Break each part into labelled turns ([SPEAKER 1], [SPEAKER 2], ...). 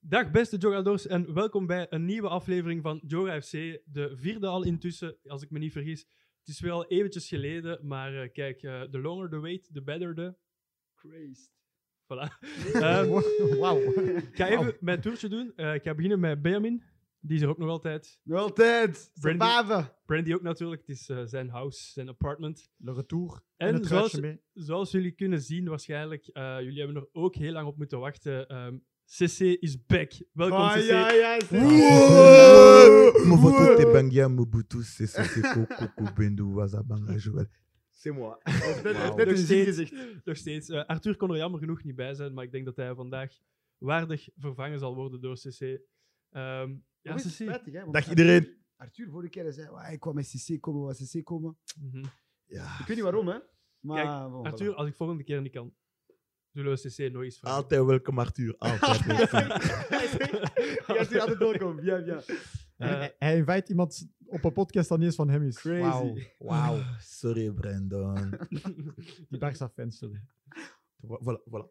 [SPEAKER 1] Dag beste Jogadors en welkom bij een nieuwe aflevering van Joga FC. De vierde al intussen, als ik me niet vergis. Het is wel eventjes geleden, maar eh, kijk, eh, the longer the wait, the better the... Crazed. Voilà. Ehm,
[SPEAKER 2] Wauw.
[SPEAKER 1] ik ga even mijn toertje doen. Eh, ik ga beginnen met Benjamin. Die is er ook nog altijd.
[SPEAKER 2] Altijd.
[SPEAKER 1] Brandy.
[SPEAKER 2] Bave.
[SPEAKER 1] Brandy ook natuurlijk. Het is eh, zijn house, zijn apartment.
[SPEAKER 2] Le retour.
[SPEAKER 1] En
[SPEAKER 2] En het
[SPEAKER 1] zoals-
[SPEAKER 2] truitje mee.
[SPEAKER 1] Zoals jullie kunnen zien waarschijnlijk, eh, jullie hebben er ook heel lang op moeten wachten. Ehm, CC is back. Welkom
[SPEAKER 2] Ah,
[SPEAKER 1] CC.
[SPEAKER 2] ja, ja. zeker.
[SPEAKER 3] Movoto Tebangia Mobutu Sese Seko Koko Bendo Wazabanga Joël.
[SPEAKER 2] C'est moi. Hij heeft net- hij heeft net
[SPEAKER 1] Nog
[SPEAKER 2] een zin
[SPEAKER 1] steeds.
[SPEAKER 2] gezegd.
[SPEAKER 1] Nog steeds. Eh, Arthur kon er jammer genoeg niet bij zijn, maar ik denk dat hij vandaag waardig vervangen zal worden door CC. Ehm, ja,
[SPEAKER 4] Hoe is het
[SPEAKER 1] CC.
[SPEAKER 4] spijtig, hè, want
[SPEAKER 3] Dag
[SPEAKER 4] Arthur-
[SPEAKER 3] iedereen.
[SPEAKER 4] Arthur, vorige keer zei hij, ik kwam met CC komen, wat CC komen.
[SPEAKER 1] Mhm.
[SPEAKER 3] Ja,
[SPEAKER 4] Ik weet niet waarom, hè. Maar,
[SPEAKER 1] Kijk,
[SPEAKER 4] bon, Oh, voilà.
[SPEAKER 1] Arthur, als ik volgende keer niet kan, zullen we CC nog eens vragen.
[SPEAKER 3] altijd welkom Arthur. Altijd welkom.
[SPEAKER 4] Ja, Arthur, altijd welkom. Ja, ja.
[SPEAKER 1] Eh,
[SPEAKER 2] Hij- Hij invite iemand op een podcast dat niet eens van hem is.
[SPEAKER 4] Crazy.
[SPEAKER 2] Wauw. Wauw.
[SPEAKER 3] Sorry Brandon.
[SPEAKER 2] Die Barca fans, sorry.
[SPEAKER 3] Voilà, voilà.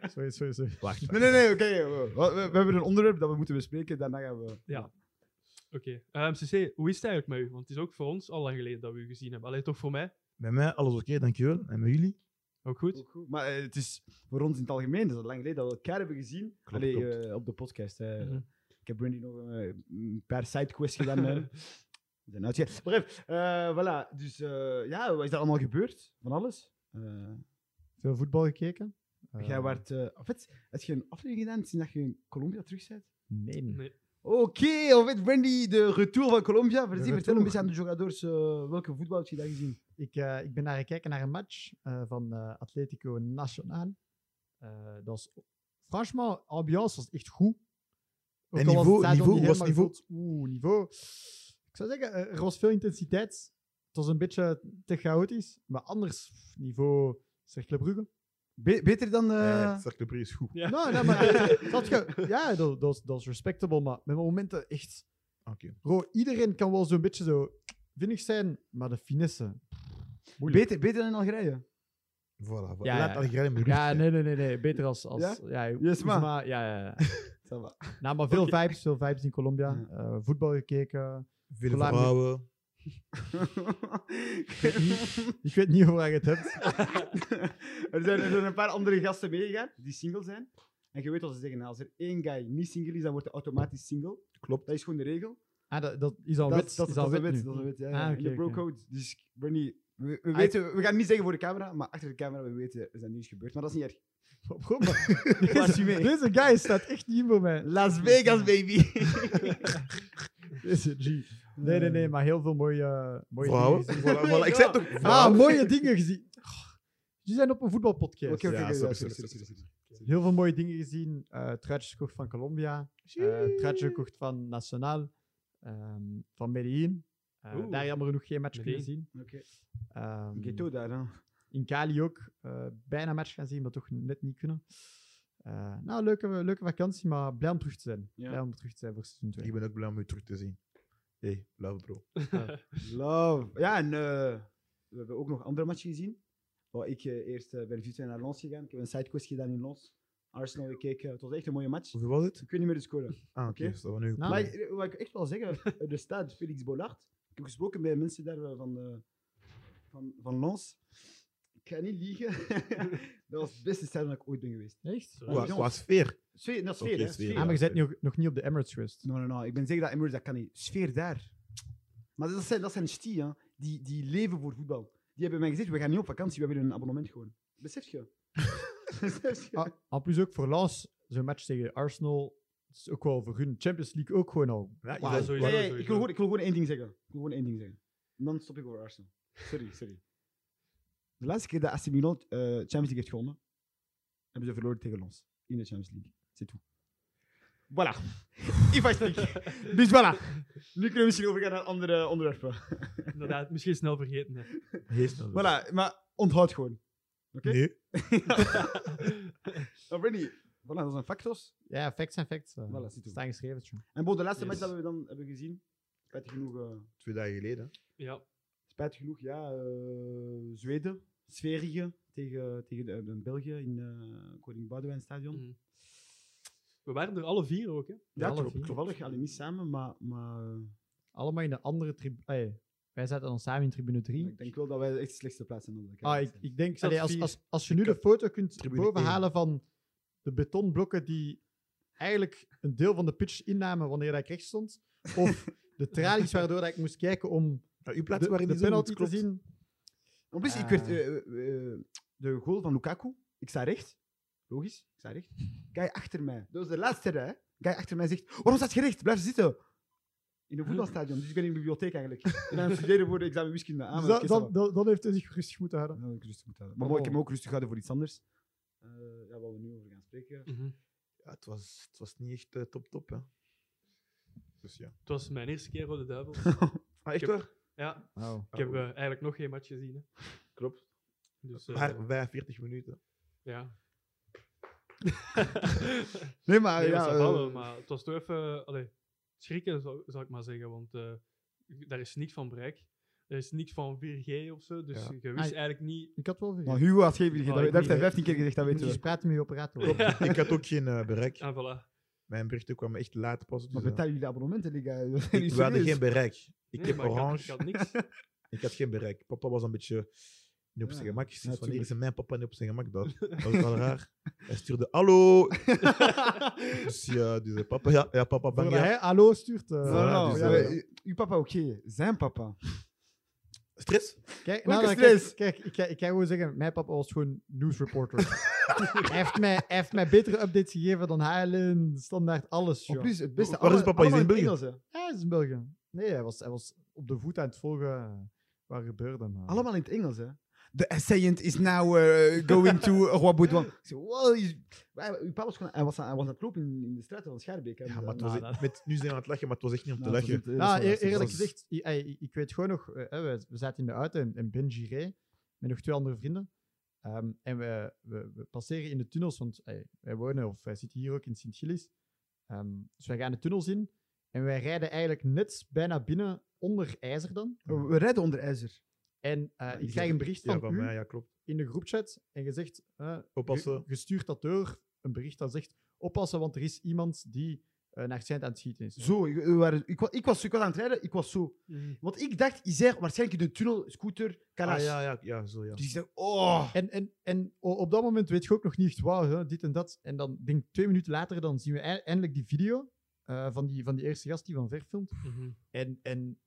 [SPEAKER 2] Sorry, sorry, sorry.
[SPEAKER 3] Wacht.
[SPEAKER 4] Nee, nee, nee, oké. we, we- we hebben een onderwerp dat we moeten bespreken, daarna gaan we...
[SPEAKER 1] Oké. Ehm, CC, hoe is het eigenlijk met u? Want het is ook voor ons al lang geleden dat we u gezien hebben. Alleen toch voor mij?
[SPEAKER 3] Met mij alles oké, dankjewel. En met jullie?
[SPEAKER 1] Ook goed?
[SPEAKER 4] Ook goed. Maar eh, het is voor ons in het algemeen, het is al lang geleden dat we elkaar hebben gezien.
[SPEAKER 3] Klopt,
[SPEAKER 4] Allee,
[SPEAKER 3] klopt.
[SPEAKER 4] eh, op de podcast. hè.
[SPEAKER 1] Mhm.
[SPEAKER 4] Ik heb Brandy nog eh, een paar sidequests gedaan. eh. We zijn uitge- Bref, eh, voilà. Dus eh, ja, wat is er allemaal gebeurd? Van alles? Eh,
[SPEAKER 2] Veel voetbal gekeken?
[SPEAKER 4] Jij
[SPEAKER 2] Eh,
[SPEAKER 4] werd. eh of het, heb je een aflevering gedaan sinds dat je in Colombia terug bent?
[SPEAKER 2] Nee.
[SPEAKER 1] Nee.
[SPEAKER 4] Oké, of het Brandy, de retour van Colombia. Vertel, vertel
[SPEAKER 2] retour.
[SPEAKER 4] een beetje aan de jogadors eh, welke voetbal heb je daar gezien?
[SPEAKER 2] Ik, eh, ik ben naar gekeken naar een match eh, van eh, Atletico Nacional. Eh, dat was, franchement, ambiance was echt goed. Ook
[SPEAKER 3] En
[SPEAKER 2] al was
[SPEAKER 3] niveau-
[SPEAKER 2] het stadion
[SPEAKER 3] niveau, hoe
[SPEAKER 2] niet
[SPEAKER 3] was
[SPEAKER 2] helemaal
[SPEAKER 3] het
[SPEAKER 2] gevuld. Oeh, niveau. Ik zou zeggen, eh, er was veel intensiteit. Het was een beetje te chaotisch. Maar anders, pff, niveau Cercle Brugge.
[SPEAKER 4] Be- beter dan. eh,
[SPEAKER 3] Eh, Cercle Brugge is goed.
[SPEAKER 1] Ja.
[SPEAKER 2] Nou, nou, maar, eh, dat ge- ja, dat, dat, was- dat was respectable. Maar met momenten echt...
[SPEAKER 3] Oké.
[SPEAKER 2] Bro, iedereen kan wel zo'n beetje zo vinnig zijn. Maar de finesse... pff, moeilijk.
[SPEAKER 4] beter, beter dan in Algerije.
[SPEAKER 3] Voilà, voilà.
[SPEAKER 2] Ja,
[SPEAKER 3] Laat
[SPEAKER 2] ja.
[SPEAKER 3] Algerije met rust.
[SPEAKER 2] Ja, nee, nee, nee, nee. Beter als. als ja?
[SPEAKER 4] Yes, ma.
[SPEAKER 2] Oesma, ja, ja, ja.
[SPEAKER 4] Ça va.
[SPEAKER 2] Nou, maar veel vibes, veel vibes in Colombia.
[SPEAKER 4] Ja.
[SPEAKER 2] Eh, voetbal gekeken.
[SPEAKER 3] Veel
[SPEAKER 2] Voilà, met-
[SPEAKER 3] vrouwen.
[SPEAKER 2] Ik weet niet- ik weet niet hoe je het hebt.
[SPEAKER 4] er, zijn, er zijn een paar andere gasten meegegaan die single zijn. En je weet wat ze zeggen: als er één guy niet single is, dan wordt hij automatisch single.
[SPEAKER 3] Klopt.
[SPEAKER 4] Dat is gewoon de regel.
[SPEAKER 2] Ah, dat, dat is al
[SPEAKER 4] Dat,
[SPEAKER 2] wit.
[SPEAKER 4] dat, dat,
[SPEAKER 2] is al
[SPEAKER 4] is een
[SPEAKER 2] wit.
[SPEAKER 4] wet,
[SPEAKER 2] nu.
[SPEAKER 4] dat is een wet, ja.
[SPEAKER 2] Ah,
[SPEAKER 4] ja. in de
[SPEAKER 2] oké, oké.
[SPEAKER 4] brocode. Dus ik ben niet... We, we
[SPEAKER 2] Ah,
[SPEAKER 4] weten, we gaan niet zeggen voor de camera, maar achter de camera, we weten, er zijn nieuws gebeurd. Maar dat is niet erg.
[SPEAKER 2] Bro, maar deze,
[SPEAKER 4] Assumé.
[SPEAKER 2] deze guy staat echt niet voor mij.
[SPEAKER 4] Las Vegas, baby!
[SPEAKER 2] Deze G. Nee, nee, nee, maar heel veel mooie, mooie
[SPEAKER 3] Vrouwen.
[SPEAKER 2] dingen gezien.
[SPEAKER 3] Voilà, voilà. Ik zei toch.
[SPEAKER 2] Ah,
[SPEAKER 3] vrouwen.
[SPEAKER 2] mooie dingen gezien. Die zijn op een voetbalpodcast.
[SPEAKER 4] Oké, oké,
[SPEAKER 3] Ja,
[SPEAKER 4] oké,
[SPEAKER 3] sorry,
[SPEAKER 4] ja,
[SPEAKER 3] sorry,
[SPEAKER 4] sorry,
[SPEAKER 3] sorry,
[SPEAKER 4] sorry.
[SPEAKER 2] Heel veel mooie dingen gezien. Eh truitjes gekocht van Colombia. eh truitje gekocht van Nacional. ehm, van Medellin. Eh,
[SPEAKER 1] Oeh.
[SPEAKER 2] daar jammer genoeg geen match kunnen
[SPEAKER 1] Medellin.
[SPEAKER 2] zien.
[SPEAKER 4] Oké.
[SPEAKER 2] Ehm,
[SPEAKER 4] Ghetto daar, hè.
[SPEAKER 2] in Cali ook. eh, bijna match gaan zien, maar toch net niet kunnen. Eh, nou, leuke, leuke vakantie, maar blij om terug te zijn.
[SPEAKER 4] Ja.
[SPEAKER 2] Blij om terug te zijn voor seizoen 2.
[SPEAKER 3] Ik ben ook blij om u terug te zien. Hey, love bro.
[SPEAKER 4] Love. Ja, en eh, we hebben ook nog andere matchen gezien. Waar ik eh, eerst eh, ben Vitesse naar Lens gegaan. Ik heb een sidequest gedaan in Lens. Arsenal gekeken. Het was echt een mooie match.
[SPEAKER 3] Hoeveel was het?
[SPEAKER 4] Ik weet niet meer de score.
[SPEAKER 3] Ah,
[SPEAKER 4] Oké.
[SPEAKER 3] oké. Dat was nu.
[SPEAKER 2] Nou.
[SPEAKER 4] Maar ik- wat ik echt wil zeggen, eh, de stad Felix Bollard. Ik heb gesproken bij mensen daar eh, van, eh, van, van Lons. Ik ga niet liegen. dat was het beste stadion dat ik ooit ben geweest.
[SPEAKER 2] Echt?
[SPEAKER 1] Sorry.
[SPEAKER 3] Qua qua sfeer.
[SPEAKER 4] Sfeer, dat is sfeer,
[SPEAKER 3] Oké,
[SPEAKER 4] hè?
[SPEAKER 3] sfeer,
[SPEAKER 4] Sfeer.
[SPEAKER 2] Ah, maar je bent nog, nog niet op de Emirates geweest.
[SPEAKER 4] No, no, no. Ik ben zeker dat Emirates dat kan niet. Sfeer daar. Maar dat zijn, dat zijn stie, hè. Die, die leven voor voetbal. Die hebben mij gezegd, we gaan niet op vakantie, we hebben een abonnement gewoon. Besef je? Besef je?
[SPEAKER 2] Ah, en plus ook voor Lens, zo'n match tegen Arsenal. Dat is ook wel voor hun Champions League ook gewoon al.
[SPEAKER 3] Ja, je
[SPEAKER 1] Wauw.
[SPEAKER 3] bent-
[SPEAKER 1] Ah, Sowieso.
[SPEAKER 4] Nee, nee, ik,
[SPEAKER 1] sowieso.
[SPEAKER 4] wil gewoon, ik wil gewoon één ding zeggen. Ik wil gewoon één ding zeggen. En dan stop ik over Arsenal. Sorry, sorry. De laatste keer dat AC Milan eh, Champions League heeft gewonnen, hebben ze verloren tegen ons. In de Champions League. C'est tout. Voilà. If I speak. Dus voilà. Nu kunnen we misschien overgaan naar andere onderwerpen.
[SPEAKER 1] Inderdaad, misschien snel vergeten. hè.
[SPEAKER 3] Heel snel.
[SPEAKER 4] Voilà, maar onthoud gewoon. Oké?
[SPEAKER 3] Nee.
[SPEAKER 4] Nou, Brandy, voilà, dat is een factos.
[SPEAKER 2] Ja, facts zijn facts. eh,
[SPEAKER 4] Voilà, zit toe.
[SPEAKER 2] staan geschreven. tjoh.
[SPEAKER 4] En Bo, de laatste
[SPEAKER 1] Yes.
[SPEAKER 4] match dat we dan hebben gezien, spijtig genoeg, eh,
[SPEAKER 3] Twee dagen geleden.
[SPEAKER 1] Ja.
[SPEAKER 4] spijtig genoeg, ja, eh, Zweden, eh,
[SPEAKER 2] Mm.
[SPEAKER 4] Sverige tegen, tegen de, de België in eh Koning Boudewijn Stadion.
[SPEAKER 1] Mhm. We waren er alle vier ook, hè?
[SPEAKER 4] Ja,
[SPEAKER 2] alle
[SPEAKER 4] to-
[SPEAKER 2] vier.
[SPEAKER 4] toevallig. Alleen niet samen, maar... maar eh,
[SPEAKER 2] Allemaal in de andere tribune. Wij zaten dan samen in tribune 3.
[SPEAKER 4] ik denk wel dat wij echt de slechtste plaats zijn. dan de
[SPEAKER 2] Ah,
[SPEAKER 4] kijkers
[SPEAKER 2] ik,
[SPEAKER 4] zijn.
[SPEAKER 2] ik denk,
[SPEAKER 1] Zelfs
[SPEAKER 2] allee, als,
[SPEAKER 1] vier.
[SPEAKER 2] als, als je nu
[SPEAKER 3] Ik
[SPEAKER 2] de
[SPEAKER 3] heb
[SPEAKER 2] foto kunt
[SPEAKER 3] tribune
[SPEAKER 2] bovenhalen van de betonblokken die eigenlijk een deel van de pitch innamen wanneer dat ik rechts stond, of de tralies waardoor dat ik moest kijken om
[SPEAKER 3] Ja, uw
[SPEAKER 2] de,
[SPEAKER 3] plaats waren
[SPEAKER 2] de
[SPEAKER 3] niet zo goed,
[SPEAKER 2] penalty te
[SPEAKER 3] klopt.
[SPEAKER 2] zien.
[SPEAKER 4] En plus, ik
[SPEAKER 2] Ah.
[SPEAKER 4] werd eh, eh, eh, de goal van Lukaku. Ik sta recht. Logisch, ik sta recht. Guy achter mij. Dat was de laatste rij. Guy achter mij zegt: Waarom staat je recht? Blijf zitten. In een voetbalstadion. Dus ik ben in de bibliotheek eigenlijk. En aan het studeren voor de examen wiskunde. Ah, maar
[SPEAKER 2] Dus
[SPEAKER 4] oké,
[SPEAKER 2] dat,
[SPEAKER 4] ça va.
[SPEAKER 2] dat, dat, dat heeft hij zich rustig moeten houden.
[SPEAKER 4] Ja, dat heb ik rustig moeten houden. Maar mooi, ik heb me ook rustig gehouden voor iets anders. Eh, ja, waar we nu over gaan spreken.
[SPEAKER 3] Ja, het, was, het was niet echt eh, top top, hè. Dus ja.
[SPEAKER 1] Het was mijn eerste keer voor de duivel.
[SPEAKER 3] Ah,
[SPEAKER 1] Ik
[SPEAKER 3] echt
[SPEAKER 1] heb-
[SPEAKER 3] waar?
[SPEAKER 1] ja,
[SPEAKER 2] Wow.
[SPEAKER 1] ik heb
[SPEAKER 3] Ah,
[SPEAKER 1] eh, eigenlijk nog geen match gezien. Hè.
[SPEAKER 3] Klopt.
[SPEAKER 1] Dus, eh,
[SPEAKER 3] Maar 45 minuten.
[SPEAKER 1] ja.
[SPEAKER 4] Nee,
[SPEAKER 3] Ah,
[SPEAKER 4] maar
[SPEAKER 1] Nee,
[SPEAKER 4] ja.
[SPEAKER 1] dat zou wel,
[SPEAKER 4] eh,
[SPEAKER 1] maar het was toch even allee, schrikken, zou, zou ik maar zeggen. Want eh, daar is niks van bereik. Er is niks van 4G of zo. Dus
[SPEAKER 3] Ja.
[SPEAKER 1] je wist
[SPEAKER 2] Ah,
[SPEAKER 1] eigenlijk niet.
[SPEAKER 2] Ik had wel
[SPEAKER 4] Maar
[SPEAKER 2] vergeten.
[SPEAKER 4] Hugo had geen idee.
[SPEAKER 1] Oh,
[SPEAKER 4] Dat,
[SPEAKER 1] ik
[SPEAKER 4] dat heeft hij
[SPEAKER 1] niet.
[SPEAKER 4] 15 keer gezegd, dat
[SPEAKER 2] Moet
[SPEAKER 4] weten
[SPEAKER 2] je eens
[SPEAKER 4] we.
[SPEAKER 2] praten met je operator.
[SPEAKER 1] Ja.
[SPEAKER 3] Ik had ook geen eh, bereik.
[SPEAKER 1] Ah, voilà.
[SPEAKER 3] Mijn berichten kwamen echt laat pas.
[SPEAKER 4] Maar
[SPEAKER 3] Dus, eh,
[SPEAKER 4] betalen jullie de abonnementen, Liga?
[SPEAKER 3] ik- we hadden geen bereik. Ik
[SPEAKER 1] Nee,
[SPEAKER 3] heb
[SPEAKER 1] maar had-
[SPEAKER 3] orange.
[SPEAKER 1] Ik had, niks.
[SPEAKER 3] Ik had geen bereik. Papa was een beetje niet op
[SPEAKER 4] Ja,
[SPEAKER 3] zijn gemak. Sinds wanneer
[SPEAKER 4] natuurlijk.
[SPEAKER 3] is mijn papa niet op zijn gemak? Dat, dat was wel raar. Hij stuurde hallo. dus ja, dus, eh, papa, ja, ja, papa bang.
[SPEAKER 2] Voordat
[SPEAKER 3] Ja.
[SPEAKER 2] hij hallo stuurt. eh,
[SPEAKER 3] Voilà,
[SPEAKER 4] Voilà,
[SPEAKER 3] dus,
[SPEAKER 4] ja,
[SPEAKER 3] eh,
[SPEAKER 4] u- Uw papa, oké. Zijn papa.
[SPEAKER 3] Stress?
[SPEAKER 2] Kijk,
[SPEAKER 4] Welke
[SPEAKER 2] nou, dan-
[SPEAKER 4] stress?
[SPEAKER 2] Kijk, kijk ik, ga- ik ga gewoon zeggen, mijn papa was gewoon nieuwsreporter. hij, heeft mij, hij heeft mij betere updates gegeven dan hij alleen standaard alles.
[SPEAKER 4] En
[SPEAKER 2] joh.
[SPEAKER 4] plus, het beste...
[SPEAKER 3] Waar is
[SPEAKER 4] alle-
[SPEAKER 3] papa? Is hij in
[SPEAKER 4] allemaal het
[SPEAKER 3] België?
[SPEAKER 4] Engels, hè.
[SPEAKER 2] Ja, hij is in België. Nee, hij was, hij was op de voet aan het volgen eh, waar gebeurde hem. eh.
[SPEAKER 4] Allemaal in het Engels, hè? The assailant is now eh, going to Roi Ik zeg, wow, is... Wij- Uw papa was, gewoon- hij was, aan- hij was aan het lopen in, in de straten van Schaarbeek. hè.
[SPEAKER 3] Ja, maar het
[SPEAKER 4] Nou,
[SPEAKER 3] was, met, nu zijn we aan het lachen, maar het was echt niet om te
[SPEAKER 4] nou,
[SPEAKER 3] lachen.
[SPEAKER 4] het was-
[SPEAKER 2] Nou,
[SPEAKER 4] het was-
[SPEAKER 2] eer-
[SPEAKER 4] het
[SPEAKER 2] eerlijk
[SPEAKER 4] was-
[SPEAKER 2] gezegd, i- ey, ik, weet gewoon nog, eh, hè, we, we zaten in de auto en, en Benji reed met nog twee andere vrienden. Ehm, en we, we, we passeren in de tunnels, want ey, wij wonen of wij zitten hier ook in Sint-Gilles. Ehm, dus wij gaan de tunnels in en wij rijden eigenlijk net bijna binnen onder ijzer dan.
[SPEAKER 4] We, we rijden onder ijzer.
[SPEAKER 2] En eh,
[SPEAKER 4] Oh. die
[SPEAKER 2] ik
[SPEAKER 4] zijn
[SPEAKER 2] krijg een bericht van,
[SPEAKER 3] Ja, van
[SPEAKER 2] u
[SPEAKER 3] mij, ja, klopt.
[SPEAKER 2] in de groepchat en je zegt, eh,
[SPEAKER 3] Oppassen. Ah,
[SPEAKER 2] gestuurd dat door, een bericht dat zegt, oppassen, want er is iemand die eh, naar zijn aan het schieten is.
[SPEAKER 4] Zo, ik, we waren- ik, wa- ik was, ik was aan het rijden, ik was zo.
[SPEAKER 1] Mhm,
[SPEAKER 4] Want ik dacht, is hij waarschijnlijk in de tunnel, scooter, kalas.
[SPEAKER 3] Ah, ja, ja, ja, zo ja.
[SPEAKER 4] Dus ik zeg, oh.
[SPEAKER 2] En, en, en o- op dat moment weet je ook nog niet echt wauw, hè, dit en dat. En dan denk ik twee minuten later, dan zien we ei- eindelijk die video eh, van, die, van die eerste gast die van ver filmt.
[SPEAKER 1] Mhm.
[SPEAKER 2] En, en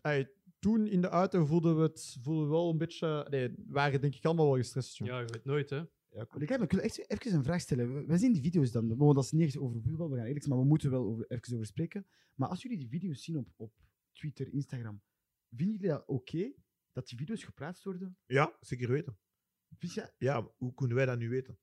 [SPEAKER 2] ai, toen in de auto voelden we het voelden we wel een beetje... Nee, we waren denk ik allemaal wel gestrest. joh.
[SPEAKER 1] Ja, je weet nooit, hè?
[SPEAKER 3] ja klopt.
[SPEAKER 4] Ik, heb, ik wil echt even een vraag stellen. We- Wij zien die video's dan. Bon, dat is niet echt over voetbal, we gaan eerlijk zijn, maar we moeten wel over, even over spreken. Maar als jullie die video's zien op, op Twitter, Instagram, vinden jullie dat oké dat die video's geplaatst worden?
[SPEAKER 3] Ja, zeker weten.
[SPEAKER 4] Vind je,
[SPEAKER 3] Ja, maar hoe kunnen wij dat nu weten?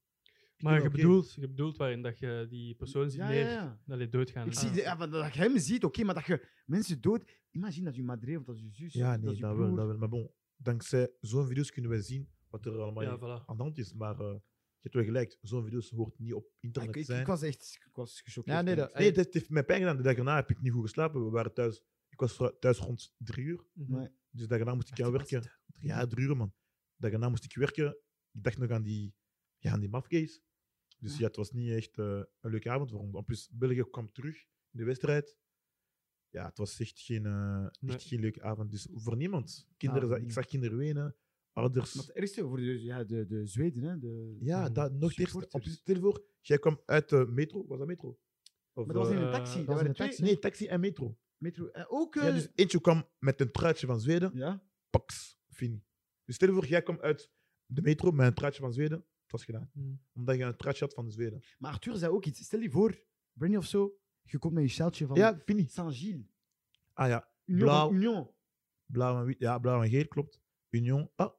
[SPEAKER 3] Ik
[SPEAKER 1] Maar
[SPEAKER 3] vind
[SPEAKER 1] je
[SPEAKER 3] dat oké.
[SPEAKER 1] bedoelt, je bedoelt waarin dat je die persoon ziet
[SPEAKER 4] ja,
[SPEAKER 1] neer.
[SPEAKER 4] ja, ja.
[SPEAKER 1] Allee, doodgaan.
[SPEAKER 4] Ik
[SPEAKER 1] Ah.
[SPEAKER 4] zie, de- ja, van dat je hem ziet, oké, maar dat je mensen dood... Imagine dat je madre of dat je zus...
[SPEAKER 3] Ja, nee,
[SPEAKER 4] dat
[SPEAKER 3] dat,
[SPEAKER 4] je
[SPEAKER 3] wel,
[SPEAKER 4] broer-
[SPEAKER 3] dat wel. Maar bon, dankzij zo'n video's kunnen wij zien wat er allemaal
[SPEAKER 1] Ja,
[SPEAKER 3] aan
[SPEAKER 1] voilà.
[SPEAKER 3] de hand is. Maar eh, je hebt wel gelijk, zo'n video's hoort niet op
[SPEAKER 4] Ah,
[SPEAKER 3] internet
[SPEAKER 4] ik,
[SPEAKER 3] te
[SPEAKER 4] ik,
[SPEAKER 3] zijn.
[SPEAKER 4] ik was echt ik was gechoqueerd.
[SPEAKER 2] Ja, nee,
[SPEAKER 4] eigenlijk.
[SPEAKER 2] dat-
[SPEAKER 3] Nee, dat heeft mij pijn gedaan. De dag daarna heb ik niet goed geslapen. We waren thuis. Ik was vra- thuis rond drie uur.
[SPEAKER 1] Mhm.
[SPEAKER 4] Maar-
[SPEAKER 3] Dus de dag daarna moest ik
[SPEAKER 1] Echt,
[SPEAKER 3] gaan
[SPEAKER 1] was het
[SPEAKER 3] werken. Ja, drie uur, man. De dag daarna moest ik werken. Ik dacht nog aan die, ja, aan die mafcase. Dus ja, het was niet echt eh, een leuke avond voor ons. En plus, België kwam terug in de wedstrijd. Ja, het was echt geen, eh,
[SPEAKER 1] Nee.
[SPEAKER 3] echt geen leuke avond. Dus voor niemand. Kinderen,
[SPEAKER 2] Ah,
[SPEAKER 3] za- ik
[SPEAKER 2] nee.
[SPEAKER 3] zag kinderen wenen. Ouders.
[SPEAKER 4] Maar het ergste voor de, ja, de, de Zweden, hè. De,
[SPEAKER 3] ja,
[SPEAKER 4] de
[SPEAKER 3] dat nog het eerste. En
[SPEAKER 4] supporters.
[SPEAKER 3] plus, Stel je voor, jij kwam uit de metro. Was dat metro?
[SPEAKER 4] Maar
[SPEAKER 3] Of,
[SPEAKER 4] dat was
[SPEAKER 3] eh,
[SPEAKER 4] in een
[SPEAKER 1] eh,
[SPEAKER 4] taxi.
[SPEAKER 1] dat
[SPEAKER 4] Dat
[SPEAKER 2] was in
[SPEAKER 4] waren
[SPEAKER 2] een
[SPEAKER 4] twee...
[SPEAKER 2] taxi.
[SPEAKER 3] Nee, taxi en metro.
[SPEAKER 4] Metro, eh, ook...
[SPEAKER 3] Ja,
[SPEAKER 4] eh,
[SPEAKER 3] dus eentje kwam met een truitje van Zweden.
[SPEAKER 4] ja.
[SPEAKER 3] Pax, fini. Dus stel je voor, jij kwam uit de metro met een truitje van Zweden. Het was gedaan.
[SPEAKER 4] Hmm.
[SPEAKER 1] Mhm.
[SPEAKER 3] Omdat je een truitje had van de Zweden.
[SPEAKER 4] Maar Arthur zei ook iets. Stel je voor, Brandy of zo, je komt met je sjaaltje van
[SPEAKER 3] Ja, fini.
[SPEAKER 4] Saint-Gilles.
[SPEAKER 3] Ah ja,
[SPEAKER 4] Union.
[SPEAKER 3] Blauw.
[SPEAKER 4] van Union.
[SPEAKER 3] blauw en, wit, ja, blauw en geel, klopt. Union. Ah,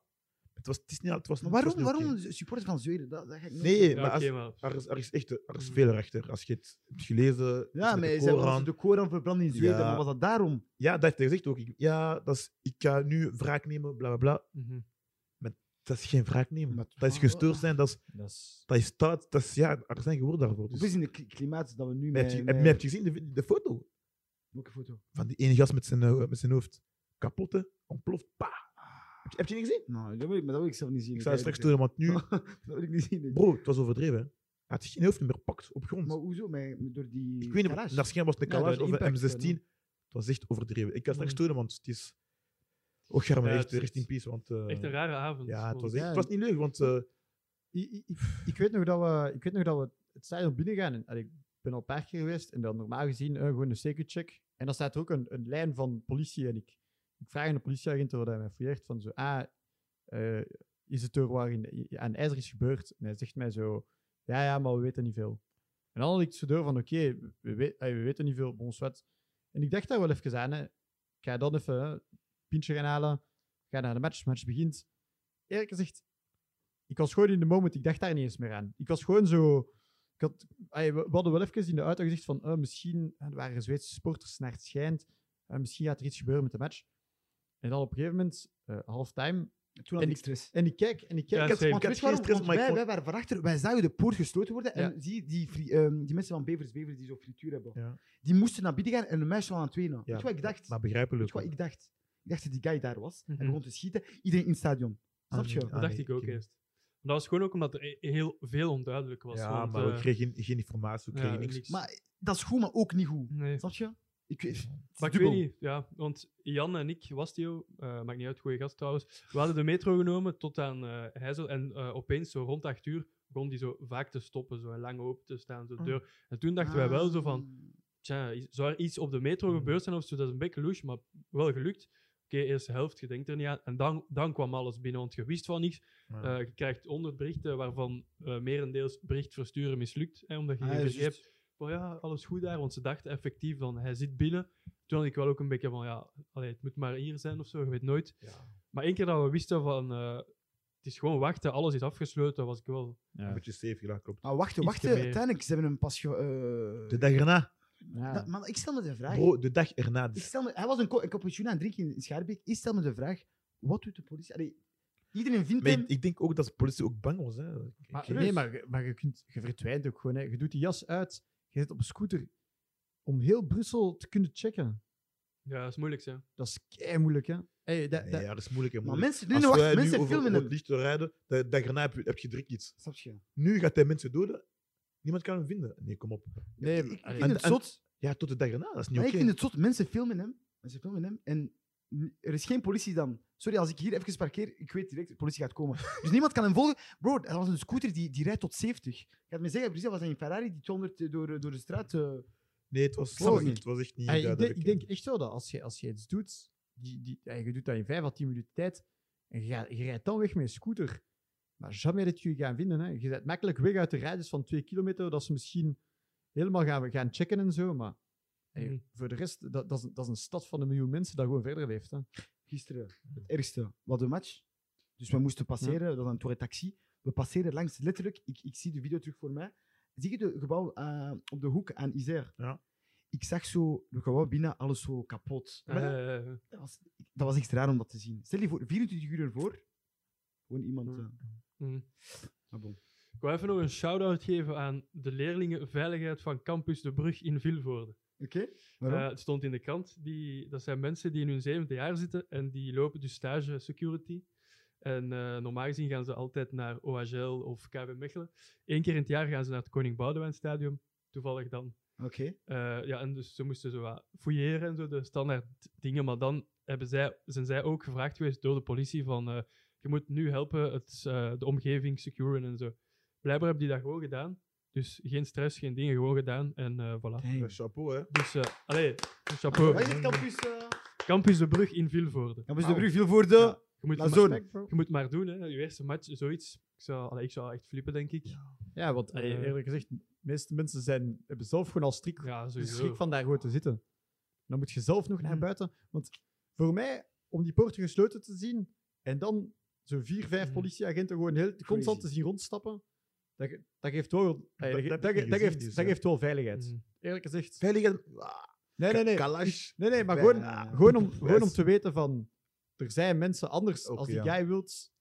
[SPEAKER 3] het was, het is niet, het was,
[SPEAKER 4] Maar
[SPEAKER 3] het was
[SPEAKER 4] waarom,
[SPEAKER 3] niet oké.
[SPEAKER 4] waarom supporter van Zweden? Dat, dat ga ik nooit
[SPEAKER 3] Nee,
[SPEAKER 4] snappen.
[SPEAKER 1] Ja,
[SPEAKER 3] maar als-
[SPEAKER 1] oké, maar-
[SPEAKER 3] Er is, er is echt er is
[SPEAKER 1] Mhm.
[SPEAKER 3] veel erachter. Als je het hebt gelezen.
[SPEAKER 4] Hmm. Ja, maar
[SPEAKER 3] met de
[SPEAKER 4] ze hebben
[SPEAKER 3] Koran.
[SPEAKER 4] ze de Koran verbrand in Zweden.
[SPEAKER 3] Ja.
[SPEAKER 4] Maar was dat daarom?
[SPEAKER 3] Ja, dat heeft hij gezegd ook. Ik- Ja, dat is, ik ga nu wraak nemen, bla bla bla.
[SPEAKER 1] Mhm.
[SPEAKER 3] Dat is geen wraak nemen.
[SPEAKER 4] Maar-
[SPEAKER 3] dat is gestoord zijn, dat is,
[SPEAKER 2] Dat is-
[SPEAKER 3] dat is staat. Dat is, ja, er zijn woorden daarvoor. Dus.
[SPEAKER 4] Dus in het kli- klimaat dat we nu
[SPEAKER 3] Maar heb,
[SPEAKER 4] met...
[SPEAKER 3] je,
[SPEAKER 4] met-
[SPEAKER 3] heb, maar heb je gezien de, vi- de foto?
[SPEAKER 4] Welke foto?
[SPEAKER 3] van die ene gast met zijn, eh, met zijn hoofd kapot, hè, ontploft. Pa! Heb, je, heb je niet gezien?
[SPEAKER 4] Nou, dat wil ik, maar dat wil ik zelf niet zien.
[SPEAKER 3] Ik zou het straks
[SPEAKER 4] doen.
[SPEAKER 3] sturen, want nu,
[SPEAKER 4] Dat wil ik niet zien.
[SPEAKER 3] bro, het was overdreven. Hè. Hij had zich in helft niet meer gepakt op grond.
[SPEAKER 4] Maar hoezo? Maar door die
[SPEAKER 3] ik weet niet,
[SPEAKER 4] garage?
[SPEAKER 3] of- dat schijn was het een
[SPEAKER 2] Ja, door
[SPEAKER 3] Kalash
[SPEAKER 2] de
[SPEAKER 3] of een
[SPEAKER 2] impact,
[SPEAKER 3] M16.
[SPEAKER 2] ja,
[SPEAKER 3] Het was echt overdreven. Ik kan straks
[SPEAKER 1] Mm.
[SPEAKER 3] tonen, want het is... Och, ja, maar
[SPEAKER 1] Ja,
[SPEAKER 3] echt,
[SPEAKER 1] het is-
[SPEAKER 3] rest in peace. Want, eh,
[SPEAKER 1] Echt een rare avond.
[SPEAKER 3] ja, het was,
[SPEAKER 1] echt
[SPEAKER 3] echt, het was niet leuk, want... eh,
[SPEAKER 2] Ik, ik- ik, ik weet nog dat we, ik weet nog dat we het stadion binnengaan. En, allee, ik ben al een paar keer geweest en dan normaal gezien eh, gewoon een security-check. En dan staat er ook een, een lijn van politie. En ik, ik vraag aan de politieagent waar hij mij fouilleert van zo... Ah, eh, is het door waarin aan IJzer is gebeurd? En hij zegt mij zo... Ja, ja, maar we weten niet veel. En dan had ik zo door van... Oké, we, we- allee, we weten niet veel, bon, wat. En ik dacht daar wel even aan. Hè. Ik ga dan even hè, een pintje gaan halen. Ik ga naar de match, match begint. Eerlijk gezegd, ik was gewoon in de moment, ik dacht daar niet eens meer aan. Ik was gewoon zo. Ik had, ai, we, we hadden wel even in de auto gezegd van eh, misschien eh, er waren Zweedse sporters naar het schijnt. eh, misschien gaat er iets gebeuren met de match. En dan op een gegeven moment, eh halftime.
[SPEAKER 4] Toen had
[SPEAKER 2] En
[SPEAKER 4] ik stress.
[SPEAKER 2] En ik kijk en ik kijk.
[SPEAKER 1] Ja,
[SPEAKER 2] en-
[SPEAKER 1] same.
[SPEAKER 4] Want
[SPEAKER 3] had
[SPEAKER 4] weet je
[SPEAKER 3] geen
[SPEAKER 4] waarom?
[SPEAKER 3] stress,
[SPEAKER 4] Want
[SPEAKER 3] maar ik
[SPEAKER 4] wij,
[SPEAKER 3] kon-
[SPEAKER 4] wij waren van achter, wij zagen de poort gesloten worden. En zie die, fri- ehm, die mensen van Bevers, Bevers die zo frituur hebben.
[SPEAKER 3] Ja.
[SPEAKER 4] Die moesten naar binnen gaan en een meisje was aan het wenen.
[SPEAKER 3] ja,
[SPEAKER 4] Weet je wat ik dacht?
[SPEAKER 3] Maar
[SPEAKER 4] Weet
[SPEAKER 3] begrijpelijk.
[SPEAKER 4] je wat ik dacht? Ik dacht dat die guy daar was.
[SPEAKER 1] Mhm.
[SPEAKER 4] Hij begon te schieten. Iedereen in het stadion.
[SPEAKER 3] Ah,
[SPEAKER 4] Snap je?
[SPEAKER 3] nee,
[SPEAKER 1] Dat dacht ik ook
[SPEAKER 3] oké.
[SPEAKER 1] eerst. Maar dat was gewoon ook omdat er e- heel veel onduidelijk was.
[SPEAKER 3] Ja,
[SPEAKER 1] want,
[SPEAKER 3] maar
[SPEAKER 1] eh,
[SPEAKER 3] we kregen geen, geen informatie, we
[SPEAKER 1] ja,
[SPEAKER 3] kregen niks.
[SPEAKER 4] Maar dat is goed, maar ook niet goed.
[SPEAKER 1] Nee.
[SPEAKER 4] Snap je? Ik weet...
[SPEAKER 1] Maar ik weet
[SPEAKER 4] dubbel.
[SPEAKER 1] niet, ja, want Jan en ik, Wastio, eh maakt niet uit, goede gast trouwens, we hadden de metro genomen tot aan eh Heizel en eh, opeens, zo rond acht uur, begon die zo vaak te stoppen, zo en lang open te staan, zo de
[SPEAKER 3] Ah.
[SPEAKER 1] deur. En toen dachten wij wel zo van,
[SPEAKER 4] Oh. Ah. Hmm.
[SPEAKER 1] tja, is- zou er iets op de metro
[SPEAKER 3] Mm.
[SPEAKER 1] gebeurd zijn of zo? Dat is een beetje louche, maar wel gelukt. Oké, eerste helft, je denkt er niet aan. En dan, dan kwam alles binnen, want je wist van niks.
[SPEAKER 3] Ja.
[SPEAKER 1] Eh, je krijgt 100 berichten waarvan eh, merendeels bericht versturen mislukt, hè, omdat je
[SPEAKER 4] Ah,
[SPEAKER 1] geen
[SPEAKER 4] ja,
[SPEAKER 1] regie
[SPEAKER 4] juist.
[SPEAKER 1] hebt. Van ja, alles goed daar, want ze dachten effectief van hij zit binnen. Toen had ik wel ook een beetje van ja, allee, het moet maar hier zijn of zo, je weet nooit.
[SPEAKER 3] Ja,
[SPEAKER 1] Maar één keer dat we wisten van eh, het is gewoon wachten, alles is afgesloten, was ik wel.
[SPEAKER 3] Een
[SPEAKER 2] Ja.
[SPEAKER 3] beetje safe, ja, klopt.
[SPEAKER 4] Ah, wachten,
[SPEAKER 1] Iets
[SPEAKER 4] wachten.
[SPEAKER 1] meer.
[SPEAKER 4] Uiteindelijk, ze hebben hem pas... ge- eh,
[SPEAKER 3] De dag erna,
[SPEAKER 4] Da- maar ik stel me de vraag.
[SPEAKER 3] bro, de dag erna.
[SPEAKER 4] Ik stel me, hij was een, co- een cappuccino aan het drinken in Schaarbeek. Ik stel me de vraag, wat doet de politie? Allee, iedereen vindt
[SPEAKER 3] Maar
[SPEAKER 4] hem...
[SPEAKER 3] ik, ik denk ook dat de politie ook bang was. Hè. Ik-
[SPEAKER 2] Maar,
[SPEAKER 3] ik-
[SPEAKER 2] nee, maar, je- maar je, kunt, je verdwijnt ook gewoon. Hè. Je doet die jas uit, je zit op een scooter om heel Brussel te kunnen checken.
[SPEAKER 1] Ja, dat is moeilijk, hè.
[SPEAKER 2] Dat is kei moeilijk, hè? Hey, dat,
[SPEAKER 3] Nee,
[SPEAKER 2] dat,
[SPEAKER 3] ja, dat is moeilijk. Hè,
[SPEAKER 4] maar
[SPEAKER 3] moeilijk.
[SPEAKER 4] mensen, nee,
[SPEAKER 3] Als
[SPEAKER 4] nee, wacht,
[SPEAKER 3] wij nu
[SPEAKER 4] mensen
[SPEAKER 3] over
[SPEAKER 4] filmen
[SPEAKER 3] rood
[SPEAKER 4] hem.
[SPEAKER 3] licht door rijden, de dag erna heb je, heb je direct iets.
[SPEAKER 4] Snap je?
[SPEAKER 3] Nu gaat hij mensen doden, niemand kan hem vinden. Nee, kom op.
[SPEAKER 2] nee,
[SPEAKER 4] Ik
[SPEAKER 2] allee.
[SPEAKER 4] vind
[SPEAKER 3] En-
[SPEAKER 4] het
[SPEAKER 3] en-
[SPEAKER 4] zot.
[SPEAKER 3] Ja, tot de dag erna, dat is niet
[SPEAKER 4] Maar
[SPEAKER 3] oké.
[SPEAKER 4] ik vind het zot. Mensen filmen hem. Mensen filmen hem. En n- er is geen politie dan. Sorry, als ik hier even parkeer, ik weet direct, de politie gaat komen. Dus niemand kan hem volgen. Bro, dat was een scooter die, die rijdt tot 70. Je gaat me zeggen, precies, dat was een Ferrari die 200 door, door de straat... eh,
[SPEAKER 3] Nee, het was,
[SPEAKER 4] Ik snap het
[SPEAKER 3] niet.
[SPEAKER 4] niet.
[SPEAKER 3] het was echt niet
[SPEAKER 2] Ey, ik, denk,
[SPEAKER 3] duidelijk,
[SPEAKER 2] ik
[SPEAKER 3] hè.
[SPEAKER 2] denk echt wel dat als je, als je iets doet, die, die, ey, je doet dat in 5 à 10 minuten tijd, en je, gaat- je rijdt dan weg met een scooter. Maar jamais dat je je gaan vinden. Hè. Je bent makkelijk weg uit de radius van 2 kilometer, dat ze misschien helemaal gaan, gaan checken en zo. Maar ey,
[SPEAKER 4] Hmm.
[SPEAKER 1] Mhm.
[SPEAKER 2] voor de rest, dat, dat, is, een- dat is een stad van een miljoen mensen dat gewoon verder leeft. Hè.
[SPEAKER 4] gisteren het ergste. Wat een match. Dus we moesten passeren, dat was een Touré taxi. We passeren langs, letterlijk, ik, ik zie de video terug voor mij. Zie je het gebouw eh, op de hoek aan Isère?
[SPEAKER 3] Ja.
[SPEAKER 4] Ik zag zo het gebouw binnen, alles zo kapot.
[SPEAKER 1] Eh,
[SPEAKER 4] Dat, was, dat was echt raar om dat te zien. Stel je voor, 24 uur ervoor, gewoon iemand...
[SPEAKER 1] Ja.
[SPEAKER 4] eh,
[SPEAKER 1] mm.
[SPEAKER 4] ah, bon.
[SPEAKER 1] Ik wil even nog een shout-out geven aan de leerlingen Veiligheid van Campus de Brug in Vilvoorde.
[SPEAKER 4] Oké, waarom?
[SPEAKER 1] Eh, het stond in de krant. Die, dat zijn mensen die in hun zevende jaar zitten en die lopen dus stage security. En eh, normaal gezien gaan ze altijd naar OHL of KV Mechelen. Eén keer in het jaar gaan ze naar het Koning Boudewijn Stadion. Toevallig dan.
[SPEAKER 4] Oké.
[SPEAKER 1] Eh, ja, en dus ze moesten zo wat fouilleren en zo, de standaard dingen. Maar dan hebben zij, zijn zij ook gevraagd geweest door de politie van eh, je moet nu helpen het, eh, de omgeving securen en zo. Blijkbaar hebben die dat gewoon gedaan. Dus geen stress, geen dingen, gewoon gedaan. En eh, voilà.
[SPEAKER 3] Ja, chapeau, hè.
[SPEAKER 1] Dus, eh allee, een
[SPEAKER 4] Wat
[SPEAKER 1] chapeau.
[SPEAKER 4] is het campus? eh?
[SPEAKER 1] Campus de Brug in Vilvoorde.
[SPEAKER 4] Campus de Brug, veel voor de...
[SPEAKER 2] Ja.
[SPEAKER 1] Je moet,
[SPEAKER 4] Maar
[SPEAKER 1] maar,
[SPEAKER 4] zo-
[SPEAKER 2] Respect, bro.
[SPEAKER 1] je moet maar doen, hè. Je eerste match, zoiets. Ik zou, allee, ik zou echt flippen, denk ik. Ja,
[SPEAKER 2] Ja, want ey,
[SPEAKER 1] Eh.
[SPEAKER 2] eerlijk gezegd, de meeste mensen zijn, hebben zelf gewoon al strik
[SPEAKER 3] Dus
[SPEAKER 1] sowieso.
[SPEAKER 2] schrik van daar gewoon te zitten. En Dan moet je zelf nog naar
[SPEAKER 1] Mhm.
[SPEAKER 2] buiten. Want voor mij, om die poorten gesloten te zien en dan zo'n vier, vijf
[SPEAKER 1] Mhm.
[SPEAKER 2] politieagenten gewoon heel constant te zien rondstappen, dat, ge- dat geeft wel, eh,
[SPEAKER 3] dat
[SPEAKER 2] dat, ge-
[SPEAKER 3] heb
[SPEAKER 2] dat
[SPEAKER 3] ik
[SPEAKER 2] ge-
[SPEAKER 3] niet
[SPEAKER 2] dat
[SPEAKER 3] gezien,
[SPEAKER 2] geeft,
[SPEAKER 3] dus,
[SPEAKER 2] dat
[SPEAKER 3] ja.
[SPEAKER 2] geeft wel veiligheid.
[SPEAKER 1] Mhm.
[SPEAKER 2] Eerlijk gezegd.
[SPEAKER 3] Veiligheid.
[SPEAKER 2] Nee, nee, nee.
[SPEAKER 3] Kalash.
[SPEAKER 2] Nee, nee, maar
[SPEAKER 3] Bij-
[SPEAKER 2] gewoon,
[SPEAKER 4] ah.
[SPEAKER 2] gewoon, om, gewoon om
[SPEAKER 3] Yes.
[SPEAKER 2] te weten van, er zijn mensen anders.
[SPEAKER 3] Oké,
[SPEAKER 2] Als die
[SPEAKER 3] ja.
[SPEAKER 2] guy wilt,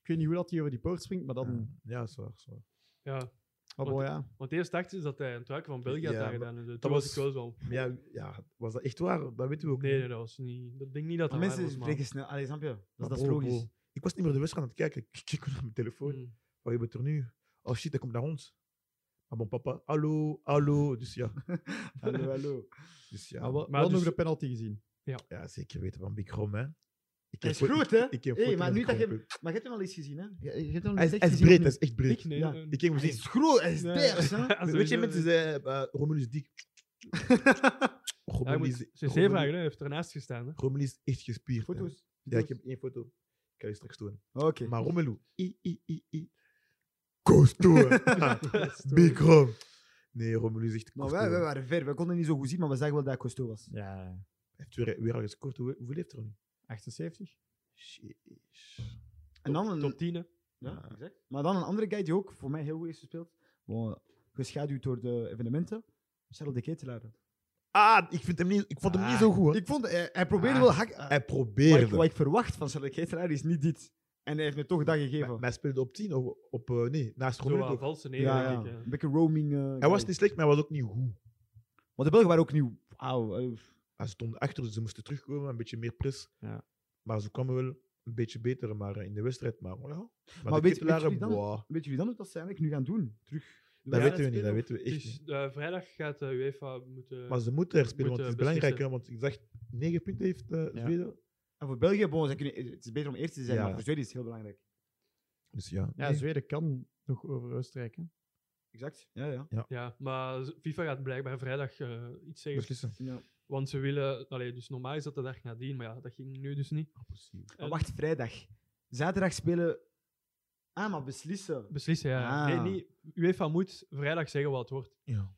[SPEAKER 2] ik weet niet hoe dat hij over die poort springt, maar dan...
[SPEAKER 3] Ja, is waar, is waar.
[SPEAKER 1] Ja,
[SPEAKER 2] maar
[SPEAKER 1] Want-
[SPEAKER 2] bon, ja.
[SPEAKER 1] want eerst dachten ze dat hij een truik van België had
[SPEAKER 3] Ja, maar
[SPEAKER 1] aangedaan. en zo. Toen was ik
[SPEAKER 3] was-
[SPEAKER 1] wel zo van...
[SPEAKER 3] Maar Ja, ja, was dat echt waar? Dat weten we ook
[SPEAKER 1] Nee,
[SPEAKER 3] niet.
[SPEAKER 1] nee, dat was niet... Ik denk niet dat
[SPEAKER 4] Maar
[SPEAKER 1] dat waar
[SPEAKER 4] mensen
[SPEAKER 1] was, Ah, man. Ah,
[SPEAKER 4] spreken snel. Allee, snap je?
[SPEAKER 3] Maar
[SPEAKER 4] Dat, dat is
[SPEAKER 3] bro, bro,
[SPEAKER 4] logisch.
[SPEAKER 3] Ik was niet meer de wedstrijd aan het kijken. Ik kijk naar mijn telefoon.
[SPEAKER 1] Mm.
[SPEAKER 3] Oh, Wat gebeurt er nu? Oh shit, hij komt naar ons. aan mijn papa. Hallo, hallo. Dus ja.
[SPEAKER 4] Hallo, hallo.
[SPEAKER 3] Dus ja,
[SPEAKER 2] maar wel,
[SPEAKER 1] maar
[SPEAKER 2] wel
[SPEAKER 1] dus-
[SPEAKER 2] nog de penalty gezien.
[SPEAKER 3] ja zeker weten van Big Rom, hè. Ik
[SPEAKER 4] Hij is
[SPEAKER 3] voor-
[SPEAKER 4] groot, hè?
[SPEAKER 3] ik heb
[SPEAKER 4] Hey,
[SPEAKER 3] voor-
[SPEAKER 4] maar
[SPEAKER 3] ik
[SPEAKER 4] nu
[SPEAKER 3] heb
[SPEAKER 4] dat
[SPEAKER 3] voor-
[SPEAKER 4] je- Maar je hebt hem al eens gezien, hè? Je, je hebt hem al
[SPEAKER 3] Hij
[SPEAKER 4] eens
[SPEAKER 3] is,
[SPEAKER 4] echt
[SPEAKER 3] hij is
[SPEAKER 4] gezien,
[SPEAKER 3] breed,
[SPEAKER 4] of
[SPEAKER 3] hij is echt breed.
[SPEAKER 1] Ik nee.
[SPEAKER 4] Ja.
[SPEAKER 1] een-
[SPEAKER 3] Ik heb hem
[SPEAKER 4] niet? Hij is
[SPEAKER 3] gezien.
[SPEAKER 4] groot, hij is
[SPEAKER 1] Nee.
[SPEAKER 4] pers, hè?
[SPEAKER 1] Ah,
[SPEAKER 3] Weet je,
[SPEAKER 1] sowieso,
[SPEAKER 3] mensen
[SPEAKER 1] ja.
[SPEAKER 3] zeiden eh, eh, Romelu is dik.
[SPEAKER 1] Hij
[SPEAKER 3] Romelu
[SPEAKER 1] moet
[SPEAKER 3] is-
[SPEAKER 1] CC
[SPEAKER 3] Romelu-
[SPEAKER 1] vragen, hè. hij heeft ernaast gestaan. Hè.
[SPEAKER 3] Romelu is echt gespierd. hè.
[SPEAKER 4] Foto's.
[SPEAKER 3] Ja, ik heb één foto. Ik ga je straks tonen.
[SPEAKER 4] Oké.
[SPEAKER 3] Maar Romelu. I, I, I, I. Kostoor. Big Rom. Nee, Romelu is echt
[SPEAKER 4] Maar
[SPEAKER 3] kostoor.
[SPEAKER 4] wij, wij waren ver. We konden niet zo goed zien, maar we zagen wel dat hij Costo was.
[SPEAKER 2] Ja,
[SPEAKER 3] Hij heeft weer, weer al gescoord. Hoe- Hoeveel heeft er nu?
[SPEAKER 2] 78.
[SPEAKER 3] Sheesh.
[SPEAKER 4] En dan een,
[SPEAKER 1] Tot tien, hè.
[SPEAKER 4] ja, exact. Maar dan een andere guy die ook voor mij heel goed is gespeeld. Bon, geschaduwd door de evenementen. Charles de Ketelaar.
[SPEAKER 3] Ah, ik, vind hem niet, ik vond hem niet zo goed. hè.
[SPEAKER 4] Ah. Ik vond, hij, hij probeerde
[SPEAKER 3] Ah,
[SPEAKER 4] wel hak... eh,
[SPEAKER 3] Hij
[SPEAKER 4] wat, ik,
[SPEAKER 3] probeerde.
[SPEAKER 4] wat ik verwacht van Charles de Ketelaar is niet dit. En hij heeft me toch dat
[SPEAKER 3] Maar,
[SPEAKER 4] gegeven.
[SPEAKER 3] maar hij speelde op 10 of op. eh, nee, naast
[SPEAKER 1] Zo
[SPEAKER 3] Romelu.
[SPEAKER 1] wel
[SPEAKER 3] toch?
[SPEAKER 1] valse nee,
[SPEAKER 4] ja, ja.
[SPEAKER 1] denk ik. hè.
[SPEAKER 4] Een beetje roaming. eh,
[SPEAKER 3] Hij was dus-
[SPEAKER 4] guy.
[SPEAKER 3] niet slecht, maar hij was ook niet goed.
[SPEAKER 4] Want de Belgen waren ook nieuw. Auw. eh,
[SPEAKER 3] Hij stond achter, dus ze moesten terugkomen, een beetje meer press.
[SPEAKER 2] Ja.
[SPEAKER 3] Maar ze kwamen wel een beetje beter maar, eh, in de wedstrijd. Maar, ja. maar,
[SPEAKER 4] weet-
[SPEAKER 3] de
[SPEAKER 4] weet
[SPEAKER 3] Ketelaren,
[SPEAKER 4] jullie dan-
[SPEAKER 3] boah,
[SPEAKER 4] Weet jullie dan hoe dat ze eigenlijk nu gaan doen? Terug.
[SPEAKER 3] dat
[SPEAKER 1] Ja,
[SPEAKER 3] weten we
[SPEAKER 1] spelen
[SPEAKER 3] niet, dat
[SPEAKER 1] nog.
[SPEAKER 3] weten we echt
[SPEAKER 1] Het is,
[SPEAKER 3] niet.
[SPEAKER 1] eh, vrijdag gaat de UEFA moeten...
[SPEAKER 3] Maar ze moeten er spelen, want
[SPEAKER 1] Moeten
[SPEAKER 3] het is belangrijk. Hè,
[SPEAKER 1] beslissen.
[SPEAKER 3] want ik dacht, 9 punten heeft eh,
[SPEAKER 2] Ja.
[SPEAKER 3] Zweden.
[SPEAKER 4] En voor België, bon, ze kunnen, het is beter om eerst te zijn,
[SPEAKER 3] Ja.
[SPEAKER 4] maar voor Zweden is het heel belangrijk.
[SPEAKER 3] Dus ja.
[SPEAKER 2] Ja,
[SPEAKER 3] nee.
[SPEAKER 2] Zweden kan nog over Oostenrijk. hè.
[SPEAKER 4] Exact. Ja, ja.
[SPEAKER 1] Ja, maar z- FIFA gaat blijkbaar vrijdag eh, iets zeggen.
[SPEAKER 3] Beslissen.
[SPEAKER 4] ja.
[SPEAKER 1] Want ze willen... Allee, dus normaal is dat de dag nadien, maar ja, dat ging nu dus niet.
[SPEAKER 4] Maar Oh, wacht, vrijdag. Zaterdag spelen. Ah, maar beslissen.
[SPEAKER 1] Beslissen, ja.
[SPEAKER 4] Ah.
[SPEAKER 1] Nee, niet. UEFA moet vrijdag zeggen wat het wordt.
[SPEAKER 3] Ja.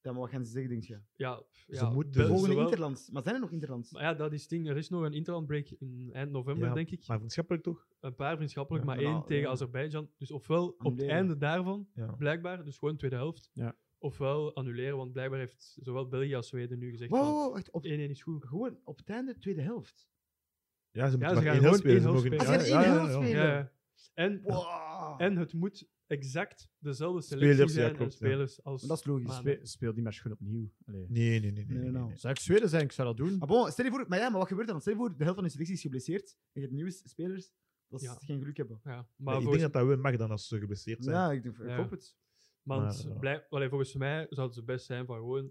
[SPEAKER 4] Ja, maar wat gaan ze zeggen, denk je?
[SPEAKER 1] Ja, f-
[SPEAKER 3] Ze
[SPEAKER 1] ja,
[SPEAKER 3] moeten-
[SPEAKER 1] Bel-
[SPEAKER 3] Dus
[SPEAKER 4] Volgende
[SPEAKER 1] Eh, zowel-
[SPEAKER 4] Interlands. Maar zijn er nog Interlands?
[SPEAKER 1] Maar ja, dat is het ding. Er is nog een interlandbreak in eind november,
[SPEAKER 3] Ja,
[SPEAKER 1] denk ik.
[SPEAKER 3] Maar vriendschappelijk toch?
[SPEAKER 1] Een paar vriendschappelijk,
[SPEAKER 3] Ja,
[SPEAKER 1] maar
[SPEAKER 4] maar
[SPEAKER 1] één
[SPEAKER 4] nou,
[SPEAKER 1] tegen
[SPEAKER 4] ja.
[SPEAKER 1] Azerbeidzjan. Dus ofwel op het
[SPEAKER 4] Annuleren.
[SPEAKER 1] einde daarvan,
[SPEAKER 3] Ja.
[SPEAKER 1] blijkbaar, dus gewoon tweede helft.
[SPEAKER 2] Ja.
[SPEAKER 1] Ofwel annuleren, want blijkbaar heeft zowel België als Zweden nu gezegd:
[SPEAKER 4] Wow,
[SPEAKER 1] van,
[SPEAKER 4] wow, wow, echt, op,
[SPEAKER 1] 1-1 is goed.
[SPEAKER 4] gewoon op het einde, tweede helft.
[SPEAKER 3] Ja, ze moeten
[SPEAKER 1] ze
[SPEAKER 3] maar
[SPEAKER 1] gaan
[SPEAKER 3] één helft
[SPEAKER 1] gewoon
[SPEAKER 3] spelen. Ze
[SPEAKER 1] één
[SPEAKER 3] mogen
[SPEAKER 1] helft
[SPEAKER 4] Als je
[SPEAKER 1] Ja,
[SPEAKER 4] er één helft spelen.
[SPEAKER 1] Ja, ja. En,
[SPEAKER 4] Wow.
[SPEAKER 1] en het moet exact dezelfde selectie
[SPEAKER 3] Ah. Spelers, ja,
[SPEAKER 1] zijn en
[SPEAKER 3] klopt, ja.
[SPEAKER 1] spelers als.
[SPEAKER 4] Maar dat is logisch.
[SPEAKER 1] Maar-
[SPEAKER 2] Spe- Speel die match gewoon opnieuw. Allee.
[SPEAKER 3] Nee, nee, nee. nee, nee,
[SPEAKER 4] nou.
[SPEAKER 3] nee.
[SPEAKER 2] Zou ik Zweden zijn, ik zou dat doen.
[SPEAKER 4] Ah, bon, stel je voor, maar ja, maar wat gebeurt er dan? Stel je voor, de helft van de selectie is geblesseerd en je hebt nieuwe spelers dat ze
[SPEAKER 1] Ja.
[SPEAKER 4] geen geluk hebben.
[SPEAKER 1] Ja,
[SPEAKER 3] Nee,
[SPEAKER 1] maar
[SPEAKER 3] ik
[SPEAKER 1] volgens,
[SPEAKER 3] denk dat dat wel mag dan als ze geblesseerd zijn.
[SPEAKER 4] Ja, eh, ik, denk, ik
[SPEAKER 1] Ja.
[SPEAKER 4] hoop het.
[SPEAKER 1] want
[SPEAKER 3] maar, ja.
[SPEAKER 1] blij- allee, volgens mij zouden ze best zijn van gewoon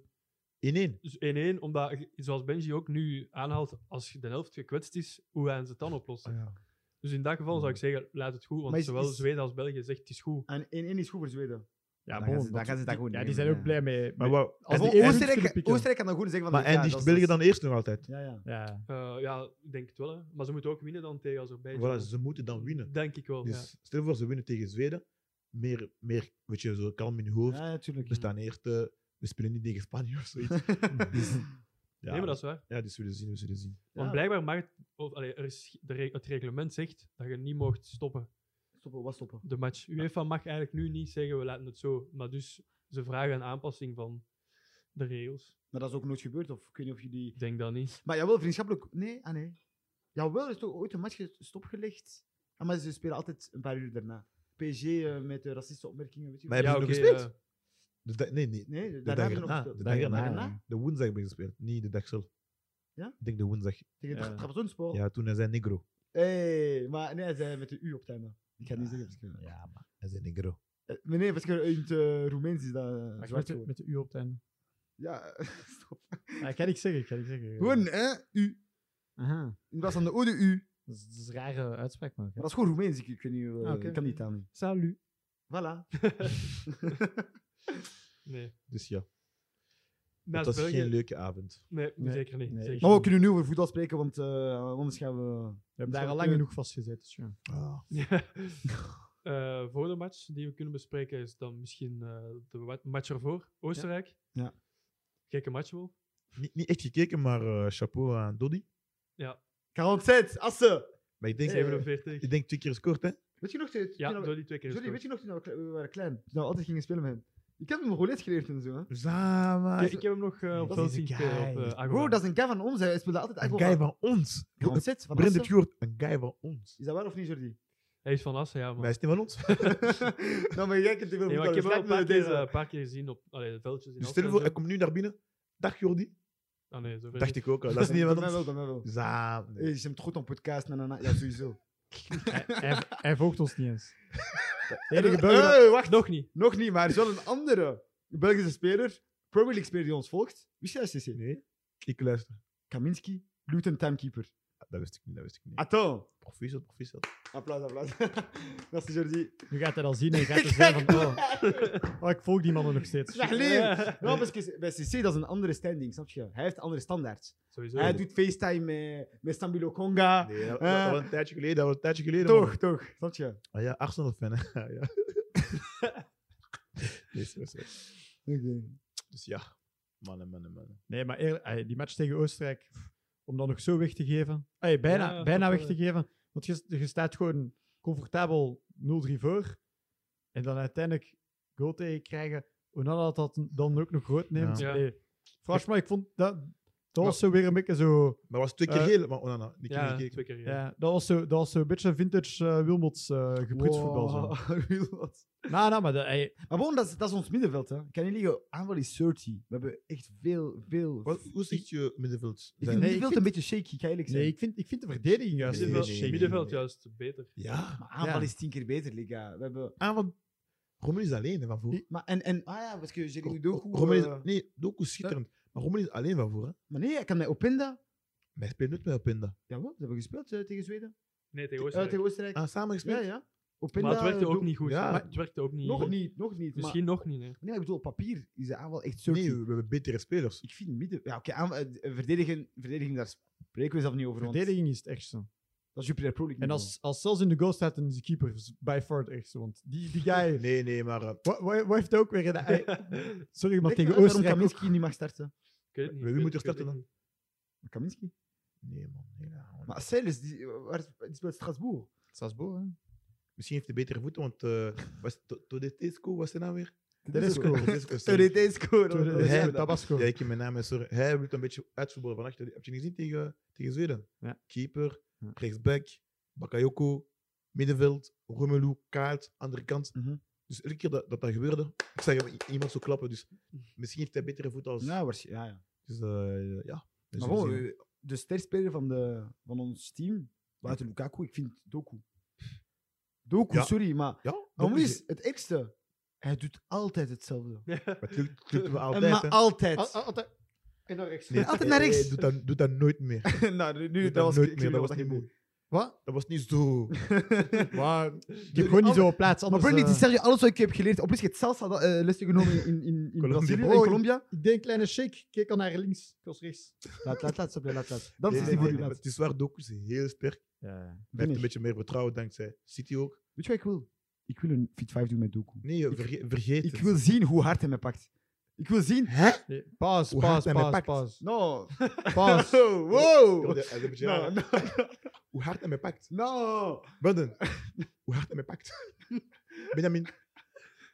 [SPEAKER 3] 1-1.
[SPEAKER 1] Dus 1-1, omdat, je- zoals Benji ook nu aanhaalt, als je de helft gekwetst is, hoe gaan ze het dan oplossen?
[SPEAKER 3] Ah, ja.
[SPEAKER 1] Dus in dat geval zou ik zeggen, laat het goed, want
[SPEAKER 4] Maar is-
[SPEAKER 1] zowel
[SPEAKER 4] is-
[SPEAKER 1] Zweden als België zegt het is goed.
[SPEAKER 4] En 1-1 is goed voor Zweden.
[SPEAKER 2] Ja,
[SPEAKER 4] dan
[SPEAKER 2] bon,
[SPEAKER 4] gaan ze- dan
[SPEAKER 2] want
[SPEAKER 4] gaan ze dat
[SPEAKER 2] die-
[SPEAKER 4] gewoon
[SPEAKER 2] Ja, die
[SPEAKER 4] nemen,
[SPEAKER 2] zijn ook
[SPEAKER 4] ja.
[SPEAKER 2] blij mee.
[SPEAKER 3] Maar, wauw.
[SPEAKER 4] Als
[SPEAKER 3] en,
[SPEAKER 2] die
[SPEAKER 4] bon,
[SPEAKER 2] één
[SPEAKER 4] Oostenrijk,
[SPEAKER 2] kunnen pikken.
[SPEAKER 4] Oostenrijk kan dan gewoon zeggen van... ja,
[SPEAKER 3] maar eindigt
[SPEAKER 4] dat is- dus
[SPEAKER 3] België dan eerst nog altijd?
[SPEAKER 4] Ja, ja.
[SPEAKER 2] Ja,
[SPEAKER 1] Eh, ja, ik denk het wel, hè. maar ze moeten ook winnen dan tegen Azerbeidzjan.
[SPEAKER 3] Voilà, ze moeten dan winnen.
[SPEAKER 1] Denk ik wel.
[SPEAKER 3] Dus stel je voor, ze winnen tegen Zweden. Meer, meer weet je, zo kalm in je hoofd.
[SPEAKER 4] Ja, natuurlijk.
[SPEAKER 3] We staan eerst, eh, we spelen niet tegen Spanje of zoiets. Dus,
[SPEAKER 1] ja. Nee,
[SPEAKER 3] ja,
[SPEAKER 1] maar dat is waar.
[SPEAKER 3] ja, dus we zullen zien, we zullen zien.
[SPEAKER 1] Want
[SPEAKER 4] Ja.
[SPEAKER 1] blijkbaar mag het, of, allee, er is, de re- het reglement zegt dat je niet mocht stoppen
[SPEAKER 4] Stoppen, wat stoppen?
[SPEAKER 1] de match. UEFA mag eigenlijk nu niet zeggen we laten het zo, maar dus ze vragen een aanpassing van de regels.
[SPEAKER 4] Maar dat is ook nooit gebeurd, of ik weet niet of jullie...
[SPEAKER 1] Ik denk dat niet.
[SPEAKER 4] Maar jawel, vriendschappelijk... Nee, ah nee. Jawel, er is toch ooit een match ges- stopgelegd? Ah, maar ze spelen altijd een paar uur daarna. PSG eh, met de racistische opmerkingen, weet je
[SPEAKER 3] Maar
[SPEAKER 4] wel.
[SPEAKER 3] hebben ze nog
[SPEAKER 1] oké,
[SPEAKER 3] gespeeld?
[SPEAKER 1] eh,
[SPEAKER 3] Dus dat- nee, nee.
[SPEAKER 4] Nee,
[SPEAKER 3] De
[SPEAKER 4] daarna
[SPEAKER 3] dag
[SPEAKER 4] hebben ze nog
[SPEAKER 3] erna.
[SPEAKER 4] gespeeld.
[SPEAKER 3] De dag erna.
[SPEAKER 2] Daarna?
[SPEAKER 4] Daarna?
[SPEAKER 3] De woensdag hebben we gespeeld, niet de dag zelf.
[SPEAKER 4] Ja? Oh.
[SPEAKER 3] Ik denk de woensdag.
[SPEAKER 4] Tegen
[SPEAKER 2] Ja.
[SPEAKER 4] Tra- Trabzonspor.
[SPEAKER 3] Ja, toen hij zei negro.
[SPEAKER 4] Hé, maar nee, hij zei met de U op het einde. Ik ga het niet zeggen. Misschien.
[SPEAKER 2] ja maar.
[SPEAKER 3] Hij zei negro.
[SPEAKER 4] Eh, Maar nee, waarschijnlijk in het eh, Roemeens is dat eh,
[SPEAKER 2] Met
[SPEAKER 4] zwart
[SPEAKER 2] de,
[SPEAKER 4] geworden.
[SPEAKER 2] met de U op het einde.
[SPEAKER 4] Ja, stop.
[SPEAKER 2] Ah, ik kan niks zeggen, ik kan niks zeggen.
[SPEAKER 4] Gewoon, hè? U.
[SPEAKER 2] Aha.
[SPEAKER 4] In plaats van de O, de U.
[SPEAKER 2] Dat is, dat is een rare uitspraak, man.
[SPEAKER 4] Maar dat is gewoon Roemeens. Ik, ik weet niet, eh,
[SPEAKER 2] Ah, oké.
[SPEAKER 4] ik kan niet taal niet.
[SPEAKER 2] Salut.
[SPEAKER 4] Voilà.
[SPEAKER 1] nee.
[SPEAKER 3] Dus ja,
[SPEAKER 1] Naast
[SPEAKER 3] dat was
[SPEAKER 1] België-
[SPEAKER 3] geen leuke avond.
[SPEAKER 1] Nee,
[SPEAKER 2] Nee,
[SPEAKER 1] zeker niet.
[SPEAKER 2] nee.
[SPEAKER 1] zeker
[SPEAKER 4] maar we
[SPEAKER 1] niet.
[SPEAKER 4] kunnen nu over voetbal spreken, want eh, anders gaan we...
[SPEAKER 2] We hebben
[SPEAKER 4] Zou
[SPEAKER 2] daar al
[SPEAKER 4] ik
[SPEAKER 2] lang
[SPEAKER 4] kunnen-
[SPEAKER 2] genoeg vastgezeten. Dus ja.
[SPEAKER 3] Ah,
[SPEAKER 1] Ja. Eh, volgende match die we kunnen bespreken is dan misschien eh, de wa- match ervoor. Oostenrijk.
[SPEAKER 4] Ja.
[SPEAKER 1] Gekke match wel.
[SPEAKER 3] niet, niet echt gekeken, maar eh, chapeau aan Doddy.
[SPEAKER 4] 46, Assen!
[SPEAKER 3] Maar ik denk,
[SPEAKER 4] Hey.
[SPEAKER 1] 47.
[SPEAKER 3] Eh, ik denk twee keer gescoord, hè?
[SPEAKER 4] Weet je nog... Toen,
[SPEAKER 1] Ja,
[SPEAKER 4] toen we-
[SPEAKER 1] door die twee keer.
[SPEAKER 4] Johnny, weet
[SPEAKER 1] gescoord.
[SPEAKER 4] je nog toen we kle- we waren klein? Toen we altijd gingen spelen met hem. Ik heb hem geleerd geleerd en zo, hè.
[SPEAKER 3] Zama.
[SPEAKER 1] Ik, ik heb hem nog eh, op
[SPEAKER 3] Ah, Dat
[SPEAKER 1] wel
[SPEAKER 3] is
[SPEAKER 1] zien
[SPEAKER 3] een
[SPEAKER 1] spelen op
[SPEAKER 3] guy.
[SPEAKER 1] eh, Agora.
[SPEAKER 4] Bro, dat is een guy van ons. Hij speelde altijd
[SPEAKER 3] Een
[SPEAKER 4] eigenlijk
[SPEAKER 3] guy
[SPEAKER 4] wel-
[SPEAKER 3] van ons. Brent
[SPEAKER 4] 46, van
[SPEAKER 3] heeft
[SPEAKER 4] Assen.
[SPEAKER 3] gehoord, een guy van ons.
[SPEAKER 4] Is dat waar of niet, Jordi?
[SPEAKER 1] Hij is van Assen, ja.
[SPEAKER 3] Maar hij
[SPEAKER 1] Maar.
[SPEAKER 3] is niet van ons.
[SPEAKER 4] Dan ben Nou, jij te veel
[SPEAKER 1] Nee, maar ik
[SPEAKER 4] voetballen.
[SPEAKER 1] heb hem al
[SPEAKER 4] Slaat
[SPEAKER 1] een paar
[SPEAKER 4] dus me deze.
[SPEAKER 1] keer, eh, een paar keer gezien op allee, de veldjes in
[SPEAKER 3] Dus
[SPEAKER 1] Assen
[SPEAKER 3] stel je
[SPEAKER 1] en
[SPEAKER 3] voor,
[SPEAKER 1] zo.
[SPEAKER 3] hij komt nu naar binnen. Dag Jordi.
[SPEAKER 1] Ah, nee, zo ver
[SPEAKER 3] Dacht
[SPEAKER 1] niet.
[SPEAKER 3] ik ook, hè. dat is niet
[SPEAKER 4] Bij
[SPEAKER 3] van
[SPEAKER 4] mij wel,
[SPEAKER 3] ons.
[SPEAKER 4] bij mij wel.
[SPEAKER 3] Zama.
[SPEAKER 4] Hey, je bent goed op podcast. Na, na, na. Ja, sowieso.
[SPEAKER 2] hij, hij, hij volgt ons niet eens. De enige Belg dat-
[SPEAKER 4] Eh, wacht.
[SPEAKER 1] Nog niet.
[SPEAKER 4] Nog niet, maar er is wel een andere Belgische speler, Premier League speler die ons volgt. Wist jij dat, CC?
[SPEAKER 3] Nee, ik luister.
[SPEAKER 4] Kaminski, Luton timekeeper.
[SPEAKER 3] Ah, Dat wist ik niet, dat wist ik niet.
[SPEAKER 4] Attends.
[SPEAKER 3] Proficiat, proficiat.
[SPEAKER 4] Applaus, applaus. dat is Jordi.
[SPEAKER 2] Nu gaat hij al zien en je gaat er zijn van... Oh, oh, ik volg die mannen nog steeds.
[SPEAKER 4] Zeg lief. Nou, maar excuse- bij CC, dat is een andere standing, snap je? Hij heeft andere standaards.
[SPEAKER 1] Sowieso.
[SPEAKER 4] Hij doet FaceTime met, met Stambilo Conga.
[SPEAKER 3] Nee, dat, dat-
[SPEAKER 4] Eh.
[SPEAKER 3] dat was een tijdje geleden. Dat was een tijdje geleden.
[SPEAKER 4] toch,
[SPEAKER 3] man.
[SPEAKER 4] toch, snap je?
[SPEAKER 3] Ah ja, Arsenal-fan. hè. Ah, Ja, ja. nee, sorry, sorry. Dus ja, mannen, mannen, mannen.
[SPEAKER 2] Nee, maar eerlijk, ey, die match tegen Oostenrijk, pff, om dat nog zo weg te geven. Ey, bijna
[SPEAKER 1] Ja,
[SPEAKER 2] bijna
[SPEAKER 1] toch
[SPEAKER 2] weg
[SPEAKER 1] wel,
[SPEAKER 2] te geven. Want je, je staat gewoon comfortabel 0-3 voor. En dan uiteindelijk goal tegen krijgen. Onana dat dan ook nog groot neemt.
[SPEAKER 1] Ja.
[SPEAKER 2] Ey, franchement, ik vond dat... Dat was zo weer een beetje zo...
[SPEAKER 3] Maar was twee keer
[SPEAKER 2] Eh.
[SPEAKER 3] geel, maar Onana, die keer
[SPEAKER 1] ja,
[SPEAKER 3] gekeken.
[SPEAKER 1] twee keer. Ja.
[SPEAKER 2] Ja, dat was zo, dat was zo een beetje vintage eh, Wilmots eh gepruts voetbal. Zo.
[SPEAKER 4] Wow, Wilmot.
[SPEAKER 2] Nou, nou, maar dat, ey,
[SPEAKER 4] Maar gewoon, dat is, dat is ons middenveld. Hè. Ik kan niet liegen, Ah, aanval is 30. We hebben echt veel, veel...
[SPEAKER 3] Wat, hoe zit je middenveld?
[SPEAKER 4] ik
[SPEAKER 3] Zijn-
[SPEAKER 4] vind het
[SPEAKER 2] Nee,
[SPEAKER 4] middenveld
[SPEAKER 2] ik
[SPEAKER 4] een beetje shaky, kan ik eerlijk
[SPEAKER 2] nee,
[SPEAKER 4] zeggen.
[SPEAKER 2] ik vind, ik vind de verdediging juist
[SPEAKER 3] Nee,
[SPEAKER 1] Middenveld,
[SPEAKER 2] een
[SPEAKER 3] nee,
[SPEAKER 2] beetje shaky.
[SPEAKER 1] middenveld juist beter.
[SPEAKER 3] Ja,
[SPEAKER 4] Maar aanval
[SPEAKER 2] Ja.
[SPEAKER 4] is tien keer beter, Liga. We hebben...
[SPEAKER 2] Ah,
[SPEAKER 3] aan van Rommel is alleen hè, van voor.
[SPEAKER 4] Maar, en, en, ah ja, wat kun je zeggen? Doku...
[SPEAKER 3] Rommel is,
[SPEAKER 4] eh,
[SPEAKER 3] nee, Doku is schitterend. Maar Rommel is alleen van voor. Hè.
[SPEAKER 4] Maar nee, ik kan met Openda.
[SPEAKER 3] Maar hij speelt nooit met Openda.
[SPEAKER 4] Jawel, dat hebben we gespeeld eh, tegen Zweden.
[SPEAKER 1] Nee, tegen
[SPEAKER 4] Eh, tegen
[SPEAKER 1] Oostenrijk.
[SPEAKER 4] Oostenrijk.
[SPEAKER 3] Ah, samen
[SPEAKER 4] ja,
[SPEAKER 3] gespeeld?
[SPEAKER 4] ja. Openda,
[SPEAKER 1] Maar het werkte
[SPEAKER 4] eh,
[SPEAKER 1] ook
[SPEAKER 4] doe-
[SPEAKER 1] niet goed.
[SPEAKER 3] Ja.
[SPEAKER 1] hè. Het werkte ook niet.
[SPEAKER 4] Nog niet, nog niet. maar-
[SPEAKER 1] Misschien nog niet. nee.
[SPEAKER 4] Nee, maar ik bedoel, op papier is de aanval echt 30.
[SPEAKER 3] Nee, we hebben betere spelers.
[SPEAKER 4] Ik vind midden... Ja, oké, aanval- eh, verdediging, verdediging, daar spreken we zelf niet over. want
[SPEAKER 2] Verdediging is het ergste.
[SPEAKER 4] Dat is Jupiter Pro League
[SPEAKER 2] En
[SPEAKER 4] niveau.
[SPEAKER 2] als, als zelfs in de goal staat, dan is de keeper z- by far het ergste. Want die, die guy...
[SPEAKER 3] Nee, nee, maar eh,
[SPEAKER 2] Wat- Wat wat heeft ook weer... een- ey, Sorry,
[SPEAKER 4] Leg me
[SPEAKER 2] maar tegen
[SPEAKER 4] uit
[SPEAKER 2] Oostenrijk...
[SPEAKER 4] eh, waarom
[SPEAKER 2] ook-
[SPEAKER 4] Kaminski niet mag starten.
[SPEAKER 1] Ik weet het niet.
[SPEAKER 3] Wie
[SPEAKER 1] ik weet
[SPEAKER 3] moet er
[SPEAKER 1] het- ik weet
[SPEAKER 3] starten
[SPEAKER 1] het
[SPEAKER 3] dan?
[SPEAKER 1] niet.
[SPEAKER 4] Kaminski?
[SPEAKER 3] Nee, man. nee, nou,
[SPEAKER 4] Maar Celis, die, eh, waar, die speelt Strasbourg.
[SPEAKER 2] Strasbourg, hè?
[SPEAKER 3] Misschien heeft hij betere voeten, want eh was To- Todesco was zijn naam weer?
[SPEAKER 2] Tedesco.
[SPEAKER 3] Tedesco, sorry.
[SPEAKER 4] Theoretesco.
[SPEAKER 3] dat is
[SPEAKER 2] Tedesco,
[SPEAKER 3] hem.
[SPEAKER 2] Tabasco.
[SPEAKER 3] Ja, ik ken mijn naam is sorry. Hij wil een beetje uitvoetballen vannacht. Heb je niet gezien tegen, tegen Zweden?
[SPEAKER 2] Ja.
[SPEAKER 3] Keeper,
[SPEAKER 2] Ja.
[SPEAKER 3] rechtsback, Bakayoko, middenveld, Romelu, Kaart, andere kant.
[SPEAKER 4] Mhm.
[SPEAKER 3] Dus elke keer dat dat, dat gebeurde, ik zag hem i- iemand zo klappen. Dus misschien heeft hij betere voet als...
[SPEAKER 4] Ja, waarsch- ja, ja.
[SPEAKER 3] Dus eh, ja. Dus
[SPEAKER 4] Maar
[SPEAKER 3] we
[SPEAKER 4] gewoon,
[SPEAKER 3] zien.
[SPEAKER 4] eh, de sterspeler van, de, van ons team, buiten Lukaku, ik vind Doku. Doku,
[SPEAKER 3] Ja.
[SPEAKER 4] sorry, maar
[SPEAKER 3] ja,
[SPEAKER 4] Doku
[SPEAKER 3] dat
[SPEAKER 4] is het ergste. Hij doet altijd hetzelfde.
[SPEAKER 3] Maar het lukt, het lukt hem
[SPEAKER 4] En
[SPEAKER 3] altijd,
[SPEAKER 4] maar
[SPEAKER 3] hè.
[SPEAKER 4] altijd.
[SPEAKER 2] Al- al- altijd- En dan rechts.
[SPEAKER 3] Nee,
[SPEAKER 4] altijd naar
[SPEAKER 3] eh,
[SPEAKER 4] rechts.
[SPEAKER 3] Doet dat, doet dat nooit meer. Doet
[SPEAKER 4] nou, nu, nu
[SPEAKER 3] dat,
[SPEAKER 4] dat was
[SPEAKER 3] nooit
[SPEAKER 4] ik
[SPEAKER 3] meer.
[SPEAKER 4] weet
[SPEAKER 3] Dat
[SPEAKER 4] wat
[SPEAKER 3] was
[SPEAKER 4] je
[SPEAKER 3] niet
[SPEAKER 4] bedoelt.
[SPEAKER 3] mooi.
[SPEAKER 2] Wat?
[SPEAKER 3] Dat was niet zo.
[SPEAKER 2] Maar je hebt gewoon niet zo op plaats.
[SPEAKER 4] Maar
[SPEAKER 2] Anders,
[SPEAKER 4] Bernie, die
[SPEAKER 2] eh,
[SPEAKER 4] zeg je alles wat ik heb geleerd. Op plus, je hebt salsa dat, eh, lessen genomen in, in, in, in
[SPEAKER 3] Colombia.
[SPEAKER 4] Brazilië en
[SPEAKER 2] Oh,
[SPEAKER 4] Colombia.
[SPEAKER 2] ik deed een kleine shake. Kijk al naar links. Ik was rechts.
[SPEAKER 4] Laat, laat, laat, laat, laat, laat. Dat
[SPEAKER 3] Nee,
[SPEAKER 4] is
[SPEAKER 3] nee,
[SPEAKER 4] niet voor
[SPEAKER 3] nee,
[SPEAKER 4] u,
[SPEAKER 3] maar
[SPEAKER 4] laat.
[SPEAKER 3] Het is waar, Doku is heel sterk. Hij heeft een beetje meer vertrouwen dankzij City ook.
[SPEAKER 4] Weet je wat ik wil? Ik wil een fit 5 doen met Doku.
[SPEAKER 3] Nee,
[SPEAKER 4] Ik-
[SPEAKER 3] verge- vergeet
[SPEAKER 4] Ik
[SPEAKER 3] het.
[SPEAKER 4] wil zien hoe hard hij me pakt. Ik wil zien.
[SPEAKER 3] Hè?
[SPEAKER 2] Nee, Paas,
[SPEAKER 3] Hoe
[SPEAKER 2] paas,
[SPEAKER 3] hard hij mij
[SPEAKER 2] paas,
[SPEAKER 3] pakt.
[SPEAKER 2] paas.
[SPEAKER 4] No.
[SPEAKER 2] Paas.
[SPEAKER 4] Oh,
[SPEAKER 3] Yo,
[SPEAKER 4] wow.
[SPEAKER 3] de- de- de-
[SPEAKER 4] No, no,
[SPEAKER 3] Hoe hard hij mij pakt.
[SPEAKER 4] no.
[SPEAKER 3] Brandon, hoe hard hij mij pakt. Benjamin.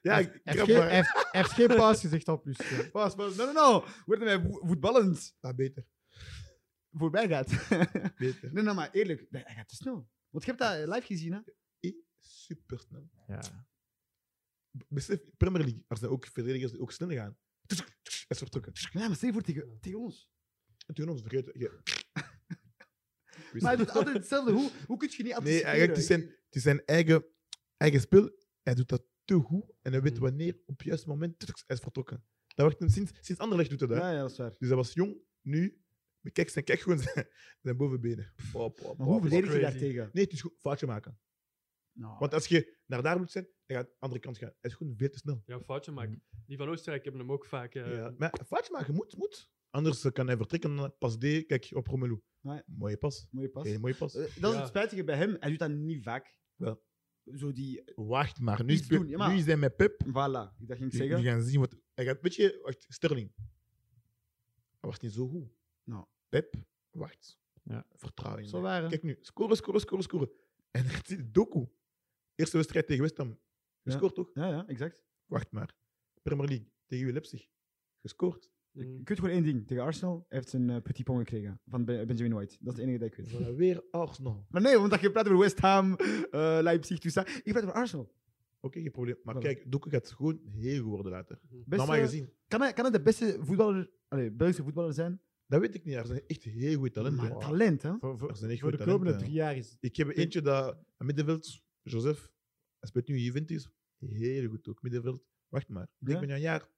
[SPEAKER 3] Ja,
[SPEAKER 2] Hij
[SPEAKER 3] ik
[SPEAKER 2] heeft
[SPEAKER 3] krap
[SPEAKER 2] geen-
[SPEAKER 3] maar.
[SPEAKER 2] hij heeft- hij heeft geen paas gezegd al plus. ja.
[SPEAKER 4] Pas, pas. No, no, no. Wordt hij mij vo- voetballend
[SPEAKER 3] Ah, beter,
[SPEAKER 4] voorbij gaat.
[SPEAKER 3] beter.
[SPEAKER 4] nee, nee, maar eerlijk. nee, Hij gaat te snel. Want je hebt dat eh, live gezien, hè?
[SPEAKER 3] Super snel.
[SPEAKER 2] Ja.
[SPEAKER 3] Besef, Premier League, er zijn ook verdedigers die ook snel gaan. En soort trucken.
[SPEAKER 4] Dus, Ja, maar stel je voor tegen, tegen ons.
[SPEAKER 3] Dus- En toen ons vergeten. je- Ik wist
[SPEAKER 4] Maar hij
[SPEAKER 3] het.
[SPEAKER 4] doet altijd hetzelfde. Hoe, hoe kun je niet
[SPEAKER 3] Nee,
[SPEAKER 4] anticiperen?
[SPEAKER 3] eigenlijk, het is zijn, het is zijn eigen, eigen spel. Hij doet dat te goed. En hij
[SPEAKER 4] Hmm.
[SPEAKER 3] weet
[SPEAKER 1] Mm.
[SPEAKER 3] wanneer, op het juiste moment, hij is vertrokken. Dat wacht hem sinds, sinds Anderlecht doet hij dat.
[SPEAKER 4] Ja, ja, dat is waar.
[SPEAKER 3] Dus hij was jong, nu. Maar kijk, zijn, kijk gewoon zijn, zijn bovenbenen. Pop, pop,
[SPEAKER 4] Maar
[SPEAKER 3] pop.
[SPEAKER 4] hoe verdedig je
[SPEAKER 1] crazy.
[SPEAKER 4] daartegen?
[SPEAKER 3] Nee, het is goed foutje maken.
[SPEAKER 4] Nou,
[SPEAKER 3] Want als je naar daar moet zijn, dan gaat de andere kant gaan. Het is gewoon veel te snel.
[SPEAKER 1] Ja, foutje maken. Die van Oostenrijk hebben hem ook vaak. eh,
[SPEAKER 3] Mm. Ja. Maar foutje maken moet, moet. Anders eh, kan hij vertrekken naar pas D. Kijk, op Romelu.
[SPEAKER 4] Ja.
[SPEAKER 3] Mooie pas.
[SPEAKER 4] mooie pas.
[SPEAKER 3] Hele mooie pas.
[SPEAKER 4] Eh, dat is
[SPEAKER 1] Ja.
[SPEAKER 4] het spijtige bij hem. Hij doet dat niet vaak.
[SPEAKER 3] Wel.
[SPEAKER 4] Zo die...
[SPEAKER 3] Wacht maar, nu,
[SPEAKER 4] Iets
[SPEAKER 3] speel-
[SPEAKER 4] doen, ja, maar-
[SPEAKER 3] nu is hij met Pep.
[SPEAKER 4] Voilà. Dat ging ik
[SPEAKER 3] Die,
[SPEAKER 4] zeggen.
[SPEAKER 3] die gaan zien wat... Hij gaat, weet je, wacht, Sterling. Hij was niet zo goed.
[SPEAKER 4] Nou.
[SPEAKER 3] Pep, wacht.
[SPEAKER 2] Ja.
[SPEAKER 3] Vertrouwen. in
[SPEAKER 2] Zo
[SPEAKER 3] hem.
[SPEAKER 2] waren.
[SPEAKER 3] Kijk nu, scoren, scoren, scoren, scoren. En dan gaat hij Doku. Eerste wedstrijd tegen West Ham. Gescoord toch?
[SPEAKER 4] Ja, ja, exact.
[SPEAKER 3] Wacht maar. Premier League tegen UW Leipzig. Gescoord.
[SPEAKER 4] Je
[SPEAKER 1] mm,
[SPEAKER 4] kunt gewoon één ding. Tegen Arsenal hij heeft een eh, petit pong gekregen van Be- Benjamin White. Dat is het enige dat ik weet.
[SPEAKER 3] Voilà, weer Arsenal.
[SPEAKER 4] Maar nee, omdat je praat over West Ham, eh, Leipzig, Tusa. Ik praat over Arsenal.
[SPEAKER 3] Oké, geen probleem. Maar
[SPEAKER 4] Voilà.
[SPEAKER 3] kijk, Doku gaat gewoon heel goed worden later.
[SPEAKER 4] Beste-
[SPEAKER 3] Normaal gezien.
[SPEAKER 4] kan, hij, kan hij de beste voetballer, allee, Belgische voetballer zijn?
[SPEAKER 3] Dat weet ik niet. Er zijn echt heel goede talenten.
[SPEAKER 4] Maar
[SPEAKER 3] hè.
[SPEAKER 4] talent, hè?
[SPEAKER 2] Voor, voor,
[SPEAKER 3] Er zijn echt
[SPEAKER 2] voor de
[SPEAKER 3] goede
[SPEAKER 2] komende
[SPEAKER 4] Hm.
[SPEAKER 3] talenten.
[SPEAKER 2] drie jaar is
[SPEAKER 3] Ik heb eentje dat aan middenveld, Joseph, Hij speelt nu Juventus. Heel goed ook, middenveld. Wacht maar. Ik denk
[SPEAKER 4] Ja?
[SPEAKER 3] binnen een jaar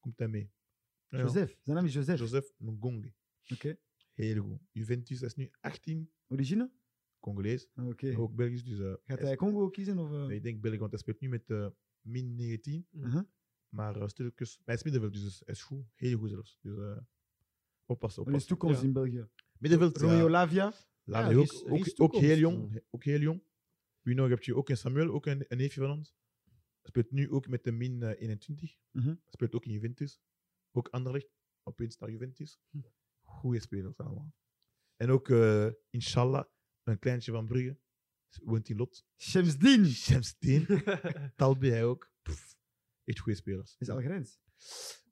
[SPEAKER 3] komt hij mee. Ja, ja.
[SPEAKER 4] Joseph, zijn naam is Joseph.
[SPEAKER 3] Joseph Ngongi.
[SPEAKER 4] Oké.
[SPEAKER 3] Heel goed. Juventus hij is nu 18,
[SPEAKER 4] Origine?
[SPEAKER 3] Congolees,
[SPEAKER 4] Ah, Oké.
[SPEAKER 3] ook Belgisch. Dus, eh,
[SPEAKER 4] Gaat
[SPEAKER 3] hij
[SPEAKER 4] hij
[SPEAKER 3] is-
[SPEAKER 4] Congo kiezen? Of, eh?
[SPEAKER 3] nee, ik denk België, want hij speelt nu met eh, min 19.
[SPEAKER 4] Uh-huh.
[SPEAKER 3] Maar eh, stukjes, hij is middenveld, dus hij is goed. Heel goed zelfs. Dus eh, oppassen,
[SPEAKER 4] Er is
[SPEAKER 3] oppassen.
[SPEAKER 4] toekomst
[SPEAKER 1] Ja.
[SPEAKER 4] in België.
[SPEAKER 3] Middenveld, ja.
[SPEAKER 4] Romeo Lavia.
[SPEAKER 3] Laat
[SPEAKER 2] Ja,
[SPEAKER 3] die
[SPEAKER 2] er
[SPEAKER 3] ook,
[SPEAKER 2] is- er
[SPEAKER 3] ook,
[SPEAKER 2] is
[SPEAKER 3] ook heel
[SPEAKER 2] toekomst,
[SPEAKER 3] jong.
[SPEAKER 2] ja.
[SPEAKER 3] he- Ook heel jong. Wie nog heb je ook een Samuel, ook een, een neefje van ons. Speelt nu ook met de min eh, 21.
[SPEAKER 4] Mhm.
[SPEAKER 3] Speelt ook in Juventus. Ook Anderlecht, opeens naar Juventus. Goeie spelers allemaal. En ook, eh, inshallah, een kleintje van Brugge. Woont in Lot.
[SPEAKER 4] Shemsdin.
[SPEAKER 3] Shemsteen, Talbi hij ook. Pff, echt goede spelers.
[SPEAKER 4] Is Algerijns.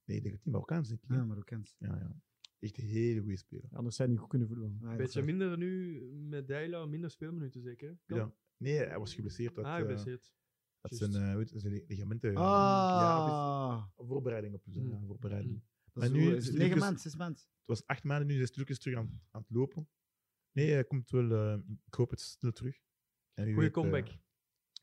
[SPEAKER 3] Nee, ik denk het niet, Marokkaans denk ik. hè.
[SPEAKER 4] Ja, Marokkaans.
[SPEAKER 3] Ja, ja. Echt een hele goede speler.
[SPEAKER 2] Anders zijn die goed kunnen voetballen.
[SPEAKER 4] Ah, dat is
[SPEAKER 1] Beetje
[SPEAKER 4] waar.
[SPEAKER 1] minder nu met Dijla, minder speelminuten zeker. Kan?
[SPEAKER 3] Ja. Nee, hij was geblesseerd. Had,
[SPEAKER 1] ah,
[SPEAKER 3] eh,
[SPEAKER 1] geblesseerd.
[SPEAKER 3] had
[SPEAKER 1] Juist.
[SPEAKER 3] zijn, eh, weet je, zijn lig- ligamenten. Ja, het is-
[SPEAKER 4] Ah.
[SPEAKER 3] voorbereiding op zijn
[SPEAKER 1] Mm.
[SPEAKER 3] ja, voorbereiding.
[SPEAKER 1] Mm.
[SPEAKER 4] Dat is
[SPEAKER 3] Maar nu
[SPEAKER 4] hoe-
[SPEAKER 3] is het
[SPEAKER 4] negen
[SPEAKER 3] Lucas-
[SPEAKER 4] maanden, zes maanden.
[SPEAKER 3] Het was acht maanden, nu is hij stukjes terug aan, aan het lopen. Nee, hij komt wel, eh, ik hoop het snel terug. En wie
[SPEAKER 1] Goeie
[SPEAKER 3] weet, eh,
[SPEAKER 1] comeback.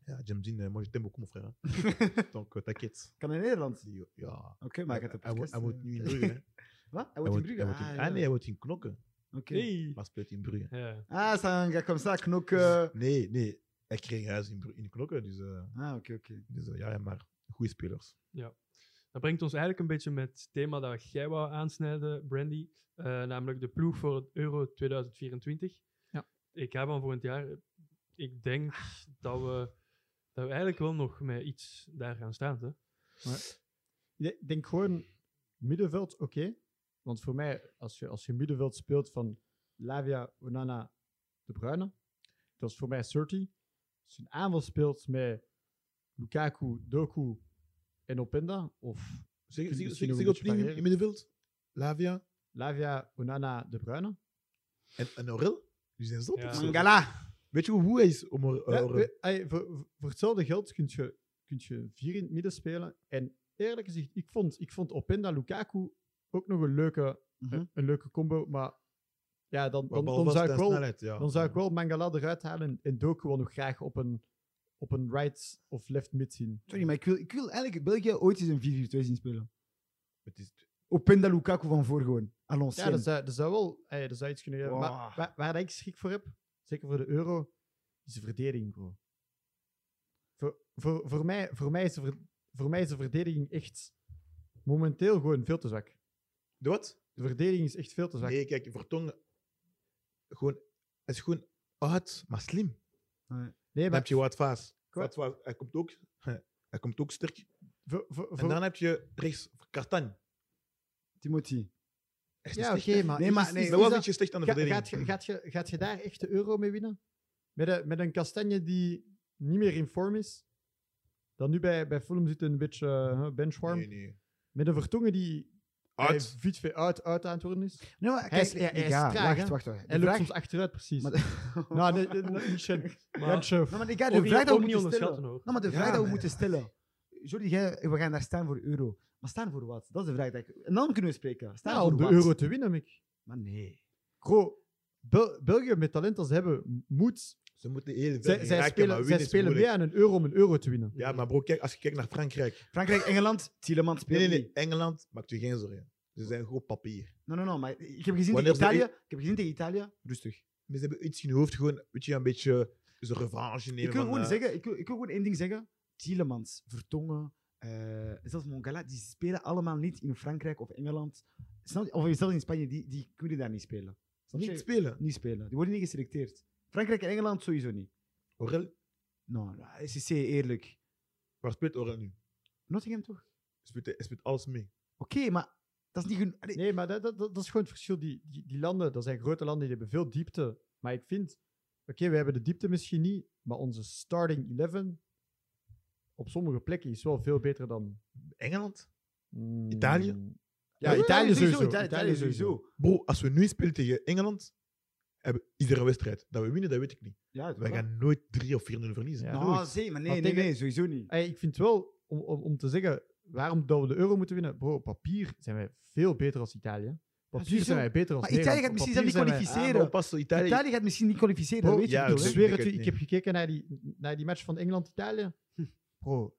[SPEAKER 3] ja, j'aime bien, euh, moi je t'aime beaucoup, mon frère. hein. Donc euh, t'inquiète.
[SPEAKER 4] Kan in Nederland.
[SPEAKER 3] Die- Ja.
[SPEAKER 4] Oké, maar ik had het
[SPEAKER 3] hij, wo-
[SPEAKER 4] podcast,
[SPEAKER 3] hij woont
[SPEAKER 4] eh,
[SPEAKER 3] nu in Brugge. hè. Hij
[SPEAKER 4] Wat? Hij wordt in
[SPEAKER 3] woont- hij
[SPEAKER 4] Brugge?
[SPEAKER 3] woont in-
[SPEAKER 4] Ah,
[SPEAKER 3] Ah
[SPEAKER 4] ja.
[SPEAKER 3] nee, hij woont in Knokken.
[SPEAKER 4] Oké.
[SPEAKER 1] Hey.
[SPEAKER 3] Maar speelt in Brugge.
[SPEAKER 1] Ja.
[SPEAKER 4] Ah, Sanga, comme ça, knokken.
[SPEAKER 3] Nee, nee. Hij kreeg huis in, Bru- in Knokken. Dus, eh,
[SPEAKER 4] Ah, oké, oké.
[SPEAKER 3] dus eh, ja, ja, maar goede spelers.
[SPEAKER 1] Dat brengt ons eigenlijk een beetje met het thema dat jij wou aansnijden, Brandy. eh, namelijk de ploeg voor het Euro 2024.
[SPEAKER 2] Ja.
[SPEAKER 1] Ik heb van volgend jaar. Ik denk dat we, dat we eigenlijk wel nog met iets daar gaan staan. Hè?
[SPEAKER 2] Ja, Ik denk gewoon middenveld, oké. Want voor mij, als je, als je middenveld speelt van Lavia, Onana, De Bruyne, dat is voor mij 30. Als je een aanval speelt met Lukaku, Doku en Openda, of
[SPEAKER 3] Zeg,
[SPEAKER 2] Kun-
[SPEAKER 3] zeg,
[SPEAKER 2] misschien
[SPEAKER 3] zeg,
[SPEAKER 2] nog
[SPEAKER 3] zeg
[SPEAKER 2] een beetje
[SPEAKER 3] opnieuw in- in
[SPEAKER 2] variëren.
[SPEAKER 3] middenveld. Lavia
[SPEAKER 2] Lavia, Onana, De Bruyne.
[SPEAKER 3] en, en Aurel. Die zijn zot.
[SPEAKER 1] Ja.
[SPEAKER 3] of zo.
[SPEAKER 4] Mangala.
[SPEAKER 3] Weet je hoe hij is om Aur-
[SPEAKER 2] Ja,
[SPEAKER 3] Aurel?
[SPEAKER 2] we- ey, voor, voor- voor hetzelfde geld kun je, kun je vier in het midden spelen. En eerlijk gezegd, ik vond, ik vond Openda, Lukaku ook nog een leuke,
[SPEAKER 4] Mhm.
[SPEAKER 2] een, een leuke combo. Maar ja, dan,
[SPEAKER 3] Maar
[SPEAKER 2] dan, dan
[SPEAKER 3] balvast
[SPEAKER 2] zou ik
[SPEAKER 3] en
[SPEAKER 2] wel...
[SPEAKER 3] snelheid, ja.
[SPEAKER 2] Dan zou ik wel Mangala eruit halen en, en Doku wel nog graag op een, op een right of left mid zien.
[SPEAKER 4] Sorry, maar ik wil, ik wil eigenlijk België ooit eens een 4-4-2 zien spelen.
[SPEAKER 3] Het is
[SPEAKER 4] Openda Lukaku van voor gewoon. Alons.
[SPEAKER 2] Ja, dat zou, dat zou wel eh, dat zou iets kunnen geven.
[SPEAKER 4] Wow.
[SPEAKER 2] Maar waar, waar dat ik schrik voor heb, zeker voor de euro, is de verdediging, bro. Voor, voor, voor, mij, voor, mij, is de ver- voor mij is de verdediging echt momenteel gewoon veel te zwak.
[SPEAKER 3] De wat?
[SPEAKER 2] De verdediging is echt veel te zwak.
[SPEAKER 3] Nee, kijk, Vertongen. Gewoon, hij is gewoon oud, maar slim.
[SPEAKER 2] Nee,
[SPEAKER 3] Dan heb
[SPEAKER 2] maar
[SPEAKER 3] je wat vaas.
[SPEAKER 2] Klopt.
[SPEAKER 3] Wat Vaas, hij komt ook. Hij komt ook sterk.
[SPEAKER 2] voor, voor,
[SPEAKER 3] En
[SPEAKER 2] voor-
[SPEAKER 3] dan heb je rechts Kartan.
[SPEAKER 4] Timothy.
[SPEAKER 3] Hij is
[SPEAKER 2] Ja,
[SPEAKER 3] niet
[SPEAKER 2] oké,
[SPEAKER 3] sterk.
[SPEAKER 2] maar...
[SPEAKER 4] Nee,
[SPEAKER 2] is-
[SPEAKER 4] maar-
[SPEAKER 2] is-
[SPEAKER 4] nee,
[SPEAKER 2] is
[SPEAKER 3] Maar wel een
[SPEAKER 2] dat-
[SPEAKER 3] beetje slecht aan de
[SPEAKER 2] Ga-
[SPEAKER 3] verdediging.
[SPEAKER 2] gaat, je, gaat, je, gaat je daar echt de euro mee winnen? Met een, met een kastanje die niet meer in vorm is. Dan nu bij, bij Fulham zit een beetje eh, benchwarm.
[SPEAKER 3] Nee, nee.
[SPEAKER 2] Met een Vertongen die bij
[SPEAKER 3] Oud.
[SPEAKER 2] Fiets weer uit, uit aan het worden is.
[SPEAKER 4] Nee, maar
[SPEAKER 2] Hij
[SPEAKER 4] kijk,
[SPEAKER 2] is- ja, hij is
[SPEAKER 4] ja,
[SPEAKER 2] traag,
[SPEAKER 4] wacht,
[SPEAKER 2] hè?
[SPEAKER 4] wacht, wacht. De
[SPEAKER 2] En loopt
[SPEAKER 4] vraag-
[SPEAKER 2] soms achteruit, precies.
[SPEAKER 4] Maar-
[SPEAKER 2] nou, nee, nee, nee, niet Shen.
[SPEAKER 1] Maar
[SPEAKER 2] Jansen.
[SPEAKER 4] Nou, maar ik ga de
[SPEAKER 1] ook niet-
[SPEAKER 4] vraag dat
[SPEAKER 1] ook
[SPEAKER 4] we
[SPEAKER 1] niet
[SPEAKER 4] moeten stellen.
[SPEAKER 1] onderschatten hoor.
[SPEAKER 4] Nou, maar de
[SPEAKER 2] Ja,
[SPEAKER 4] vraag dat we
[SPEAKER 2] maar-
[SPEAKER 4] moeten stellen. Jordi, jij, we gaan daar staan voor euro. Maar staan voor wat? Dat is de vraag. Dat ik... En dan kunnen we spreken. Staan
[SPEAKER 2] Nou,
[SPEAKER 4] voor
[SPEAKER 2] om de
[SPEAKER 4] wat?
[SPEAKER 2] euro te winnen, Mick.
[SPEAKER 4] Maar nee.
[SPEAKER 2] Bro, Bel- België met talent als ze hebben, moet.
[SPEAKER 3] Ze moeten heel ver
[SPEAKER 2] Zij, zij
[SPEAKER 3] geraken, maar
[SPEAKER 2] spelen, zij
[SPEAKER 3] winnen is
[SPEAKER 2] spelen
[SPEAKER 3] moeilijk.
[SPEAKER 2] mee aan een euro om een euro te winnen.
[SPEAKER 3] Ja, maar bro, kijk, als je kijkt naar Frankrijk.
[SPEAKER 4] Frankrijk, Engeland, Tielemans speelt
[SPEAKER 3] Nee, nee,
[SPEAKER 4] niet.
[SPEAKER 3] nee. Engeland maakt je geen zorgen. Ze zijn gewoon papier.
[SPEAKER 4] Nee, nee, nee, maar ik heb gezien
[SPEAKER 3] Wanneer
[SPEAKER 4] tegen
[SPEAKER 3] ze-
[SPEAKER 4] Italië. Ik heb gezien tegen Italië. Rustig.
[SPEAKER 3] Maar ze hebben iets in hun hoofd. Gewoon, weet je, een beetje dus een revanche nemen.
[SPEAKER 4] Ik wil
[SPEAKER 3] van,
[SPEAKER 4] gewoon
[SPEAKER 3] eh,
[SPEAKER 4] zeggen, ik wil, ik wil gewoon één ding zeggen. Tielemans, Vertongen, eh, zelfs Mongala, die spelen allemaal niet in Frankrijk of Engeland. Snap je? Of zelfs in Spanje, die, die kunnen daar niet spelen. Snap je?
[SPEAKER 3] Niet spelen.
[SPEAKER 4] Niet spelen. Die worden niet geselecteerd. Frankrijk en Engeland sowieso niet.
[SPEAKER 3] Aurel,
[SPEAKER 4] Nou, nou, SEC, eerlijk.
[SPEAKER 3] waar speelt Aurel nu?
[SPEAKER 4] Nottingham toch?
[SPEAKER 3] Hij speelt, hij speelt alles mee.
[SPEAKER 4] Oké, maar dat is niet genoeg. Allee,
[SPEAKER 2] Nee, maar dat, dat, dat dat is gewoon het verschil. Die, die, die landen, dat zijn grote landen, die hebben veel diepte. Maar ik vind, oké, we hebben de diepte misschien niet, maar onze starting 11 op sommige plekken is wel veel beter dan...
[SPEAKER 3] Engeland?
[SPEAKER 2] mm,
[SPEAKER 3] Italië?
[SPEAKER 2] Ja, Italië sowieso.
[SPEAKER 4] Italië, Italië sowieso.
[SPEAKER 3] Bro, als we nu spelen tegen Engeland, hebben iedere wedstrijd. Dat we winnen, dat weet ik niet.
[SPEAKER 4] Ja,
[SPEAKER 3] Wij gaan nooit 3 of 4-0 verliezen.
[SPEAKER 2] Ja.
[SPEAKER 4] Nou,
[SPEAKER 2] nooit.
[SPEAKER 4] zee, maar nee,
[SPEAKER 2] Maar
[SPEAKER 4] nee,
[SPEAKER 2] tegen-
[SPEAKER 4] nee, sowieso niet.
[SPEAKER 2] Ey, ik vind wel, om, om, om te zeggen waarom dat we de euro moeten winnen, bro, op papier zijn wij veel beter als Italië. Op Papier
[SPEAKER 4] sowieso.
[SPEAKER 2] zijn wij beter als
[SPEAKER 4] Maar Italië gaat
[SPEAKER 2] Nederland. Op
[SPEAKER 4] misschien
[SPEAKER 2] papier
[SPEAKER 4] zelf niet
[SPEAKER 2] zijn wij-
[SPEAKER 3] Ah,
[SPEAKER 4] kwalificeren.
[SPEAKER 3] maar oppassen, Italië.
[SPEAKER 4] Italië gaat misschien niet kwalificeren,
[SPEAKER 2] Bro,
[SPEAKER 4] dat weet Hm. je
[SPEAKER 3] ja,
[SPEAKER 4] toch,
[SPEAKER 2] Ik
[SPEAKER 4] hè?
[SPEAKER 3] zeker.
[SPEAKER 2] zweer het
[SPEAKER 3] Ik
[SPEAKER 2] u,
[SPEAKER 3] weet
[SPEAKER 2] ik
[SPEAKER 3] niet.
[SPEAKER 2] heb gekeken naar die, naar die match van Engeland-Italië. bro,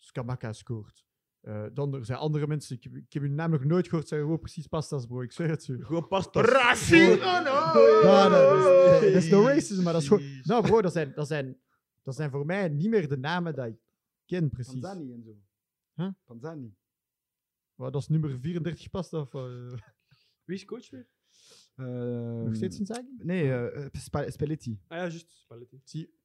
[SPEAKER 2] Skamaka scoort. Eh, dan er zijn andere mensen, ik, heb- ik heb hun naam nog nooit gehoord zeggen, wow, precies pastas, bro, ik zweer het je.
[SPEAKER 3] Gewoon past
[SPEAKER 4] Oh,
[SPEAKER 2] Ja, dat is, nee, dat is no racism, maar dat is gewoon... Nou bro, dat zijn, dat, zijn, dat zijn voor mij niet meer de namen die ik ken, precies.
[SPEAKER 4] Tanzani en zo.
[SPEAKER 2] Huh?
[SPEAKER 4] Tanzani.
[SPEAKER 2] Wat, dat is nummer 34 pasta of... eh,
[SPEAKER 1] Wie is coach weer?
[SPEAKER 2] nog steeds een zaak?
[SPEAKER 4] Ehm, Nee, eh, eh, Spa- Spalletti.
[SPEAKER 1] Ah ja, juist. Spalletti.
[SPEAKER 2] Zie,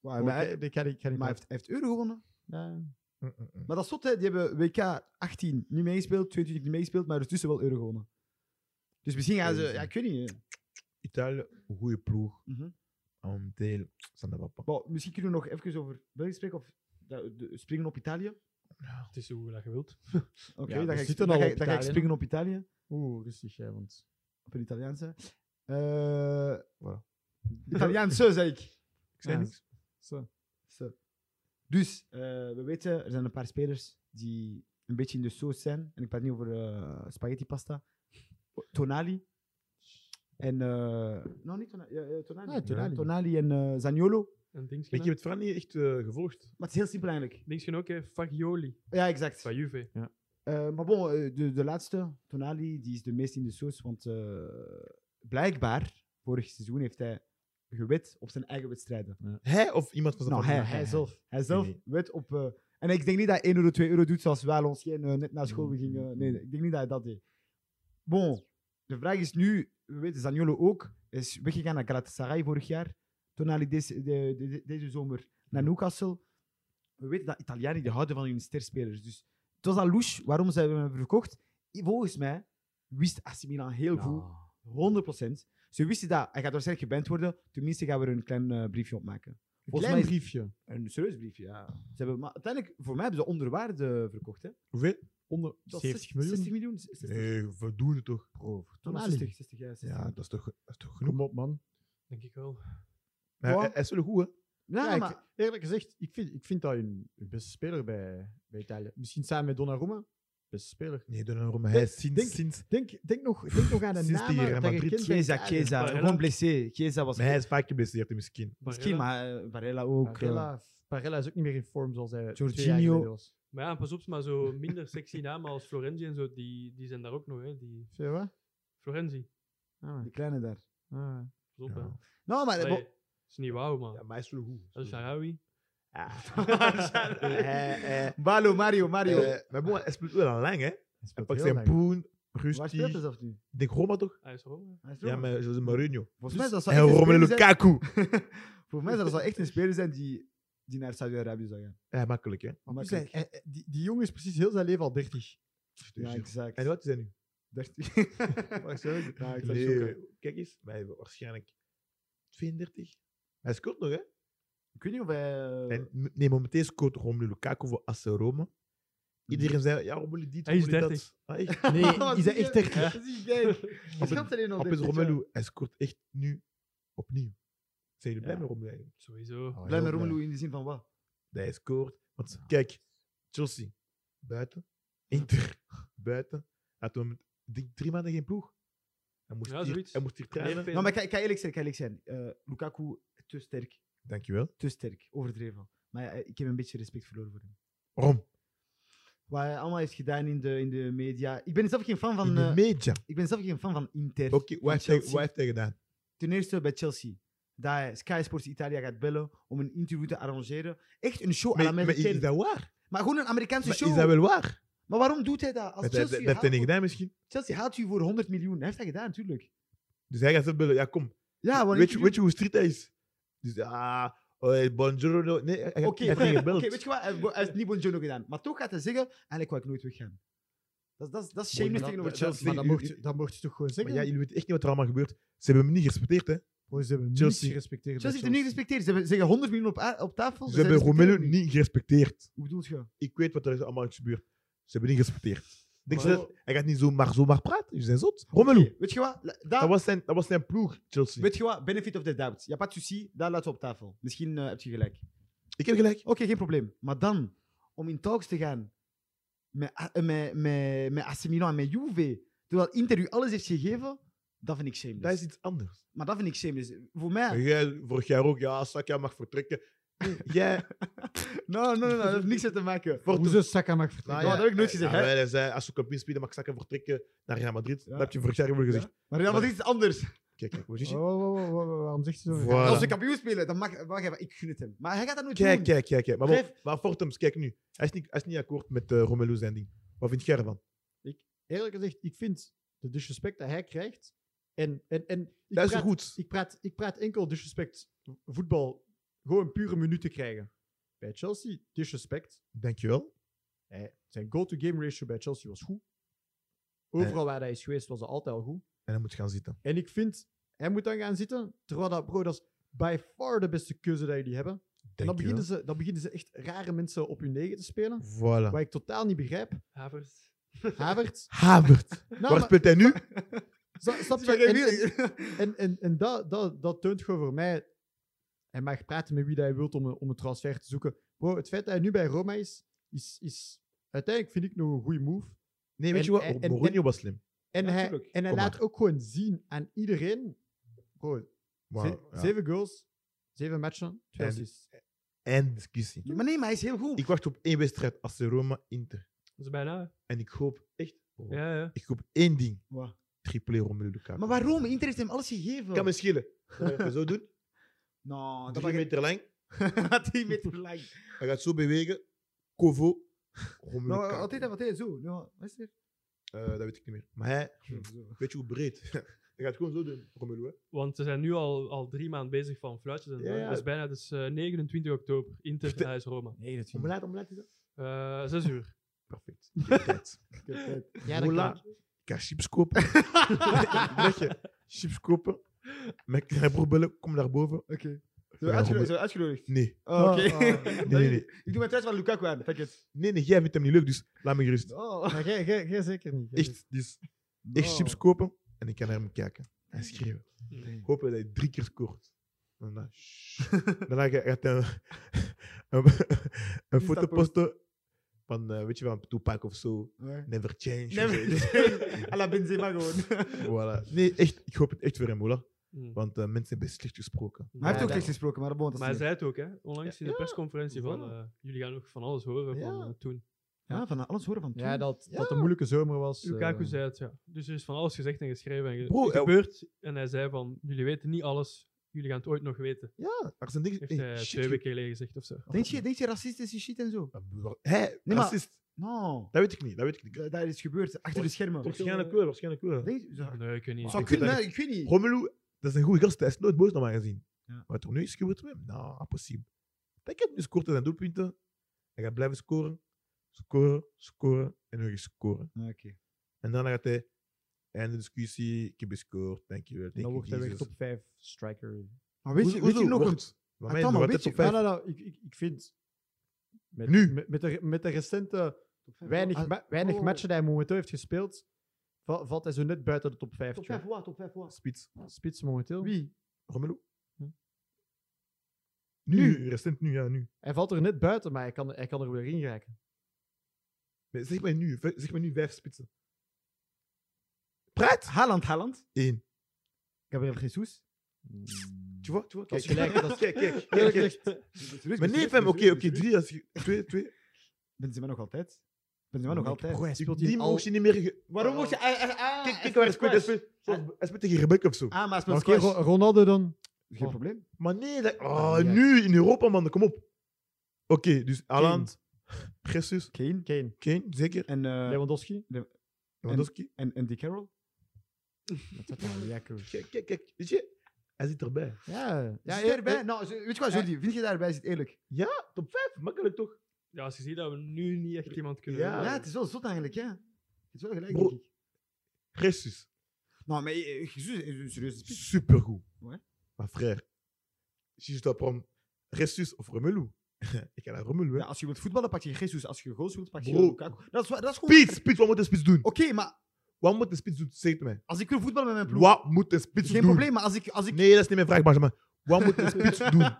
[SPEAKER 4] Wow,
[SPEAKER 2] oh,
[SPEAKER 4] maar hij,
[SPEAKER 2] ik- ik kan niet- ik kan niet
[SPEAKER 4] maar hij heeft, hij heeft euro gewonnen.
[SPEAKER 2] praten. Ja.
[SPEAKER 3] Mm,
[SPEAKER 4] Maar dat is zot, hè. Die hebben WK 18 niet meegespeeld, 22 niet meegespeeld, maar ertussen wel euro gewonnen. Dus misschien gaan ze...
[SPEAKER 3] Crazy.
[SPEAKER 4] Ja, ik weet niet. hè.
[SPEAKER 3] Italië, een goede ploeg.
[SPEAKER 4] Mhm.
[SPEAKER 3] Momenteel staan de wapen.
[SPEAKER 4] Wel, misschien kunnen we nog even over België spreken, of da- de- springen op Italië. Oké,
[SPEAKER 1] Het is hoe dat je wilt.
[SPEAKER 2] we
[SPEAKER 4] dan, ga ik,
[SPEAKER 2] zitten
[SPEAKER 4] dan,
[SPEAKER 2] al
[SPEAKER 4] ga,
[SPEAKER 2] op
[SPEAKER 4] ik- dan ga ik
[SPEAKER 2] Italië, hè?
[SPEAKER 4] springen op Italië.
[SPEAKER 2] Oeh, rustig hè, want...
[SPEAKER 4] Op het Italiaanse. Eh
[SPEAKER 3] Voilà.
[SPEAKER 4] Italiaanse, zei ik.
[SPEAKER 3] Ik zei
[SPEAKER 2] Ja.
[SPEAKER 3] niks.
[SPEAKER 2] Zo.
[SPEAKER 4] Zo. Dus, eh, we weten, er zijn een paar spelers die een beetje in de soos zijn. En ik praat niet over eh, spaghetti pasta. Tonali. En... eh nou, niet Tonali. ja, eh, Tonali.
[SPEAKER 2] Ah, Tonali.
[SPEAKER 4] Tonali en eh Zaniolo.
[SPEAKER 1] En
[SPEAKER 3] Ik heb
[SPEAKER 1] Dingsken,
[SPEAKER 3] het verhaal niet echt eh, gevolgd.
[SPEAKER 4] Maar het is heel simpel eigenlijk.
[SPEAKER 1] Dingsken ook, hè. Fagioli.
[SPEAKER 4] Ja, exact.
[SPEAKER 1] Van Juve.
[SPEAKER 4] Eh, maar bon, eh, de, de laatste, Tonali, die is de meest in de soos. Want eh, blijkbaar, vorig seizoen heeft hij gewet op zijn eigen wedstrijden.
[SPEAKER 3] Hij of iemand van zijn
[SPEAKER 4] Nou, hij,
[SPEAKER 3] familie?
[SPEAKER 4] hij, zelf. Hij zelf
[SPEAKER 3] Nee.
[SPEAKER 4] wet op... eh, en ik denk niet dat hij 1 euro, 2 euro doet zoals wij ons geen, eh, net naar school
[SPEAKER 3] Mm,
[SPEAKER 4] we gingen. Nee, nee, ik denk niet dat hij dat deed. Bon, de vraag is nu, we weten Zaniolo ook, is weggegaan naar Galatasaray vorig jaar. Tonali deze, de- de- de- deze zomer
[SPEAKER 3] Mm.
[SPEAKER 4] naar Newcastle. We weten dat Italianen die houden van hun sterspelers. Dus het was al louche waarom ze hem hebben verkocht. Volgens mij wist AC Milan heel goed 100%. Ze wisten dat. Hij gaat waarschijnlijk geband worden. Tenminste gaan we er een klein eh, briefje op maken.
[SPEAKER 2] Een
[SPEAKER 4] Volgens
[SPEAKER 2] klein
[SPEAKER 4] mij is-
[SPEAKER 2] briefje.
[SPEAKER 4] Een serieus briefje, ja. Ze hebben, maar uiteindelijk, voor mij hebben ze onderwaarde verkocht. Hè. Het dus-
[SPEAKER 3] Hoeveel?
[SPEAKER 2] Onder
[SPEAKER 4] was
[SPEAKER 2] 70 miljoen.
[SPEAKER 4] 60 miljoen? 60,
[SPEAKER 3] Nee, voldoende toch?
[SPEAKER 2] Bro, voor
[SPEAKER 4] Toen was
[SPEAKER 2] Tonali.
[SPEAKER 4] 60, 60, ja, 60.
[SPEAKER 3] Ja,
[SPEAKER 4] Ja,
[SPEAKER 3] dat is toch, dat is toch genoeg.
[SPEAKER 2] Kom op, man.
[SPEAKER 1] Denk ik wel.
[SPEAKER 3] Maar
[SPEAKER 4] Ja.
[SPEAKER 3] hij, hij is wel goed, hè?
[SPEAKER 2] Ja, ik-
[SPEAKER 4] maar
[SPEAKER 2] eerlijk gezegd, ik vind, ik vind dat een, een beste speler bij, bij Italië. Misschien samen met Donnarumma. Beste speler.
[SPEAKER 3] Nee, daarom. Hij is sinds...
[SPEAKER 2] denk-
[SPEAKER 3] sinds
[SPEAKER 2] Denk, denk, nog, denk nog aan de
[SPEAKER 3] Sinds die Real
[SPEAKER 2] namen dat je
[SPEAKER 3] Madrid-
[SPEAKER 2] kent bij
[SPEAKER 4] Chiesa,
[SPEAKER 2] Italië.
[SPEAKER 4] Chiesa.
[SPEAKER 1] Barella.
[SPEAKER 4] Gewoon blessé. Chiesa was
[SPEAKER 3] maar hij is vaak geblesseerd, misschien.
[SPEAKER 4] misschien,
[SPEAKER 1] Barella.
[SPEAKER 4] maar eh, Barella ook. eh.
[SPEAKER 2] Barella, Barella is ook niet meer in vorm zoals hij twee jaar
[SPEAKER 4] Jorginho.
[SPEAKER 2] geleden was.
[SPEAKER 1] Maar ja, pas op, maar zo minder sexy namen als Florenzi en zo, die, die zijn daar ook nog, hè. Die
[SPEAKER 2] Zie je wat?
[SPEAKER 1] Florenzi.
[SPEAKER 2] Ah,
[SPEAKER 4] Die kleine daar.
[SPEAKER 2] ah.
[SPEAKER 1] Pas op, hè.
[SPEAKER 3] Ja.
[SPEAKER 4] Nou, maar...
[SPEAKER 1] Allee,
[SPEAKER 4] bo-
[SPEAKER 1] is niet wauw, man.
[SPEAKER 3] maar hij is wel goed.
[SPEAKER 1] Dat is Sharawi.
[SPEAKER 3] Eh, eh,
[SPEAKER 4] Balo, Mario, Mario.
[SPEAKER 3] eh, maar bon, hij speelt wel al lang, hè?
[SPEAKER 2] Hij
[SPEAKER 3] Hij
[SPEAKER 2] speelt
[SPEAKER 3] pakt
[SPEAKER 2] heel
[SPEAKER 3] zijn
[SPEAKER 2] lang.
[SPEAKER 3] poen,
[SPEAKER 4] Waar
[SPEAKER 3] rustig.
[SPEAKER 4] speelt hij
[SPEAKER 3] Ik
[SPEAKER 4] zelf nu?
[SPEAKER 3] denk Roma toch?
[SPEAKER 1] Hij is Rome.
[SPEAKER 4] Hij is
[SPEAKER 3] Dus Ja,
[SPEAKER 4] Roma.
[SPEAKER 3] met José Mourinho.
[SPEAKER 4] Volgens mij zou dat
[SPEAKER 3] En
[SPEAKER 4] echt een
[SPEAKER 3] Romelu
[SPEAKER 4] speler zijn-
[SPEAKER 3] Lukaku.
[SPEAKER 4] Volgens mij zou dat wel echt een speler zijn die, die naar Saudi-Arabië zou gaan.
[SPEAKER 3] Ja, makkelijk, hè?
[SPEAKER 2] Maar
[SPEAKER 4] Makkelijk. Oh,
[SPEAKER 2] dus hij- hij- die, die jongen is precies heel zijn leven al 30.
[SPEAKER 4] Ja, exact.
[SPEAKER 3] Dus- En wat is hij nu?
[SPEAKER 4] 13.
[SPEAKER 3] Waarschijnlijk.
[SPEAKER 4] Ja, ik zou
[SPEAKER 3] Nee,
[SPEAKER 4] shocken.
[SPEAKER 3] kijk eens, hij is waarschijnlijk 32. Hij scoort nog, hè?
[SPEAKER 4] Ik weet niet of hij... eh, Mm.
[SPEAKER 3] En m- nee, momenteel scoort Romelu Lukaku voor AC Roma. Iedereen zei, ja, Romelu dit,
[SPEAKER 1] Hij is
[SPEAKER 3] Romelu dat.
[SPEAKER 1] 30.
[SPEAKER 3] Ah, echt?
[SPEAKER 2] Nee,
[SPEAKER 4] Wat
[SPEAKER 2] die
[SPEAKER 4] zie
[SPEAKER 2] zijn echt
[SPEAKER 4] je? Dat
[SPEAKER 2] 30.
[SPEAKER 4] zie ik, kijk. Hij schrapt alleen nog
[SPEAKER 3] Op
[SPEAKER 4] dit,
[SPEAKER 3] is
[SPEAKER 4] dit jaar.
[SPEAKER 3] Romelu, hij scoort echt nu opnieuw. Zijn jullie blij
[SPEAKER 2] Ja.
[SPEAKER 3] met Romelu? eigenlijk?
[SPEAKER 1] Sowieso.
[SPEAKER 4] Blij met Romelu in de zin van wat?
[SPEAKER 3] Dat hij scoort. Want kijk, Chelsea, buiten. Inter, buiten. Hij had hem, ik denk, drie maanden geen ploeg. Hij moest,
[SPEAKER 1] Ja,
[SPEAKER 3] hier,
[SPEAKER 1] zoiets.
[SPEAKER 3] hij moest hier trainen.
[SPEAKER 1] Nee,
[SPEAKER 4] Nou, maar ik ga- ik ga eerlijk zijn. Ik ga eerlijk zijn. Eh, Lukaku, te sterk.
[SPEAKER 3] Dankjewel.
[SPEAKER 4] Te sterk. Overdreven. Maar ja, ik heb een beetje respect verloren voor hem.
[SPEAKER 3] Waarom?
[SPEAKER 4] Wat hij allemaal heeft gedaan in de, in de media. Ik ben zelf geen fan van...
[SPEAKER 3] In de
[SPEAKER 4] eh,
[SPEAKER 3] media.
[SPEAKER 4] ik ben zelf geen fan van Inter.
[SPEAKER 3] Oké, wat heeft hij-
[SPEAKER 4] Chelsea.
[SPEAKER 3] wat heeft hij gedaan?
[SPEAKER 4] Ten eerste bij Chelsea. Dat hij Sky Sports Italia gaat bellen om een interview te arrangeren. Echt een show aan
[SPEAKER 3] Maar, maar is
[SPEAKER 4] Amerikaan.
[SPEAKER 3] is
[SPEAKER 4] Maar,
[SPEAKER 3] dat waar?
[SPEAKER 4] gewoon een Amerikaanse
[SPEAKER 3] Maar
[SPEAKER 4] show.
[SPEAKER 3] is dat wel waar?
[SPEAKER 4] Maar waarom doet hij dat? Als
[SPEAKER 3] Dat,
[SPEAKER 4] Chelsea,
[SPEAKER 3] dat, dat heeft hij
[SPEAKER 4] haalt,
[SPEAKER 3] niet gedaan misschien.
[SPEAKER 4] Chelsea haalt u voor 100 miljoen. Hij heeft dat gedaan, natuurlijk.
[SPEAKER 3] Dus hij gaat zelf bellen. Ja, kom.
[SPEAKER 4] Ja, want
[SPEAKER 3] weet, je, weet je hoe street hij is? Dus, ah, oh, buongiorno. Nee, hij gaat-
[SPEAKER 4] Oké,
[SPEAKER 3] hij heeft niet
[SPEAKER 4] oké,
[SPEAKER 3] gebeld.
[SPEAKER 4] weet je wat? Hij heeft- hij heeft niet Bonjourno gedaan. Maar toch gaat hij zeggen, eigenlijk wou ik nooit weggaan. Dat, dat, dat is shameless tegenover
[SPEAKER 3] dat- dat-
[SPEAKER 4] Chelsea.
[SPEAKER 2] Maar dat
[SPEAKER 3] u-
[SPEAKER 2] mocht,
[SPEAKER 3] u-
[SPEAKER 2] je- dat mocht je toch gewoon
[SPEAKER 3] Maar
[SPEAKER 2] zeggen?
[SPEAKER 3] ja, jullie weten echt niet wat er allemaal gebeurt. Ze hebben hem niet gerespecteerd,
[SPEAKER 4] Oh,
[SPEAKER 3] hè.
[SPEAKER 2] Bro, ze hebben
[SPEAKER 3] Chelsea.
[SPEAKER 2] Chelsea gerespecteerd.
[SPEAKER 4] Chelsea
[SPEAKER 2] bij
[SPEAKER 4] heeft hem niet gerespecteerd. Ze hebben- zeggen 100 miljoen op, a- op tafel.
[SPEAKER 3] Ze
[SPEAKER 4] zij
[SPEAKER 3] hebben
[SPEAKER 4] respecteren
[SPEAKER 3] Romelu
[SPEAKER 4] hem
[SPEAKER 3] niet gerespecteerd.
[SPEAKER 4] Hoe bedoel je?
[SPEAKER 3] Ik weet wat er allemaal is gebeurd. Ze hebben niet gerespecteerd. Denk je
[SPEAKER 1] Maar-
[SPEAKER 3] dat- hij gaat niet zomaar, zomaar praten. Ze zijn zot. Romelu,
[SPEAKER 4] Oké, weet je wat? La- daar-
[SPEAKER 3] dat, was zijn, dat was zijn ploeg, Chelsea.
[SPEAKER 4] Weet je wat? Benefit of the doubt. Ja, pas de souci. Daar laten we op tafel. Misschien eh, heb je gelijk.
[SPEAKER 3] Ik heb gelijk.
[SPEAKER 4] Oké, geen probleem. Maar dan, om in talks te gaan met, A- eh, met, met, met AC Milan en met Juve, terwijl Inter u alles heeft gegeven, dat vind ik shameless.
[SPEAKER 3] Dat is iets anders.
[SPEAKER 4] Maar dat vind ik shameless. dus Voor mij...
[SPEAKER 3] Maar jij, vorig jaar ook, ja, Saka mag vertrekken. Jij,
[SPEAKER 4] No, no, no, no, dat heeft niks mee te maken.
[SPEAKER 3] voor
[SPEAKER 2] Hoezo Saka mag
[SPEAKER 3] Nou
[SPEAKER 2] vertrekken?
[SPEAKER 4] ja, dat heb ik nooit
[SPEAKER 3] eh,
[SPEAKER 4] gezegd,
[SPEAKER 3] ja,
[SPEAKER 4] hè?
[SPEAKER 3] wel, hij zei, als je kampioen spelen, mag Saka vertrekken naar Real Madrid.
[SPEAKER 4] Ja.
[SPEAKER 3] Dat heb je vorig jaar hebben we gezegd.
[SPEAKER 4] Maar Real Madrid is anders.
[SPEAKER 3] Kijk, kijk, wat is het?
[SPEAKER 2] Oh, oh, oh, oh, oh, waarom zegt ze zo?
[SPEAKER 3] Voilà.
[SPEAKER 4] Als we kampioen spelen, dan mag, mag hij, ik gun het hem. Maar hij gaat dat nooit
[SPEAKER 3] Kijk,
[SPEAKER 4] doen.
[SPEAKER 3] kijk, kijk. kijk. Maar, wel-
[SPEAKER 4] Geef-
[SPEAKER 3] maar Fortums, kijk nu. Hij is niet, hij is niet akkoord met eh, Romelu zijn ding. Wat vind jij ervan?
[SPEAKER 2] Eerlijk gezegd, ik vind de disrespect dat hij krijgt. En, en, en ik,
[SPEAKER 3] Dat is
[SPEAKER 2] praat,
[SPEAKER 3] goed.
[SPEAKER 2] Ik, praat, ik praat enkel disrespect voetbal. Gewoon pure minuten krijgen. Bij Chelsea, disrespect.
[SPEAKER 3] Dankjewel.
[SPEAKER 2] Hij, zijn go-to-game ratio bij Chelsea was goed.
[SPEAKER 3] Eh.
[SPEAKER 2] Overal waar hij is geweest, was hij altijd al goed.
[SPEAKER 3] En hij moet gaan zitten.
[SPEAKER 2] En ik vind, hij moet dan gaan zitten. Terwijl dat, bro, dat is by far de beste keuze dat jullie hebben. En dan
[SPEAKER 3] Dankjewel.
[SPEAKER 2] beginnen, ze, dan beginnen ze echt rare mensen op hun negen te spelen.
[SPEAKER 3] Voilà.
[SPEAKER 2] Wat ik totaal niet begrijp.
[SPEAKER 1] Havert.
[SPEAKER 2] Havert.
[SPEAKER 3] Havert.
[SPEAKER 2] Nou,
[SPEAKER 3] Waar
[SPEAKER 2] maar-
[SPEAKER 3] speelt hij nu?
[SPEAKER 2] Snap- Snap
[SPEAKER 4] Zie
[SPEAKER 2] je?
[SPEAKER 4] je wat ik
[SPEAKER 2] En,
[SPEAKER 4] bedoel?
[SPEAKER 2] en, en, en, en dat, dat, dat toont gewoon voor mij... Hij mag praten met wie dat hij wilt om een, om een transfer te zoeken. Bro, het feit dat hij nu bij Roma is, is, is uiteindelijk vind ik nog een goede move.
[SPEAKER 3] Nee, weet
[SPEAKER 2] En-
[SPEAKER 3] je wat?
[SPEAKER 2] en- en-
[SPEAKER 3] Mourinho was slim.
[SPEAKER 2] En
[SPEAKER 4] Ja,
[SPEAKER 2] hij,
[SPEAKER 4] tuurlijk.
[SPEAKER 2] en hij
[SPEAKER 3] Kom
[SPEAKER 2] laat
[SPEAKER 3] maar.
[SPEAKER 2] ook gewoon zien aan iedereen... Bro,
[SPEAKER 3] Maar,
[SPEAKER 2] ze-
[SPEAKER 3] ja.
[SPEAKER 2] zeven goals, zeven matchen, twee
[SPEAKER 3] En-
[SPEAKER 2] assists.
[SPEAKER 3] En discussie.
[SPEAKER 4] Maar nee, maar hij is heel goed.
[SPEAKER 3] Ik wacht op één wedstrijd als Roma-Inter.
[SPEAKER 1] Dat is bijna.
[SPEAKER 3] En ik hoop echt... oh,
[SPEAKER 1] Ja, ja.
[SPEAKER 3] Ik hoop één ding.
[SPEAKER 4] Wat?
[SPEAKER 3] Triple Romelu Lukaku.
[SPEAKER 4] Maar waarom? Inter heeft hem alles gegeven.
[SPEAKER 3] Kan me schelen. Dan ga ik het zo doen.
[SPEAKER 4] Nou, dat
[SPEAKER 3] Drie
[SPEAKER 4] mag
[SPEAKER 3] meter lang.
[SPEAKER 4] gaat hij met lang.
[SPEAKER 3] Hij gaat zo bewegen. Kovo. Romelu
[SPEAKER 4] Nou,
[SPEAKER 3] Lukaku.
[SPEAKER 4] altijd, altijd zo. Nou, wat is er?
[SPEAKER 3] Eh, dat weet ik niet meer. Maar hij...
[SPEAKER 4] Zo.
[SPEAKER 3] Weet je hoe breed? hij gaat het gewoon zo doen, Romelu. Hè?
[SPEAKER 1] Want ze zijn nu al, al drie maanden bezig van fluitjes en
[SPEAKER 3] Ja,
[SPEAKER 1] zo.
[SPEAKER 3] ja.
[SPEAKER 1] Dat is bijna dus, eh, 29 oktober. Inter
[SPEAKER 3] Vertel-
[SPEAKER 1] thuis Roma.
[SPEAKER 2] Nee, dat vind ik
[SPEAKER 3] Omelet, omelet is dat?
[SPEAKER 1] Eh 6 uur.
[SPEAKER 3] Perfect. Ik heb tijd.
[SPEAKER 4] Ik heb tijd.
[SPEAKER 2] Ja, dat
[SPEAKER 3] Mola.
[SPEAKER 2] kan.
[SPEAKER 3] Ik ga chips kopen. Leg je, chips kopen. Mijn kleine broer bellen, kom naar boven.
[SPEAKER 4] Oké. Zijn we
[SPEAKER 3] Ja,
[SPEAKER 4] uitgeno-
[SPEAKER 3] Robert.
[SPEAKER 4] zijn we uitgenodigd?
[SPEAKER 3] Nee.
[SPEAKER 4] Oh, Oké.
[SPEAKER 2] Oh, oh.
[SPEAKER 4] Dat
[SPEAKER 3] Nee, nee,
[SPEAKER 4] is-
[SPEAKER 3] nee.
[SPEAKER 4] Ik doe mijn thuis van Lukaku aan. Fuck it.
[SPEAKER 3] Nee, nee, jij vindt hem niet leuk, dus laat me gerust.
[SPEAKER 4] Oh.
[SPEAKER 2] Maar jij- jij jij zeker niet. Jij zeker
[SPEAKER 3] Echt, dus echt chips kopen en ik kan naar hem kijken. En schreeuwen.
[SPEAKER 1] Nee.
[SPEAKER 3] Hopen dat hij drie keer scoort. En dan, shh. Daarna ga- gaat hij een, een, een foto posten van, eh, weet je, van Tupac of zo.
[SPEAKER 4] Ja.
[SPEAKER 3] Never change. of zo.
[SPEAKER 4] Nee, à la Benzema gewoon.
[SPEAKER 3] Voilà. Nee, echt, ik hoop het echt voor hem, hoor.
[SPEAKER 1] Mm.
[SPEAKER 3] Want eh, mensen hebben slecht gesproken.
[SPEAKER 4] Maar hij heeft ook
[SPEAKER 1] Ja,
[SPEAKER 4] tekst gesproken, maar dat behoort
[SPEAKER 1] Maar hij zei het ook, hè? Onlangs in de persconferentie van
[SPEAKER 4] voilà.
[SPEAKER 1] eh, jullie gaan nog van alles horen van
[SPEAKER 4] Ja.
[SPEAKER 1] eh, toen.
[SPEAKER 4] Ja, van alles horen van toen.
[SPEAKER 2] Ja, dat, dat de moeilijke zomer was.
[SPEAKER 1] Lukaku
[SPEAKER 2] eh,
[SPEAKER 1] zei het, ja. Dus er is van alles gezegd en geschreven en ge-
[SPEAKER 3] Bro, eh,
[SPEAKER 1] gebeurd. En hij zei van, jullie weten niet alles. Jullie gaan het ooit nog weten.
[SPEAKER 3] Ja, er zijn dingen...
[SPEAKER 1] Heeft
[SPEAKER 3] hey,
[SPEAKER 1] hij
[SPEAKER 3] shit,
[SPEAKER 1] twee weken geleden gezegd of zo.
[SPEAKER 4] Denk je, denk je racistische shit en zo?
[SPEAKER 3] ge- Hé,
[SPEAKER 4] maar-
[SPEAKER 3] Ah, racist.
[SPEAKER 4] No.
[SPEAKER 3] Dat weet ik niet, dat weet ik niet.
[SPEAKER 4] Dat, dat is gebeurd, achter de schermen.
[SPEAKER 3] Waarschijnlijk wel, waarschijnlijk wel.
[SPEAKER 4] Denk je? Zou-
[SPEAKER 1] Ah, Nee, ik weet niet.
[SPEAKER 4] Zou
[SPEAKER 3] ik
[SPEAKER 4] kunnen,
[SPEAKER 3] weet
[SPEAKER 4] hè? ik weet niet.
[SPEAKER 3] Romelu, dat is een goede gast, hij is nooit boos naar mij gezien.
[SPEAKER 4] Ja.
[SPEAKER 3] Wat er nu is gebeurd met hem, nou, impossible. Kijk, hij nu scoort hij zijn doelpunten. Hij gaat blijven scoren, scoren, scoren en nog eens scoren.
[SPEAKER 4] Ah, Oké.
[SPEAKER 3] En dan gaat hij, einde discussie, ik heb gescoord, dankjewel,
[SPEAKER 2] Dan
[SPEAKER 3] thank
[SPEAKER 2] Nou wordt hij
[SPEAKER 3] you,
[SPEAKER 2] weer
[SPEAKER 3] Jesus.
[SPEAKER 2] top 5 striker.
[SPEAKER 4] Maar weet je, weet je nog een...
[SPEAKER 3] Bij
[SPEAKER 4] Attends,
[SPEAKER 3] mij is nog
[SPEAKER 4] maar
[SPEAKER 3] altijd
[SPEAKER 4] weet
[SPEAKER 3] top
[SPEAKER 4] je-
[SPEAKER 3] 5.
[SPEAKER 2] Nou, nou, nou, ik, ik, ik vind... Met,
[SPEAKER 3] Nu?
[SPEAKER 2] Met, met, de, met de recente weinig,
[SPEAKER 4] Ah,
[SPEAKER 2] ma- weinig
[SPEAKER 4] oh.
[SPEAKER 2] matchen die hij momenteel heeft gespeeld, va- valt hij zo net buiten de top 5.
[SPEAKER 4] Top 5 wat, top 5 wat.
[SPEAKER 3] Spits.
[SPEAKER 2] Spits momenteel.
[SPEAKER 4] Wie?
[SPEAKER 3] Romelu.
[SPEAKER 2] Hm.
[SPEAKER 3] Nu, recent nu, ja, nu.
[SPEAKER 2] Hij valt er net buiten, maar hij kan, hij kan er weer in raken.
[SPEAKER 3] Maar zeg mij nu, v- zeg mij nu vijf spitsen. Praat!
[SPEAKER 4] Haaland, Haaland.
[SPEAKER 3] Eén.
[SPEAKER 4] Gabriel Jesus.
[SPEAKER 3] Tu vois, tu vois, kijk,
[SPEAKER 2] Dat is gelijk. Dat is
[SPEAKER 3] kijk, kijk,
[SPEAKER 2] eerlijk
[SPEAKER 3] kijk, kijk.
[SPEAKER 2] gezegd.
[SPEAKER 3] Maar nee, fam, oké, oké, drie, als je, twee, twee.
[SPEAKER 4] Benzema nog altijd. Benzema nog
[SPEAKER 3] Ik-
[SPEAKER 4] altijd.
[SPEAKER 2] Bro, hij
[SPEAKER 3] Die,
[SPEAKER 2] speelt
[SPEAKER 3] die
[SPEAKER 2] hier al...
[SPEAKER 3] mocht je niet meer... ge-
[SPEAKER 4] Waarom moet je... ah, ah, ah,
[SPEAKER 3] Kijk,
[SPEAKER 4] hij
[SPEAKER 3] kijk waar hij speelt.
[SPEAKER 4] speelt
[SPEAKER 3] Hij
[SPEAKER 4] squash.
[SPEAKER 3] speelt, hij speelt tegen Rebecca of zo.
[SPEAKER 4] Ah, maar hij
[SPEAKER 2] Maar
[SPEAKER 4] speelt
[SPEAKER 2] Oké,
[SPEAKER 4] squash.
[SPEAKER 2] Ro- Ronaldo dan.
[SPEAKER 4] Geen
[SPEAKER 2] Oh.
[SPEAKER 4] probleem.
[SPEAKER 3] Maar nee, dat,
[SPEAKER 2] Ah,
[SPEAKER 3] oh,
[SPEAKER 2] ja.
[SPEAKER 3] nu in Europa, man, kom op. Oké, dus Haaland, Jesus,
[SPEAKER 4] Kane.
[SPEAKER 2] Kane.
[SPEAKER 3] Kane, zeker.
[SPEAKER 4] En, eh,
[SPEAKER 2] Lewandowski.
[SPEAKER 3] Lewandowski.
[SPEAKER 4] en, en Dick Carroll.
[SPEAKER 2] Wat is dat nou, Lukaku?
[SPEAKER 3] Kijk, kijk, kijk, weet je, hij zit erbij.
[SPEAKER 2] Ja.
[SPEAKER 4] Ja,
[SPEAKER 2] ja
[SPEAKER 4] zit
[SPEAKER 2] eh,
[SPEAKER 4] daarbij?
[SPEAKER 2] eh,
[SPEAKER 4] nou, weet je wat, Jordi? Vind je daarbij zit eerlijk?
[SPEAKER 3] Top vijf, makkelijk toch?
[SPEAKER 1] Ja, als je ziet dat we nu niet echt iemand kunnen
[SPEAKER 3] Ja.
[SPEAKER 4] Ja,
[SPEAKER 1] hebben.
[SPEAKER 4] het is wel zot eigenlijk, ja. Het is wel gelijk,
[SPEAKER 3] Bro.
[SPEAKER 4] denk ik.
[SPEAKER 3] Jesus,
[SPEAKER 4] Nou, maar eh, Jesus is een serieuze spits.
[SPEAKER 3] supergoed.
[SPEAKER 4] Ouais.
[SPEAKER 3] Maar frère, si je dois prendre Jesus of Romelu, ik ga naar Romelu, hè.
[SPEAKER 4] Ja, als je wilt voetballen, pak je Jesus. Als je goals wilt, pak je
[SPEAKER 3] Bro.
[SPEAKER 4] Lukaku. Dat is, wa- dat is gewoon...
[SPEAKER 3] Spits, spits, wat moet de spits doen?
[SPEAKER 4] Oké, maar
[SPEAKER 3] Wat moet de spits doen? Zeg het mij.
[SPEAKER 4] als ik wil voetballen met mijn ploeg...
[SPEAKER 3] Wat moet de spits
[SPEAKER 4] Geen
[SPEAKER 3] doen?
[SPEAKER 4] probleem, maar als ik... Als ik
[SPEAKER 3] Nee, dat is niet mijn vraag, Benjamin. Wat moet de spits doen?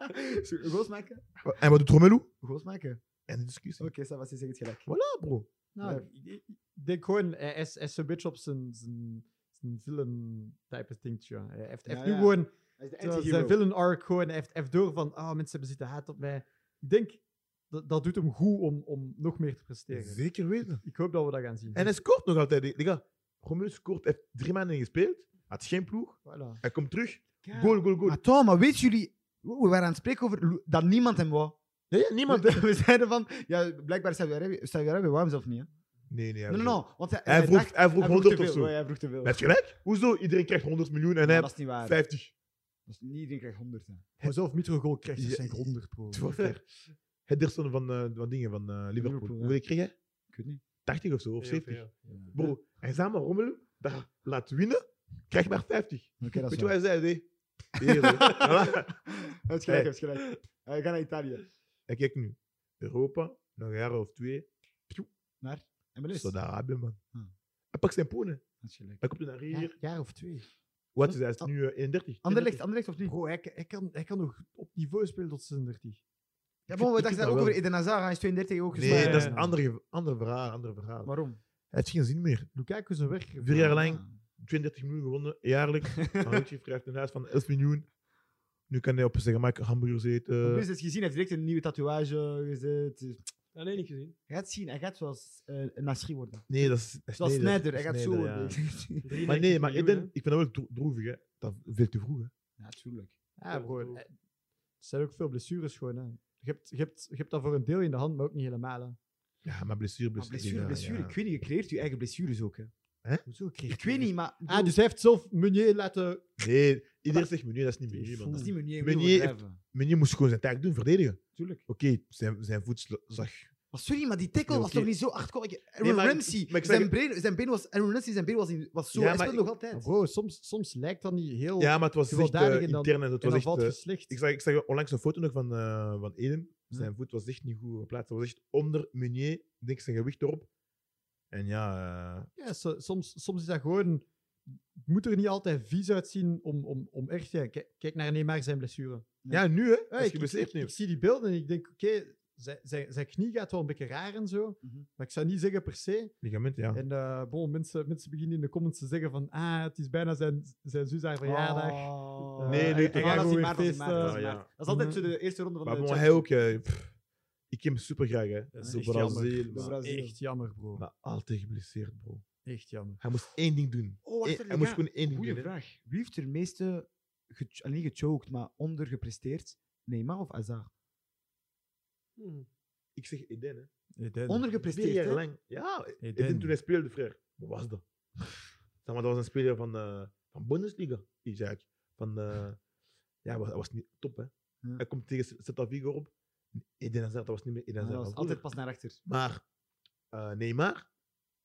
[SPEAKER 4] Zo, goals maken?
[SPEAKER 3] En wat doet Romelu?
[SPEAKER 4] Goals maken?
[SPEAKER 3] En de discussie.
[SPEAKER 4] Oké, ça va, ze zeggen het gelijk.
[SPEAKER 3] Voilà, bro.
[SPEAKER 2] nou, ik- ik- ik denk gewoon, hij is, hij is een beetje op zijn, zijn, een villain type ding. Ja. Hij heeft,
[SPEAKER 4] Ja, ja.
[SPEAKER 2] heeft nu gewoon
[SPEAKER 4] Hij is de
[SPEAKER 2] terwijl
[SPEAKER 4] anti-hero.
[SPEAKER 2] zijn villain arc gewoon hij heeft, heeft door van, ah, mensen hebben zitten haat op mij. Ik denk, dat, dat doet hem goed om, om nog meer te presteren.
[SPEAKER 3] Zeker weten.
[SPEAKER 2] Ik hoop dat we dat gaan zien.
[SPEAKER 3] En hij scoort nog altijd. Die- die gast, Romelu scoort, heeft drie maanden gespeeld. Had geen ploeg.
[SPEAKER 2] Voilà.
[SPEAKER 3] Hij komt terug.
[SPEAKER 4] Ja.
[SPEAKER 3] Goal, goal, goal.
[SPEAKER 4] Ah. Maar Tom, maar weten jullie, we we waren aan het spreken over Lu- dat niemand hem wou.
[SPEAKER 3] Nee, ja, niemand.
[SPEAKER 4] We,
[SPEAKER 3] hè.
[SPEAKER 4] we zeiden van, ja, blijkbaar Saudi-Arabië Saudi-Arabië wou hem zelf niet. Hè?
[SPEAKER 3] Nee, nee.
[SPEAKER 4] Nee, nee, nee. Want hij,
[SPEAKER 3] Hij vroeg,
[SPEAKER 4] dacht-
[SPEAKER 3] hij vroeg
[SPEAKER 4] hij vroeg te
[SPEAKER 3] 100 of
[SPEAKER 4] veel. Oh,
[SPEAKER 3] zo.
[SPEAKER 4] Ja, Hij vroeg te veel.
[SPEAKER 3] Hij heeft gelijk. Hoezo? Iedereen krijgt 100 miljoen en
[SPEAKER 4] Maar
[SPEAKER 3] hij
[SPEAKER 4] dat is niet waar.
[SPEAKER 3] 50.
[SPEAKER 4] Dat is- Iedereen krijgt 100. Hè.
[SPEAKER 2] Maar zelf Mitrogoal krijgt
[SPEAKER 3] Ja,
[SPEAKER 2] dus zijn 100 pro.
[SPEAKER 3] Te ver. Henderson van, eh, van dingen van eh, Liverpool.
[SPEAKER 4] Liverpool, ja.
[SPEAKER 3] Hoeveel kreeg hij?
[SPEAKER 4] Ik weet niet.
[SPEAKER 3] 80 of zo, of
[SPEAKER 1] Heel
[SPEAKER 3] 70.
[SPEAKER 1] veel.
[SPEAKER 3] Bro, hij zei maar Romelu, dat laat winnen, krijg maar 50.
[SPEAKER 4] Oké, dat
[SPEAKER 3] Weet
[SPEAKER 4] is
[SPEAKER 3] je wat
[SPEAKER 4] waar.
[SPEAKER 3] hij zei? Nee. Hier, zo. Voilà.
[SPEAKER 4] Hij heeft gelijk, hij heeft gelijk. Hij gaat Eh, naar Italië.
[SPEAKER 3] En kijk nu. Europa, nog een jaar of twee.
[SPEAKER 4] Naar MLS. Dat
[SPEAKER 3] Saudi-Arabië, man.
[SPEAKER 4] Hm.
[SPEAKER 3] Hij pakt zijn poenen.
[SPEAKER 4] is gelijk.
[SPEAKER 3] Hij komt naar hier.
[SPEAKER 2] Jaar, jaar of twee.
[SPEAKER 3] Wat is hij? Hij is
[SPEAKER 4] Oh.
[SPEAKER 3] nu eh, 31.
[SPEAKER 4] Anderlecht, Anderlecht of niet?
[SPEAKER 2] Bro, hij, hij, kan, hij kan nog op niveau spelen tot 36.
[SPEAKER 4] Ja,
[SPEAKER 3] Ik
[SPEAKER 4] bon, we
[SPEAKER 3] vind- ik vind
[SPEAKER 4] dachten
[SPEAKER 3] dat
[SPEAKER 4] ook
[SPEAKER 3] wel.
[SPEAKER 4] over Eden Hazard. Hij is 32 ook. dus
[SPEAKER 3] Nee,
[SPEAKER 4] maar-
[SPEAKER 3] dat is
[SPEAKER 1] eh,
[SPEAKER 3] een ander, ander verhaal. Ander verhaal.
[SPEAKER 4] Waarom?
[SPEAKER 3] Hij heeft geen zin meer.
[SPEAKER 2] Lukaku is een werker.
[SPEAKER 3] Vier jaar lang, 32 miljoen gewonnen, jaarlijks. Manucci krijgt een huis van 11 miljoen. Nu kan hij op zijn gemak hamburgers eten.
[SPEAKER 4] Plus, het gezien, hij heeft direct een nieuwe tatoeage gezet.
[SPEAKER 1] Ah, nee, niet gezien.
[SPEAKER 4] Hij gaat zien, hij gaat zoals eh Nasri worden.
[SPEAKER 3] Nee, dat is, dat is
[SPEAKER 4] Zoals
[SPEAKER 3] Sneijder.
[SPEAKER 4] Snyder, hij gaat zo
[SPEAKER 3] Sneijder, ja.
[SPEAKER 4] worden.
[SPEAKER 3] Maar nee, maar
[SPEAKER 1] miljoen,
[SPEAKER 3] Eden,
[SPEAKER 1] hè?
[SPEAKER 3] ik vind dat wel dro- droevig, hè. Dat is veel te vroeg, hè.
[SPEAKER 4] Natuurlijk.
[SPEAKER 2] Ja, bro. eh, Er zijn ook veel blessures gewoon. Hè. Je, hebt, je, hebt, je hebt dat voor een deel in de hand, maar ook niet helemaal. Hè.
[SPEAKER 3] Ja, maar blessure,
[SPEAKER 4] Maar
[SPEAKER 3] blessure.
[SPEAKER 4] blessure,
[SPEAKER 3] ja,
[SPEAKER 4] blessure.
[SPEAKER 3] ja.
[SPEAKER 4] Ik weet niet, je creëert je eigen blessures ook. Hè.
[SPEAKER 2] Hoezo kreeg
[SPEAKER 4] Ik weet niet, maar...
[SPEAKER 2] Ah, dus hij heeft zelf Meunier laten...
[SPEAKER 3] Nee, iedereen zegt Meunier, dat is niet Meunier,
[SPEAKER 4] Dat is
[SPEAKER 3] man.
[SPEAKER 4] niet meneer.
[SPEAKER 3] Meunier
[SPEAKER 4] Meunier
[SPEAKER 3] heeft- Meunier moest gewoon zijn taak doen, verdedigen.
[SPEAKER 4] Tuurlijk.
[SPEAKER 3] Oké, zijn, zijn voet sla- zag.
[SPEAKER 4] Maar sorry, maar die tackle
[SPEAKER 3] Nee,
[SPEAKER 4] was
[SPEAKER 3] oké.
[SPEAKER 4] toch niet zo achterkomen? Aaron
[SPEAKER 3] maar ik-
[SPEAKER 4] Ramsey,
[SPEAKER 3] maar ik zeg-
[SPEAKER 4] zijn, been, zijn been was... Aaron Ramsey, zijn been was, in, was zo...
[SPEAKER 3] Ja,
[SPEAKER 4] hij
[SPEAKER 3] maar
[SPEAKER 4] speelt nog altijd.
[SPEAKER 2] Bro, soms, soms lijkt dat niet heel...
[SPEAKER 3] Ja, maar het was echt
[SPEAKER 2] gewelddadig
[SPEAKER 3] eh,
[SPEAKER 2] en dan-
[SPEAKER 3] intern en het was
[SPEAKER 2] en dan
[SPEAKER 3] echt...
[SPEAKER 2] valt
[SPEAKER 3] eh,
[SPEAKER 2] je slecht.
[SPEAKER 3] ik, zag, ik zag onlangs een foto nog van, eh, van Eden. Zijn voet was echt niet goed geplaatst. Hij was echt onder Meunier, denk ik, zijn gewicht erop. En ja, eh,
[SPEAKER 2] Ja, so- soms, soms is dat gewoon... Het moet er niet altijd vies uitzien om, om, om echt... Ja, kijk, kijk naar Neymar zijn blessure.
[SPEAKER 3] Ja, nu hè.
[SPEAKER 2] Ja,
[SPEAKER 3] als je
[SPEAKER 2] ik, ik,
[SPEAKER 3] geblesseerd
[SPEAKER 2] ik- ik
[SPEAKER 3] neemt.
[SPEAKER 2] zie die beelden en ik denk, oké, zijn, zijn, zijn knie gaat wel een beetje raar en zo.
[SPEAKER 4] Mhm.
[SPEAKER 2] Maar ik zou niet zeggen per se.
[SPEAKER 3] Ligament, ja.
[SPEAKER 2] En eh, bon, mensen, mensen beginnen in de comments te zeggen van, ah, het is bijna zijn, zijn zus haar verjaardag.
[SPEAKER 4] Oh.
[SPEAKER 3] Nee, nee,
[SPEAKER 2] Eh, en- en
[SPEAKER 3] ik
[SPEAKER 2] gaan
[SPEAKER 3] ga
[SPEAKER 4] dat is
[SPEAKER 2] gewoon
[SPEAKER 4] in
[SPEAKER 2] weer
[SPEAKER 4] maart, dat is in
[SPEAKER 2] feesten.
[SPEAKER 4] maart, dat is
[SPEAKER 3] Ja,
[SPEAKER 4] in
[SPEAKER 3] ja.
[SPEAKER 4] maart. Dat is altijd zo de eerste ronde van
[SPEAKER 3] Maar
[SPEAKER 4] de
[SPEAKER 3] bon,
[SPEAKER 4] Champions
[SPEAKER 3] hij ook. eh, pff, ik ken hem super graag hè.
[SPEAKER 2] is
[SPEAKER 3] Zo
[SPEAKER 2] echt jammer.
[SPEAKER 3] Brazil.
[SPEAKER 4] League. De
[SPEAKER 3] maar-
[SPEAKER 4] Brazil.
[SPEAKER 2] Echt jammer, bro.
[SPEAKER 3] Maar altijd geblesseerd, bro.
[SPEAKER 2] Echt jammer.
[SPEAKER 3] Hij moest één ding doen.
[SPEAKER 4] Oh, wacht
[SPEAKER 3] Eén-
[SPEAKER 4] even,
[SPEAKER 3] hij moest
[SPEAKER 4] ja.
[SPEAKER 3] gewoon één ding
[SPEAKER 4] Goeie
[SPEAKER 3] doen. hè.
[SPEAKER 4] vraag. Wie heeft er meeste, ge niet gechoked, maar ondergepresteerd? Neymar of Hazard?
[SPEAKER 1] Hm.
[SPEAKER 3] Ik zeg Eden hè.
[SPEAKER 2] Eden.
[SPEAKER 3] Vier
[SPEAKER 4] Ondergepresteerd,
[SPEAKER 3] jaar
[SPEAKER 4] hè?
[SPEAKER 3] lang. Ja,
[SPEAKER 2] Eden.
[SPEAKER 3] Eden toen hij speelde, frère. Wat was dat? Zeg maar, dat was een speler van, eh, van Bundesliga. Iets eigenlijk. Van, eh, ja, hij was, hij was niet top hè.
[SPEAKER 4] Ja.
[SPEAKER 3] Hij komt tegen Celta Vigo op. Eden Hazard, dat was niet meer Eden
[SPEAKER 4] Ja,
[SPEAKER 3] Hazard.
[SPEAKER 4] dat was
[SPEAKER 3] van vroeger.
[SPEAKER 4] altijd pas naar achter.
[SPEAKER 3] Maar eh, Neymar,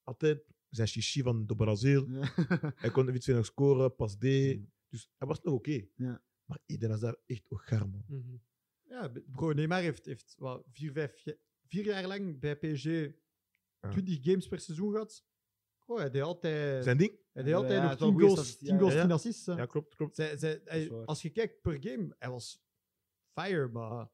[SPEAKER 3] altijd zijn chichi van de Brazil. Hij kon eventueel nog scoren, pas D. Dus hij was nog oké.
[SPEAKER 4] Ja.
[SPEAKER 3] Maar Eden Hazard echt ook gaar, man.
[SPEAKER 1] Mhm.
[SPEAKER 2] Ja, b- bro, Neymar heeft, heeft wat, vier, vijf, ja- vier jaar lang bij PSG 20 games per seizoen gehad. Oh, hij deed altijd,
[SPEAKER 3] Zijn ding?
[SPEAKER 2] hij deed
[SPEAKER 4] Ja,
[SPEAKER 2] altijd
[SPEAKER 4] ja,
[SPEAKER 2] nog
[SPEAKER 4] het was
[SPEAKER 2] 10
[SPEAKER 4] goede
[SPEAKER 2] goals,
[SPEAKER 4] statistiek,
[SPEAKER 2] 10 goals,
[SPEAKER 3] ja, ja.
[SPEAKER 2] 10 assists. hè.
[SPEAKER 3] Ja, klopt, klopt.
[SPEAKER 2] Zij- zij- hij-
[SPEAKER 4] is waar.
[SPEAKER 2] als je kijkt per game, hij was fire, maar ja,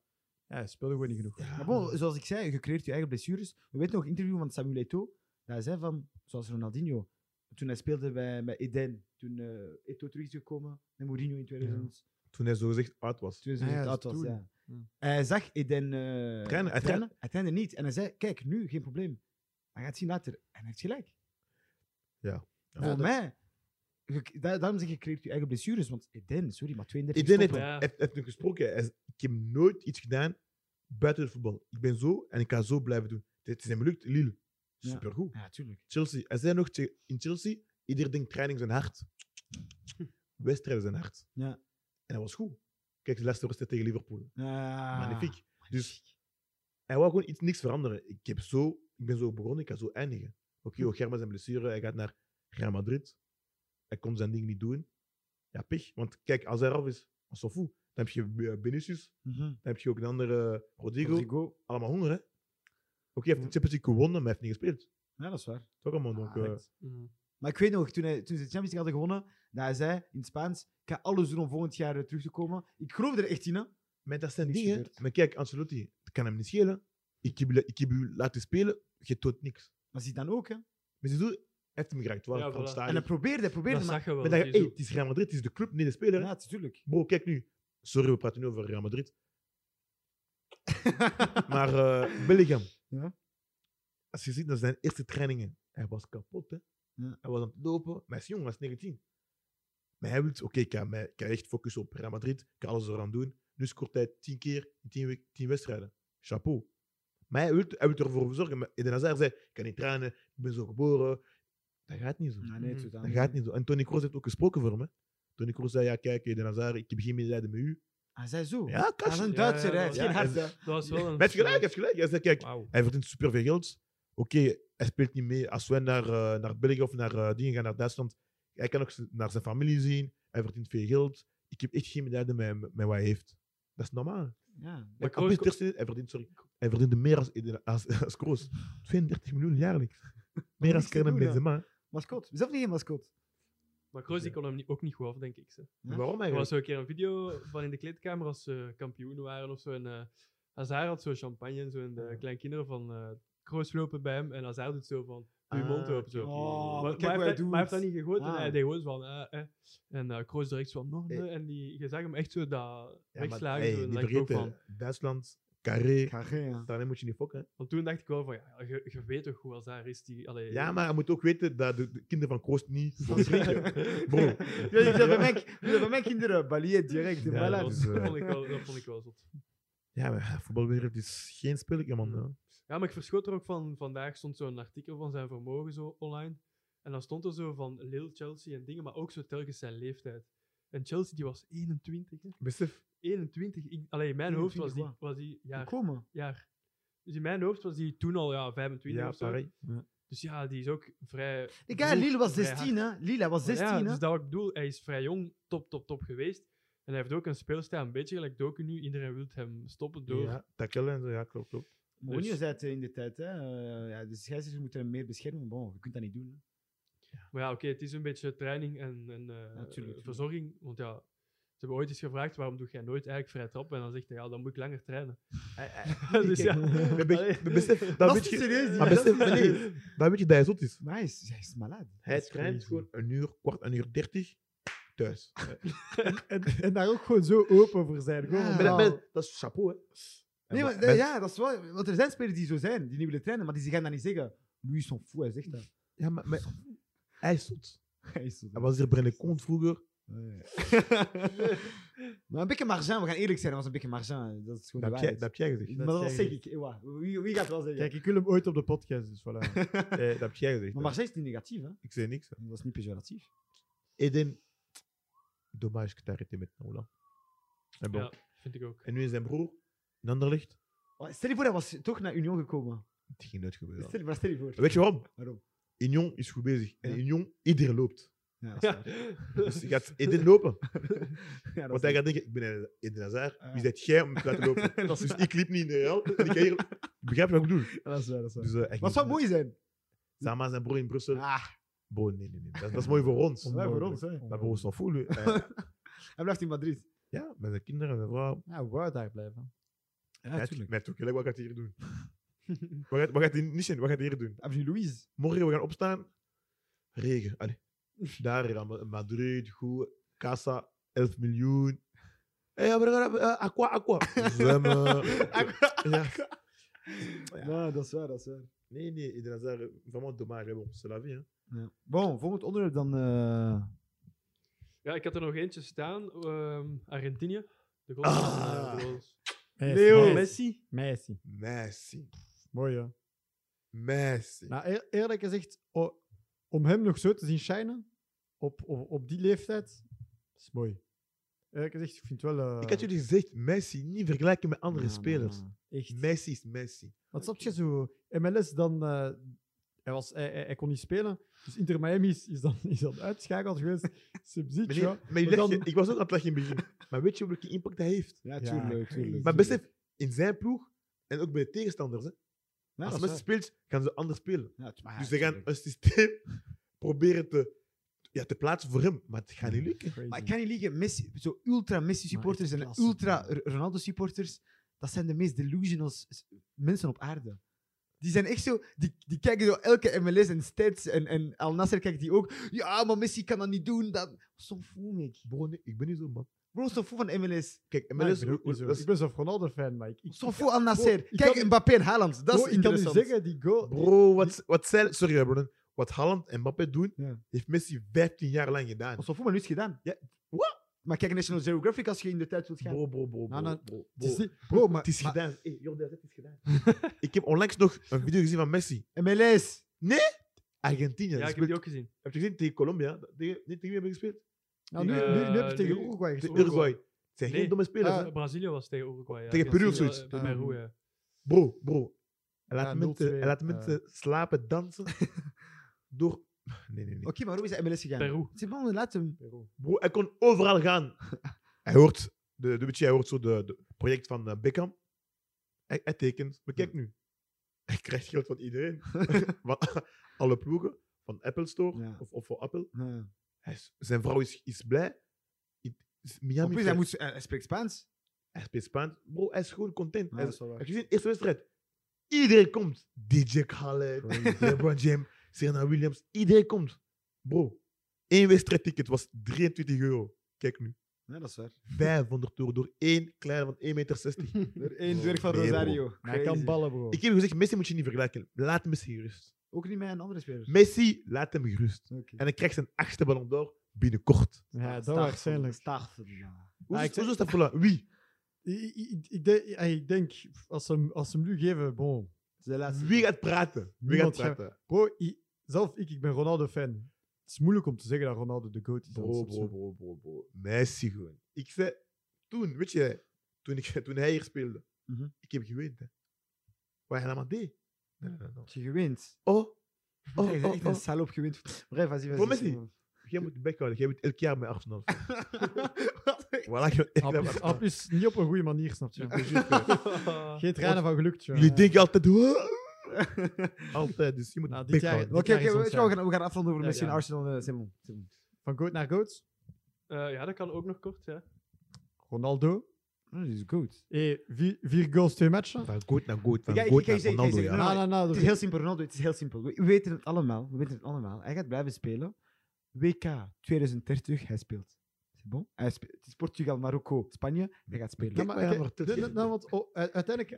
[SPEAKER 2] hij speelde gewoon niet genoeg.
[SPEAKER 4] Maar bon, zoals ik zei, je creëert je eigen blessures. We weten nog een interview van Samuel Eto'o. Dat hij zei van, zoals Ronaldinho, toen hij speelde bij, bij Eden, toen eh Eto'o terug is gekomen, met Mourinho in 2000,
[SPEAKER 3] Toen hij zo gezegd oud was.
[SPEAKER 4] 2000
[SPEAKER 2] Ah ja,
[SPEAKER 4] oud was.
[SPEAKER 2] toen.
[SPEAKER 4] Ja.
[SPEAKER 2] Hmm.
[SPEAKER 4] Hij zag Eden eh
[SPEAKER 3] Trainen, hij trainde.
[SPEAKER 4] Hij trainde niet. En hij zei, kijk, nu, geen probleem. Hij gaat zien later. En hij heeft gelijk.
[SPEAKER 3] Ja,
[SPEAKER 4] Voor
[SPEAKER 3] dat-
[SPEAKER 4] mij, je- da- daarom zeg ik, je creëert je eigen blessures. Want Eden, sorry, maar 32
[SPEAKER 3] Eden heeft,
[SPEAKER 4] stoppen.
[SPEAKER 1] Ja.
[SPEAKER 3] heeft, heeft nu gesproken. Hij is- ik heb nooit iets gedaan buiten het voetbal. Ik ben zo en ik ga zo blijven doen. Het is hem gelukt, Lille.
[SPEAKER 4] Ja.
[SPEAKER 3] Supergoed.
[SPEAKER 4] Ja, tuurlijk.
[SPEAKER 3] Chelsea. Hij zei nog te- in Chelsea: ieder ding training zijn hart. Wedstrijden zijn hart.
[SPEAKER 4] Hm. Ja.
[SPEAKER 3] En hij was goed. Kijk, de laatste wedstrijd tegen Liverpool.
[SPEAKER 4] Ah,
[SPEAKER 3] Magnifiek. Dus hij wou gewoon iets, niks veranderen. Ik, heb zo, ik ben zo begonnen, ik ga zo eindigen.
[SPEAKER 4] Hm.
[SPEAKER 3] Oké, okay, Germa zijn blessure, hij gaat naar Real Madrid. Hij kon zijn ding niet doen. Ja, pech. Want kijk, als hij eraf is, on s'en fout. Dan heb je eh, Vinicius,
[SPEAKER 4] Mhm.
[SPEAKER 3] dan heb je ook een andere eh, Rodrigo.
[SPEAKER 4] Rodrigo.
[SPEAKER 3] Allemaal honger, hè? Oké, hij heeft de Champions League gewonnen, maar hij heeft niet gespeeld.
[SPEAKER 4] Ja, dat is waar.
[SPEAKER 3] Toch allemaal, donc...
[SPEAKER 4] Ah,
[SPEAKER 3] eh,
[SPEAKER 4] dat-
[SPEAKER 1] Mhm.
[SPEAKER 4] Maar ik weet nog, toen, hij, toen ze de Champions League hadden gewonnen, dat hij zei in het Spaans, ik ga alles doen om volgend jaar eh, terug te komen. Ik geloof er echt in, hè.
[SPEAKER 3] maar dat zijn
[SPEAKER 4] niks
[SPEAKER 3] dingen.
[SPEAKER 4] gebeurd.
[SPEAKER 3] Maar kijk, Ancelotti, het kan hem niet schelen. Ik heb, je- ik heb u laten spelen, je toont niks.
[SPEAKER 4] Maar zie dan ook, hè.
[SPEAKER 3] Maar ze doen, heeft hem geraakt. Waar
[SPEAKER 1] Ja,
[SPEAKER 3] het van
[SPEAKER 1] voilà.
[SPEAKER 3] staat.
[SPEAKER 2] En hij probeerde, hij probeerde,
[SPEAKER 1] dat
[SPEAKER 2] maar
[SPEAKER 1] zag je wel.
[SPEAKER 3] Maar dan ga je,
[SPEAKER 1] die
[SPEAKER 3] hey,
[SPEAKER 1] zo-
[SPEAKER 3] het is Real Madrid, het is de club, niet de speler. hè.
[SPEAKER 4] Ja, natuurlijk.
[SPEAKER 3] Bro, kijk nu. Sorry, we praten nu over Real Madrid. maar eh, Bellingham.
[SPEAKER 4] Ah. Ja.
[SPEAKER 3] Als je ziet naar zijn eerste trainingen, hij was kapot. Hè?
[SPEAKER 4] Ja.
[SPEAKER 3] Hij was aan het lopen. Maar hij is jong, hij is 19. Maar hij wil, oké, ik, ga mij- ik ga echt focussen op Real Madrid. Ik ga alles eraan doen. Nu scoort hij 10 keer in 10, week- 10 wedstrijden. Chapeau. Maar hij wil, hij wil ervoor zorgen. Maar Eden Hazard zei, ik kan niet trainen, ik ben zo geboren. Dat gaat niet zo.
[SPEAKER 4] Ja, nee, het is
[SPEAKER 3] Dat gaat niet zo. En Tony Kroos heeft ook gesproken voor me. Tony Kroos zei, ja, kijk, Eden Hazard, ik heb geen medelijden met u.
[SPEAKER 4] Hij zei zo.
[SPEAKER 3] Ja,
[SPEAKER 4] Hij is
[SPEAKER 3] kastje.
[SPEAKER 4] een
[SPEAKER 1] Ja,
[SPEAKER 4] Duitser, hij
[SPEAKER 1] ja,
[SPEAKER 4] heeft
[SPEAKER 3] ja.
[SPEAKER 4] geen hart.
[SPEAKER 3] Ja,
[SPEAKER 4] hè.
[SPEAKER 1] Dat was wel een...
[SPEAKER 3] Met gelijk, hij heeft gelijk. Hij zei, kijk,
[SPEAKER 1] Wauw.
[SPEAKER 3] hij verdient superveel geld. Oké, hij speelt niet mee. Als wij naar, eh, naar België of naar eh, dingen gaan, naar Duitsland, hij kan ook z- naar zijn familie zien. Hij verdient veel geld. Ik heb echt geen medelijden met, met wat hij heeft. Dat is normaal.
[SPEAKER 4] Ja.
[SPEAKER 3] Hij,
[SPEAKER 1] Kroos-
[SPEAKER 3] Kroos, hij verdient, sorry, hij verdient meer als, Eden- als, als Kroos. 32 miljoen jaarlijks. Meer
[SPEAKER 4] niks
[SPEAKER 3] als
[SPEAKER 4] te
[SPEAKER 3] Kern en
[SPEAKER 4] doen, hè.
[SPEAKER 3] Benzema.
[SPEAKER 4] Mascot. Zelf niet geen mascot.
[SPEAKER 1] Maar Kroos die kon hem niet- ook niet goed af, denk ik. Ze.
[SPEAKER 4] Ja.
[SPEAKER 3] Waarom
[SPEAKER 1] Er was
[SPEAKER 3] eigenlijk?
[SPEAKER 1] zo een keer een video van in de kleedkamer als ze kampioen waren of zo. En eh, Hazard had zo champagne en zo. En de kleinkinderen van eh Kroos lopen bij hem. En Hazard doet zo van, doe je mond
[SPEAKER 3] Ah,
[SPEAKER 1] open zo.
[SPEAKER 3] oké.
[SPEAKER 4] Oh,
[SPEAKER 1] maar,
[SPEAKER 4] kijk
[SPEAKER 1] maar hij
[SPEAKER 4] wat hij
[SPEAKER 1] heeft,
[SPEAKER 4] doet.
[SPEAKER 1] maar hij heeft dat niet gegooid.
[SPEAKER 4] Ah.
[SPEAKER 1] En hij deed gewoon zo van, eh, eh. En eh Kroos direct zo van, nog nee. En die, je zag hem echt zo dat
[SPEAKER 3] Ja, maar,
[SPEAKER 1] wegslagen.
[SPEAKER 3] hey,
[SPEAKER 1] zo, en
[SPEAKER 3] niet
[SPEAKER 1] dan dacht ik ook
[SPEAKER 3] vergeten,
[SPEAKER 1] van,
[SPEAKER 3] Duitsland, carré.
[SPEAKER 4] Ik ga geen, ja.
[SPEAKER 3] Daarmee moet je niet fokken. hè.
[SPEAKER 1] want toen dacht ik wel van, ja, je, je weet toch hoe Hazard is. Die, allee,
[SPEAKER 3] Ja, maar je moet ook weten dat de, de kinderen van Kroos niet mogen drinken. Bro.
[SPEAKER 4] Bro. Jullie zijn bij mij- jullie zijn bij mijn kinderen. Balier direct.
[SPEAKER 3] Ja,
[SPEAKER 4] Ja,
[SPEAKER 1] dat,
[SPEAKER 3] voilà,
[SPEAKER 1] was-
[SPEAKER 3] dus, eh.
[SPEAKER 1] dat vond ik wel, dat vond ik wel zot.
[SPEAKER 3] Ja, maar voetbalwereld is geen spelletje, man.
[SPEAKER 1] Mm.
[SPEAKER 3] hè.
[SPEAKER 1] Ja, maar ik verschoot er ook van. Vandaag stond zo'n artikel van zijn vermogen zo online. En dan stond er zo van Lille, Chelsea en dingen, maar ook zo telkens zijn leeftijd. En Chelsea, die was 21. Hè?
[SPEAKER 3] Besef.
[SPEAKER 1] 21. Ik, allee, in mijn hoofd was die,
[SPEAKER 4] 21
[SPEAKER 1] was die jaar,
[SPEAKER 4] Komen.
[SPEAKER 1] jaar. Dus in mijn hoofd was die toen al ja, 25
[SPEAKER 3] Ja,
[SPEAKER 1] of zo.
[SPEAKER 3] pareil.
[SPEAKER 1] Dus ja, die is ook vrij...
[SPEAKER 4] Ik ga,
[SPEAKER 1] vroeg,
[SPEAKER 4] Lille was
[SPEAKER 1] vrij
[SPEAKER 4] 16, hè. Lille, hij was
[SPEAKER 1] hard. Ja,
[SPEAKER 4] 16, hè.
[SPEAKER 1] dus dat wat ik bedoel. Hij is vrij jong, top, top, top geweest. En hij heeft ook een speelstijl, een beetje gelijk Doku nu. Iedereen wil hem stoppen door...
[SPEAKER 3] Ja, tackelen en zo, ja, klopt, klopt.
[SPEAKER 4] Mourinho
[SPEAKER 1] Dus-
[SPEAKER 4] zei het in de tijd, hè. eh, ja, de scheidsrechters moeten hem meer beschermen. Bon, je kunt dat niet doen. hè.
[SPEAKER 1] Maar ja, oké, het is een beetje training en, en eh,
[SPEAKER 4] tuurlijk, tuurlijk.
[SPEAKER 1] verzorging. Want ja, ze hebben ooit eens gevraagd waarom doe jij nooit eigenlijk vrij trappen? En dan zegt hij, ja, dan moet ik langer trainen. dus ja,
[SPEAKER 3] Maar be- maar besef, dat
[SPEAKER 4] Dat
[SPEAKER 3] weet
[SPEAKER 4] is
[SPEAKER 3] je,
[SPEAKER 4] serieus, die
[SPEAKER 3] maar
[SPEAKER 4] gast
[SPEAKER 3] besef,
[SPEAKER 4] is
[SPEAKER 3] nee, dat weet je dat hij zot is.
[SPEAKER 4] Maar hij is, hij is malade.
[SPEAKER 3] Hij
[SPEAKER 1] is
[SPEAKER 3] traint
[SPEAKER 1] crazy.
[SPEAKER 3] gewoon een uur, kwart, een uur dertig, thuis.
[SPEAKER 2] en, en daar ook gewoon zo open voor zijn. Gewoon,
[SPEAKER 4] Ja.
[SPEAKER 3] Maar dat-
[SPEAKER 2] normaal.
[SPEAKER 3] maar dat- dat is chapeau, hè.
[SPEAKER 4] Nee,
[SPEAKER 3] En
[SPEAKER 4] maar,
[SPEAKER 3] wa-
[SPEAKER 4] eh,
[SPEAKER 3] men-
[SPEAKER 4] ja, dat is wel. Want er zijn spelers die zo zijn, die niet willen trainen, maar die gaan dat niet zeggen. Louis s'en fout, hij zegt dat.
[SPEAKER 3] ja, maar, maar hij is zot.
[SPEAKER 4] Hij is zo.
[SPEAKER 3] Hij was hier bij de kont vroeger.
[SPEAKER 4] Ja. maar een beetje margin, we gaan eerlijk zijn, dat was een beetje margin. Dat is gewoon de
[SPEAKER 3] Dat heb jij,
[SPEAKER 4] waarheid.
[SPEAKER 3] dat heb jij gezegd.
[SPEAKER 4] maar dat zeg ik. eh, wa, Wie, wie gaat wel zeggen?
[SPEAKER 2] Kijk, ik wil hem ooit op de podcast, dus voilà.
[SPEAKER 3] Eh, dat heb jij gezegd.
[SPEAKER 4] maar Marseille is niet negatief, hè?
[SPEAKER 3] Ik zei niks. hè.
[SPEAKER 4] Dat is niet pejoratief.
[SPEAKER 3] Eden, dommage que t'arrêtes maintenant, là. En, bon.
[SPEAKER 1] ja, vind ik ook.
[SPEAKER 3] en nu is zijn broer in Anderlecht.
[SPEAKER 4] Oh, Stel je voor, hij was toch naar Union gekomen.
[SPEAKER 3] Het ging nooit gebeuren.
[SPEAKER 4] Stel, maar stel je voor.
[SPEAKER 3] Weet je waarom?
[SPEAKER 4] Waarom?
[SPEAKER 3] Union is goed bezig. En
[SPEAKER 4] Ja.
[SPEAKER 3] Union, iedereen loopt.
[SPEAKER 4] Ja, dat is
[SPEAKER 1] Ja.
[SPEAKER 4] waar.
[SPEAKER 3] Dus je gaat Eden lopen.
[SPEAKER 4] Ja, dat is
[SPEAKER 3] Want hij
[SPEAKER 4] waar.
[SPEAKER 3] gaat denken, ik ben Eden Hazard.
[SPEAKER 4] Ah.
[SPEAKER 3] Wie zet jij om te laten lopen?
[SPEAKER 4] Dat is
[SPEAKER 3] dus
[SPEAKER 4] waar.
[SPEAKER 3] ik liep niet in de Real. En ik ga hier... Je begrijpt wat ik bedoel?
[SPEAKER 4] Dat is waar, dat is waar.
[SPEAKER 3] Dus, eh, hij
[SPEAKER 4] Maar
[SPEAKER 3] ging-
[SPEAKER 4] het zou mooi zijn.
[SPEAKER 3] Samen zijn broer in Brussel.
[SPEAKER 4] Ah,
[SPEAKER 3] Bro, nee, nee, nee. Dat, dat is mooi voor ons.
[SPEAKER 4] dat is voor ons, hè.
[SPEAKER 3] Maar broer, s'en fout. lui. Eh,
[SPEAKER 4] Hij blijft in Madrid.
[SPEAKER 3] ja, met zijn kinderen, met zijn vrouw.
[SPEAKER 2] Ja, wou daar blijven.
[SPEAKER 4] Ja,
[SPEAKER 3] Hij heeft-
[SPEAKER 4] tuurlijk.
[SPEAKER 3] hij heeft ook gelijk, wat gaat hij hier doen? wat gaat, wat gaat hij niet zijn? Wat gaat hij hier doen?
[SPEAKER 4] Heb je Louise?
[SPEAKER 3] Morgen, we gaan opstaan. Regen. Allee. Daar in Ma- Madrid, goed. Casa, 11 miljoen. Hé, hey, we gaan eh, aqua, aqua. Zwemmen. ja. Ja.
[SPEAKER 4] Ja, dat Ah, is waar, dat is waar.
[SPEAKER 3] Nee, nee, Eden Hazard, vraiment dommage. Maar bon, c'est la vie. Hè.
[SPEAKER 4] Ja. Bon, volgend onderwerp dan. eh,
[SPEAKER 1] Ja, ik had er nog eentje staan. ehm, Argentinië. De goals.
[SPEAKER 3] Ah.
[SPEAKER 1] Eh, de goals.
[SPEAKER 4] Leo.
[SPEAKER 2] Messi, Messi.
[SPEAKER 1] Messi.
[SPEAKER 2] Messi.
[SPEAKER 3] Messi.
[SPEAKER 2] Mooi, hè?
[SPEAKER 3] Messi.
[SPEAKER 2] Nou, eer- eerlijk gezegd, o- om hem nog zo te zien shinen, op, op, op die leeftijd, is mooi. Eerlijk gezegd, ik vind het wel... eh,
[SPEAKER 3] Ik had jullie gezegd, Messi niet vergelijken met andere
[SPEAKER 4] ja, maar-
[SPEAKER 3] spelers.
[SPEAKER 2] Echt.
[SPEAKER 3] Messi is Messi.
[SPEAKER 2] Want snap je zo, MLS dan... eh, hij, was, hij, hij, hij kon niet spelen, dus Inter Miami is, is, dan, is dan uitschakeld geweest. Subsidio.
[SPEAKER 3] Meneer, maar je
[SPEAKER 2] Maar
[SPEAKER 3] legt
[SPEAKER 2] dan-
[SPEAKER 3] je- ik was ook aan het lachen in het begin. Maar weet je welke impact hij heeft?
[SPEAKER 4] Ja,
[SPEAKER 2] Ja,
[SPEAKER 4] tuurlijk,
[SPEAKER 2] crazy.
[SPEAKER 4] tuurlijk.
[SPEAKER 3] Maar
[SPEAKER 2] Tuurlijk.
[SPEAKER 3] besef, in zijn ploeg en ook bij de tegenstanders. Hè.
[SPEAKER 4] Ja,
[SPEAKER 3] Als
[SPEAKER 4] dat is
[SPEAKER 3] Messi
[SPEAKER 4] waar.
[SPEAKER 3] speelt, gaan ze anders spelen.
[SPEAKER 4] Ja, tu- maar ja,
[SPEAKER 2] Ah,
[SPEAKER 3] dus ze gaan
[SPEAKER 4] tuurlijk.
[SPEAKER 3] een systeem proberen te, ja, te plaatsen voor hem. Maar het gaat niet lukken.
[SPEAKER 2] Crazy.
[SPEAKER 4] Maar ik kan niet liegen, Messi, zo ultra Messi
[SPEAKER 2] Maar
[SPEAKER 4] supporters
[SPEAKER 2] echt
[SPEAKER 4] en
[SPEAKER 2] klasse,
[SPEAKER 4] ultra
[SPEAKER 2] man.
[SPEAKER 4] R- Ronaldo supporters, dat zijn de meest delusional s- s- mensen op aarde. Die zijn echt zo, die, die kijken zo elke MLS en Stats en, en Al Nasser kijkt die ook. Ja, maar Messi kan dat niet doen. Dat... Zo'n fool, mec.
[SPEAKER 3] Bro, nee, ik ben niet zo, man.
[SPEAKER 4] Bro, zo'n fool van MLS.
[SPEAKER 3] Kijk,
[SPEAKER 2] Maar ik
[SPEAKER 3] MLS...
[SPEAKER 2] ben ook niet zo- ik ben zelf Ronaldo-fan, maar ik... ik-
[SPEAKER 4] Zo'n fool Al Nasser.
[SPEAKER 2] Bro, ik
[SPEAKER 4] Kijk,
[SPEAKER 2] kan-
[SPEAKER 4] Mbappé en Haaland. Dat
[SPEAKER 2] Bro,
[SPEAKER 4] is
[SPEAKER 2] ik kan u
[SPEAKER 4] interessant.
[SPEAKER 2] zeggen, die goal... die-
[SPEAKER 3] Bro, wat, wat, zij- sorry, hè, broer. wat Haaland en Mbappé doen,
[SPEAKER 4] Ja.
[SPEAKER 3] heeft Messi 15 jaar lang gedaan.
[SPEAKER 4] Maar zo'n fool, maar nu is het gedaan.
[SPEAKER 3] Ja.
[SPEAKER 4] Wat? Maar kijk, National Geographic als je in de tijd wilt gaan.
[SPEAKER 3] Bro, bro, bro, bro,
[SPEAKER 2] Nou, nou,
[SPEAKER 3] bro,
[SPEAKER 2] het is
[SPEAKER 3] bro.
[SPEAKER 2] niet- Bro, maar...
[SPEAKER 3] Het is
[SPEAKER 2] maar-
[SPEAKER 3] gedaan. Hey, Jordi, het is gedaan. ik heb onlangs nog een video gezien van Messi.
[SPEAKER 4] MLS.
[SPEAKER 3] Argentinië.
[SPEAKER 1] Ja,
[SPEAKER 3] die
[SPEAKER 1] ik heb
[SPEAKER 3] speelt-
[SPEAKER 1] die ook gezien.
[SPEAKER 3] Heb je gezien tegen Colombia? Tegen, nee, tegen wie hebben we gespeeld?
[SPEAKER 2] Nou, nu, nu,
[SPEAKER 1] Eh,
[SPEAKER 2] nu heb je tegen
[SPEAKER 1] nu-
[SPEAKER 2] Uruguay
[SPEAKER 3] Tegen
[SPEAKER 2] gespeeld.
[SPEAKER 3] Uruguay. Het zijn
[SPEAKER 1] Nee.
[SPEAKER 3] geen domme spelers.
[SPEAKER 2] Ah.
[SPEAKER 3] hè.
[SPEAKER 1] Eh, Brazilië was tegen Uruguay. Ja.
[SPEAKER 3] Tegen
[SPEAKER 1] Ja,
[SPEAKER 3] Peru of
[SPEAKER 1] Brazilië,
[SPEAKER 3] zoiets. Ah.
[SPEAKER 1] eh, Peru,
[SPEAKER 2] Ehm,
[SPEAKER 1] ja.
[SPEAKER 3] Bro, bro. Hij
[SPEAKER 2] Ja,
[SPEAKER 3] laat mensen,
[SPEAKER 2] 0-2,
[SPEAKER 3] hij laat
[SPEAKER 2] eh.
[SPEAKER 3] mensen slapen, dansen. door... Nee, nee, nee.
[SPEAKER 4] Oké, maar hoe is hij MLS gegaan?
[SPEAKER 1] Peru.
[SPEAKER 4] Het is bon, laat hem.
[SPEAKER 3] Bro, hij kon overal gaan. hij hoort, de, de, weet je, hij hoort zo de, de project van eh, Beckham. Hij, hij tekent. Maar kijk nu. Hij krijgt geld van iedereen. van alle ploegen. Van Apple Store.
[SPEAKER 4] Ja.
[SPEAKER 3] Of, of voor Apple.
[SPEAKER 4] Ja.
[SPEAKER 3] Hij is- zijn vrouw is, is blij. I- is Miami
[SPEAKER 4] En plus, hij, moet, hij hij spreekt Spaans.
[SPEAKER 3] hij speelt Spaans. Bro, hij is gewoon content.
[SPEAKER 4] Ja,
[SPEAKER 3] Hij
[SPEAKER 4] dat
[SPEAKER 3] is-
[SPEAKER 4] is wel waar.
[SPEAKER 3] heb je gezien, eerste wedstrijd. Iedereen komt. DJ Khaled, LeBron James, Serena Williams. Iedereen komt. Bro, één wedstrijdticket was 23 euro. Kijk nu.
[SPEAKER 4] Ja, dat is waar.
[SPEAKER 3] 500 euro door één kleine van 1,60 meter.
[SPEAKER 2] Mhm.
[SPEAKER 4] Door één dwerg van
[SPEAKER 3] Nee, bro.
[SPEAKER 4] Rosario.
[SPEAKER 2] Maar hij kan
[SPEAKER 4] Crazy.
[SPEAKER 2] ballen, bro.
[SPEAKER 3] Ik heb gezegd, Messi moet je niet vergelijken. Laat Messi gerust.
[SPEAKER 4] Ook niet met een andere speler.
[SPEAKER 3] Messi, laat hem gerust.
[SPEAKER 4] Oké.
[SPEAKER 3] En hij krijgt zijn achtste ballon d'or binnenkort.
[SPEAKER 2] Ja, dat waarschijnlijk.
[SPEAKER 4] Staagverlaag.
[SPEAKER 3] Hoe
[SPEAKER 2] Ah,
[SPEAKER 3] is
[SPEAKER 2] ik
[SPEAKER 3] hoe is dat voor Wie?
[SPEAKER 2] Ik, ik, ik, denk, ik denk, als ze, hem- als ze hem nu geven, bon...
[SPEAKER 4] De laatste.
[SPEAKER 3] Wie gaat praten? Wie gaat
[SPEAKER 2] Ah, Niemand gaat-
[SPEAKER 3] praten?
[SPEAKER 2] Bro, i- zelf ik, ik ben Ronaldo-fan. Het is moeilijk om te zeggen dat Ronaldo de GOAT is.
[SPEAKER 3] Bro, bro, bro, bro, bro. Messi gewoon. Ik zei, toen, weet je, toen, ik, toen hij hier speelde,
[SPEAKER 4] Mhm.
[SPEAKER 3] ik heb gewend. hè. Wat hij allemaal deed. Nee, nee, nee, nee.
[SPEAKER 4] Als je gewint.
[SPEAKER 3] Oh,
[SPEAKER 4] Oh,
[SPEAKER 3] oh,
[SPEAKER 4] echt
[SPEAKER 3] oh,
[SPEAKER 4] een
[SPEAKER 3] oh.
[SPEAKER 4] salop gewint. Bref, vas-y, vas-y.
[SPEAKER 3] Voor Messi. jij moet je bek houden. Jij bent elk jaar met Arsenal.
[SPEAKER 2] Ah,
[SPEAKER 3] voilà, je bent elk jaar met Arsenal.
[SPEAKER 2] App is niet op een goede manier, snap je?
[SPEAKER 3] Ja, precies, hè.
[SPEAKER 2] Geen tranen van geluk, tja.
[SPEAKER 3] Jullie denken altijd... "Huh?" Eh. altijd, dus je moet
[SPEAKER 2] Nou, dit
[SPEAKER 3] bek
[SPEAKER 2] jaar-
[SPEAKER 3] houden.
[SPEAKER 2] dit-
[SPEAKER 4] Oké, oké,
[SPEAKER 2] is ons
[SPEAKER 4] weet je
[SPEAKER 2] jaar.
[SPEAKER 4] wel, we gaan- we gaan afronden over
[SPEAKER 2] Ja,
[SPEAKER 4] Messi en
[SPEAKER 2] ja.
[SPEAKER 4] Arsenal. eh, Simon. Simon.
[SPEAKER 2] Van GOAT naar GOAT.
[SPEAKER 1] Eh, ja, dat kan ook nog kort. Ja.
[SPEAKER 2] Ronaldo.
[SPEAKER 4] Dat Oh, is goed.
[SPEAKER 2] Hey, vier, vier goals, twee matchen. Ah, nou,
[SPEAKER 3] Van goed naar goed, van
[SPEAKER 4] Ik- ik- ik-
[SPEAKER 3] goed
[SPEAKER 4] ik-
[SPEAKER 3] naar
[SPEAKER 4] ik- ik-
[SPEAKER 3] Ronaldo,
[SPEAKER 4] ik- ik-
[SPEAKER 3] ja.
[SPEAKER 2] Na, na, na.
[SPEAKER 4] Het is heel simpel, Ronaldo. Het is heel simpel. We we weten het allemaal. We weten het allemaal. Hij gaat blijven spelen. WK 2030, hij speelt. C'est bon? Hij speelt. Het is Portugal, Marokko, Spanje. Hij gaat spelen.
[SPEAKER 2] Ja, maar,
[SPEAKER 3] Ja,
[SPEAKER 2] kijk,
[SPEAKER 3] maar-
[SPEAKER 2] dit- dit- nou, oh. want oh, u- uiteindelijk...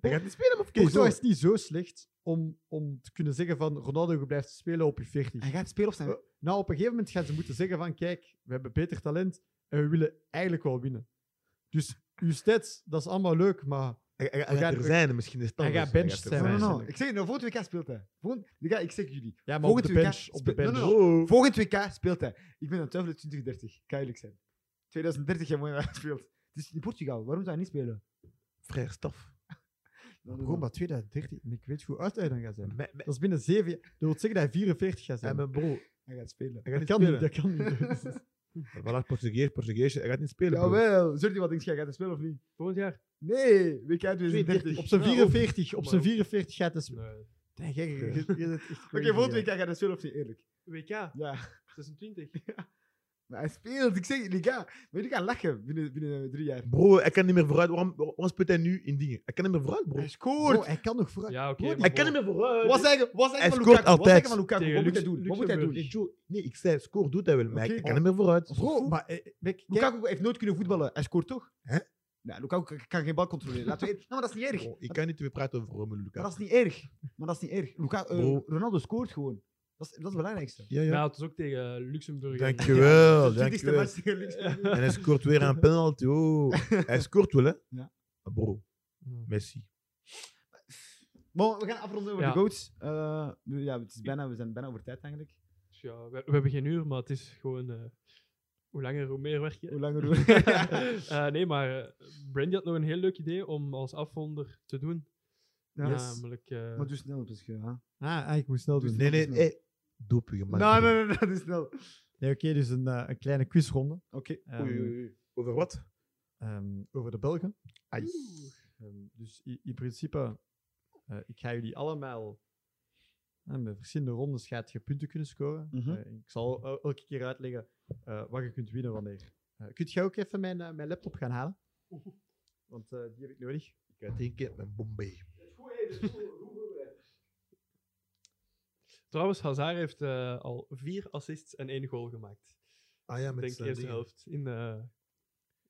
[SPEAKER 3] Hij gaat niet spelen, of kijk,
[SPEAKER 2] Porto
[SPEAKER 3] zo.
[SPEAKER 2] is niet zo slecht om, om te kunnen zeggen van Ronaldo, je blijft spelen op je 40.
[SPEAKER 4] Hij gaat spelen op zijn...
[SPEAKER 2] Eh, Nou, op een gegeven moment gaan ze moeten zeggen van kijk, we hebben beter talent en we willen eigenlijk wel winnen. Dus uw stats, dat is allemaal leuk, maar
[SPEAKER 3] Hij- hij-
[SPEAKER 2] We
[SPEAKER 3] Hij gaat
[SPEAKER 2] gaan-
[SPEAKER 3] er zijn, misschien is het
[SPEAKER 2] Hij
[SPEAKER 3] anders.
[SPEAKER 2] gaat benched
[SPEAKER 3] er
[SPEAKER 2] zijn.
[SPEAKER 4] Nee,
[SPEAKER 2] Ja,
[SPEAKER 4] nee, nee.
[SPEAKER 2] eigenlijk.
[SPEAKER 4] Ik zeg, nou, volgend WK speelt hij. Volgend, de guy, ik zeg jullie.
[SPEAKER 2] ja, maar op
[SPEAKER 4] Volgend
[SPEAKER 2] de
[SPEAKER 4] WK
[SPEAKER 2] bench, op de
[SPEAKER 4] spe-
[SPEAKER 2] bench.
[SPEAKER 4] Nee, nee,
[SPEAKER 3] Bro.
[SPEAKER 4] Volgend WK speelt hij. Ik ben aan het twijfelen 2030. Kan eerlijk zijn. 2030 hebben we hij speelt. Het is in Portugal. Waarom zou hij niet spelen?
[SPEAKER 3] Frère Staf.
[SPEAKER 2] Gewoon maar 2013, en ik weet hoe oud hij dan gaat zijn.
[SPEAKER 3] Me- me-
[SPEAKER 2] Dat is binnen 7 jaar. Dat wil zeggen dat hij 44 gaat
[SPEAKER 3] Ja,
[SPEAKER 2] zijn.
[SPEAKER 3] maar bro,
[SPEAKER 4] Hij gaat spelen.
[SPEAKER 3] hij gaat
[SPEAKER 2] dat
[SPEAKER 3] niet
[SPEAKER 2] kan niet,
[SPEAKER 3] spelen.
[SPEAKER 2] dat kan niet.
[SPEAKER 3] Voilà, Portugees, Portugees. Hij gaat niet spelen. bro.
[SPEAKER 4] Jawel. Zorg wat denk je? Gaat hij spelen of niet?
[SPEAKER 1] Volgend jaar?
[SPEAKER 4] Nee. WK 2030.
[SPEAKER 2] Op zijn
[SPEAKER 1] Ja, ook.
[SPEAKER 2] 44, op
[SPEAKER 1] Maar
[SPEAKER 2] zijn
[SPEAKER 1] ook.
[SPEAKER 2] 44 gaat hij spelen.
[SPEAKER 1] Nee.
[SPEAKER 2] Nee, gek, je- je- je bent echt
[SPEAKER 4] Oké,
[SPEAKER 2] crazy,
[SPEAKER 4] volgend
[SPEAKER 2] ja.
[SPEAKER 4] WK gaat hij spelen of niet? Eerlijk.
[SPEAKER 1] WK
[SPEAKER 4] Ja.
[SPEAKER 1] 26.
[SPEAKER 4] Maar hij speelt. Ik zeg jullie, ga. Maar jullie gaan lachen binnen, binnen drie jaar.
[SPEAKER 3] Bro, hij kan niet meer vooruit. Waarom, waarom speelt hij nu in dingen? Hij kan niet meer vooruit, bro.
[SPEAKER 4] Hij
[SPEAKER 2] Bro,
[SPEAKER 4] scoort.
[SPEAKER 2] hij kan nog vooruit.
[SPEAKER 1] Ja, oké.
[SPEAKER 2] Broer,
[SPEAKER 1] maar
[SPEAKER 3] Hij kan niet
[SPEAKER 1] bon.
[SPEAKER 3] meer vooruit.
[SPEAKER 4] Wat zeggen wat zeggen
[SPEAKER 3] Hij
[SPEAKER 4] van
[SPEAKER 3] scoort
[SPEAKER 4] Lukaku? Wat
[SPEAKER 3] altijd.
[SPEAKER 4] zeggen van Lukaku?
[SPEAKER 1] Eh,
[SPEAKER 4] Wat
[SPEAKER 1] Tegen
[SPEAKER 4] moet hij
[SPEAKER 1] Lux-
[SPEAKER 4] doen? Wat moet hij
[SPEAKER 1] Luxemburg.
[SPEAKER 4] doen?
[SPEAKER 3] Nee, Joe, nee, ik zei, score doet hij wel, maar
[SPEAKER 4] Oké.
[SPEAKER 3] hij kan niet meer vooruit.
[SPEAKER 2] Bro, maar eh, kijk,
[SPEAKER 4] Lukaku heeft nooit kunnen voetballen. Hij scoort toch?
[SPEAKER 3] Hè?
[SPEAKER 4] Nou, Lukaku kan- kan geen bal controleren. Laten we eerlijk- Nou, maar dat is niet erg.
[SPEAKER 3] Bro, ik kan niet weer praten over Romelu
[SPEAKER 4] Maar dat is
[SPEAKER 3] Lukaku.
[SPEAKER 4] niet erg. Maar dat is niet erg. Luka, eh,
[SPEAKER 3] Bro.
[SPEAKER 4] Ronaldo scoort gewoon. Dat is, dat is het belangrijkste.
[SPEAKER 3] Ja,
[SPEAKER 1] Ja,
[SPEAKER 2] Nou,
[SPEAKER 3] ja.
[SPEAKER 1] het is ook tegen Luxemburg.
[SPEAKER 3] Dankjewel,
[SPEAKER 4] Twintigste
[SPEAKER 3] dankjewel.
[SPEAKER 4] match tegen Luxemburg.
[SPEAKER 3] En hij scoort weer een penalty. Oh. Hij scoort wel, hè?
[SPEAKER 4] Ja.
[SPEAKER 3] Maar Bro,
[SPEAKER 1] Ja.
[SPEAKER 3] Messi.
[SPEAKER 4] Maar we gaan afronden over
[SPEAKER 1] Ja.
[SPEAKER 4] de goats. Eh, we- ja, het is bijna, we zijn bijna over tijd eigenlijk.
[SPEAKER 1] Dus Ja, we, we hebben geen uur, maar het is gewoon... eh, hoe langer, hoe meer werk je.
[SPEAKER 4] Hoe langer doen we?
[SPEAKER 1] Eh, nee, maar eh, Brandy had nog een heel leuk idee om als afvonder te doen.
[SPEAKER 4] Ja.
[SPEAKER 1] Namelijk... eh,
[SPEAKER 4] Maar doe snel, dus. Ja. Nee,
[SPEAKER 2] Ah, ik moet snel doen.
[SPEAKER 3] Dus Nee, nee, nee. Doepje gemaakt.
[SPEAKER 4] nee,
[SPEAKER 3] bro.
[SPEAKER 4] nee, nee, doe snel. Oké.
[SPEAKER 2] Nee, oké, dus een, eh, een kleine quizronde. Ehm,
[SPEAKER 3] Oei, oei, oei. Over wat?
[SPEAKER 2] ehm, over de Belgen.
[SPEAKER 3] Ai.
[SPEAKER 2] Ehm, dus i- in principe, eh, ik ga jullie allemaal eh, met verschillende rondes gaat je punten kunnen scoren.
[SPEAKER 4] Mhm.
[SPEAKER 2] Eh, ik zal el- elke keer uitleggen eh, wat je kunt winnen wanneer. Eh kunt jij ook even mijn, eh, mijn laptop gaan halen? Want eh, die heb ik nodig.
[SPEAKER 3] Ik had één keer met Bombay.
[SPEAKER 1] Trouwens, Hazard heeft eh, al vier assists en één goal gemaakt.
[SPEAKER 3] Ah ja,
[SPEAKER 1] Ik
[SPEAKER 3] met
[SPEAKER 1] denk
[SPEAKER 3] zijn
[SPEAKER 1] eerste
[SPEAKER 3] dingen.
[SPEAKER 1] helft in eh,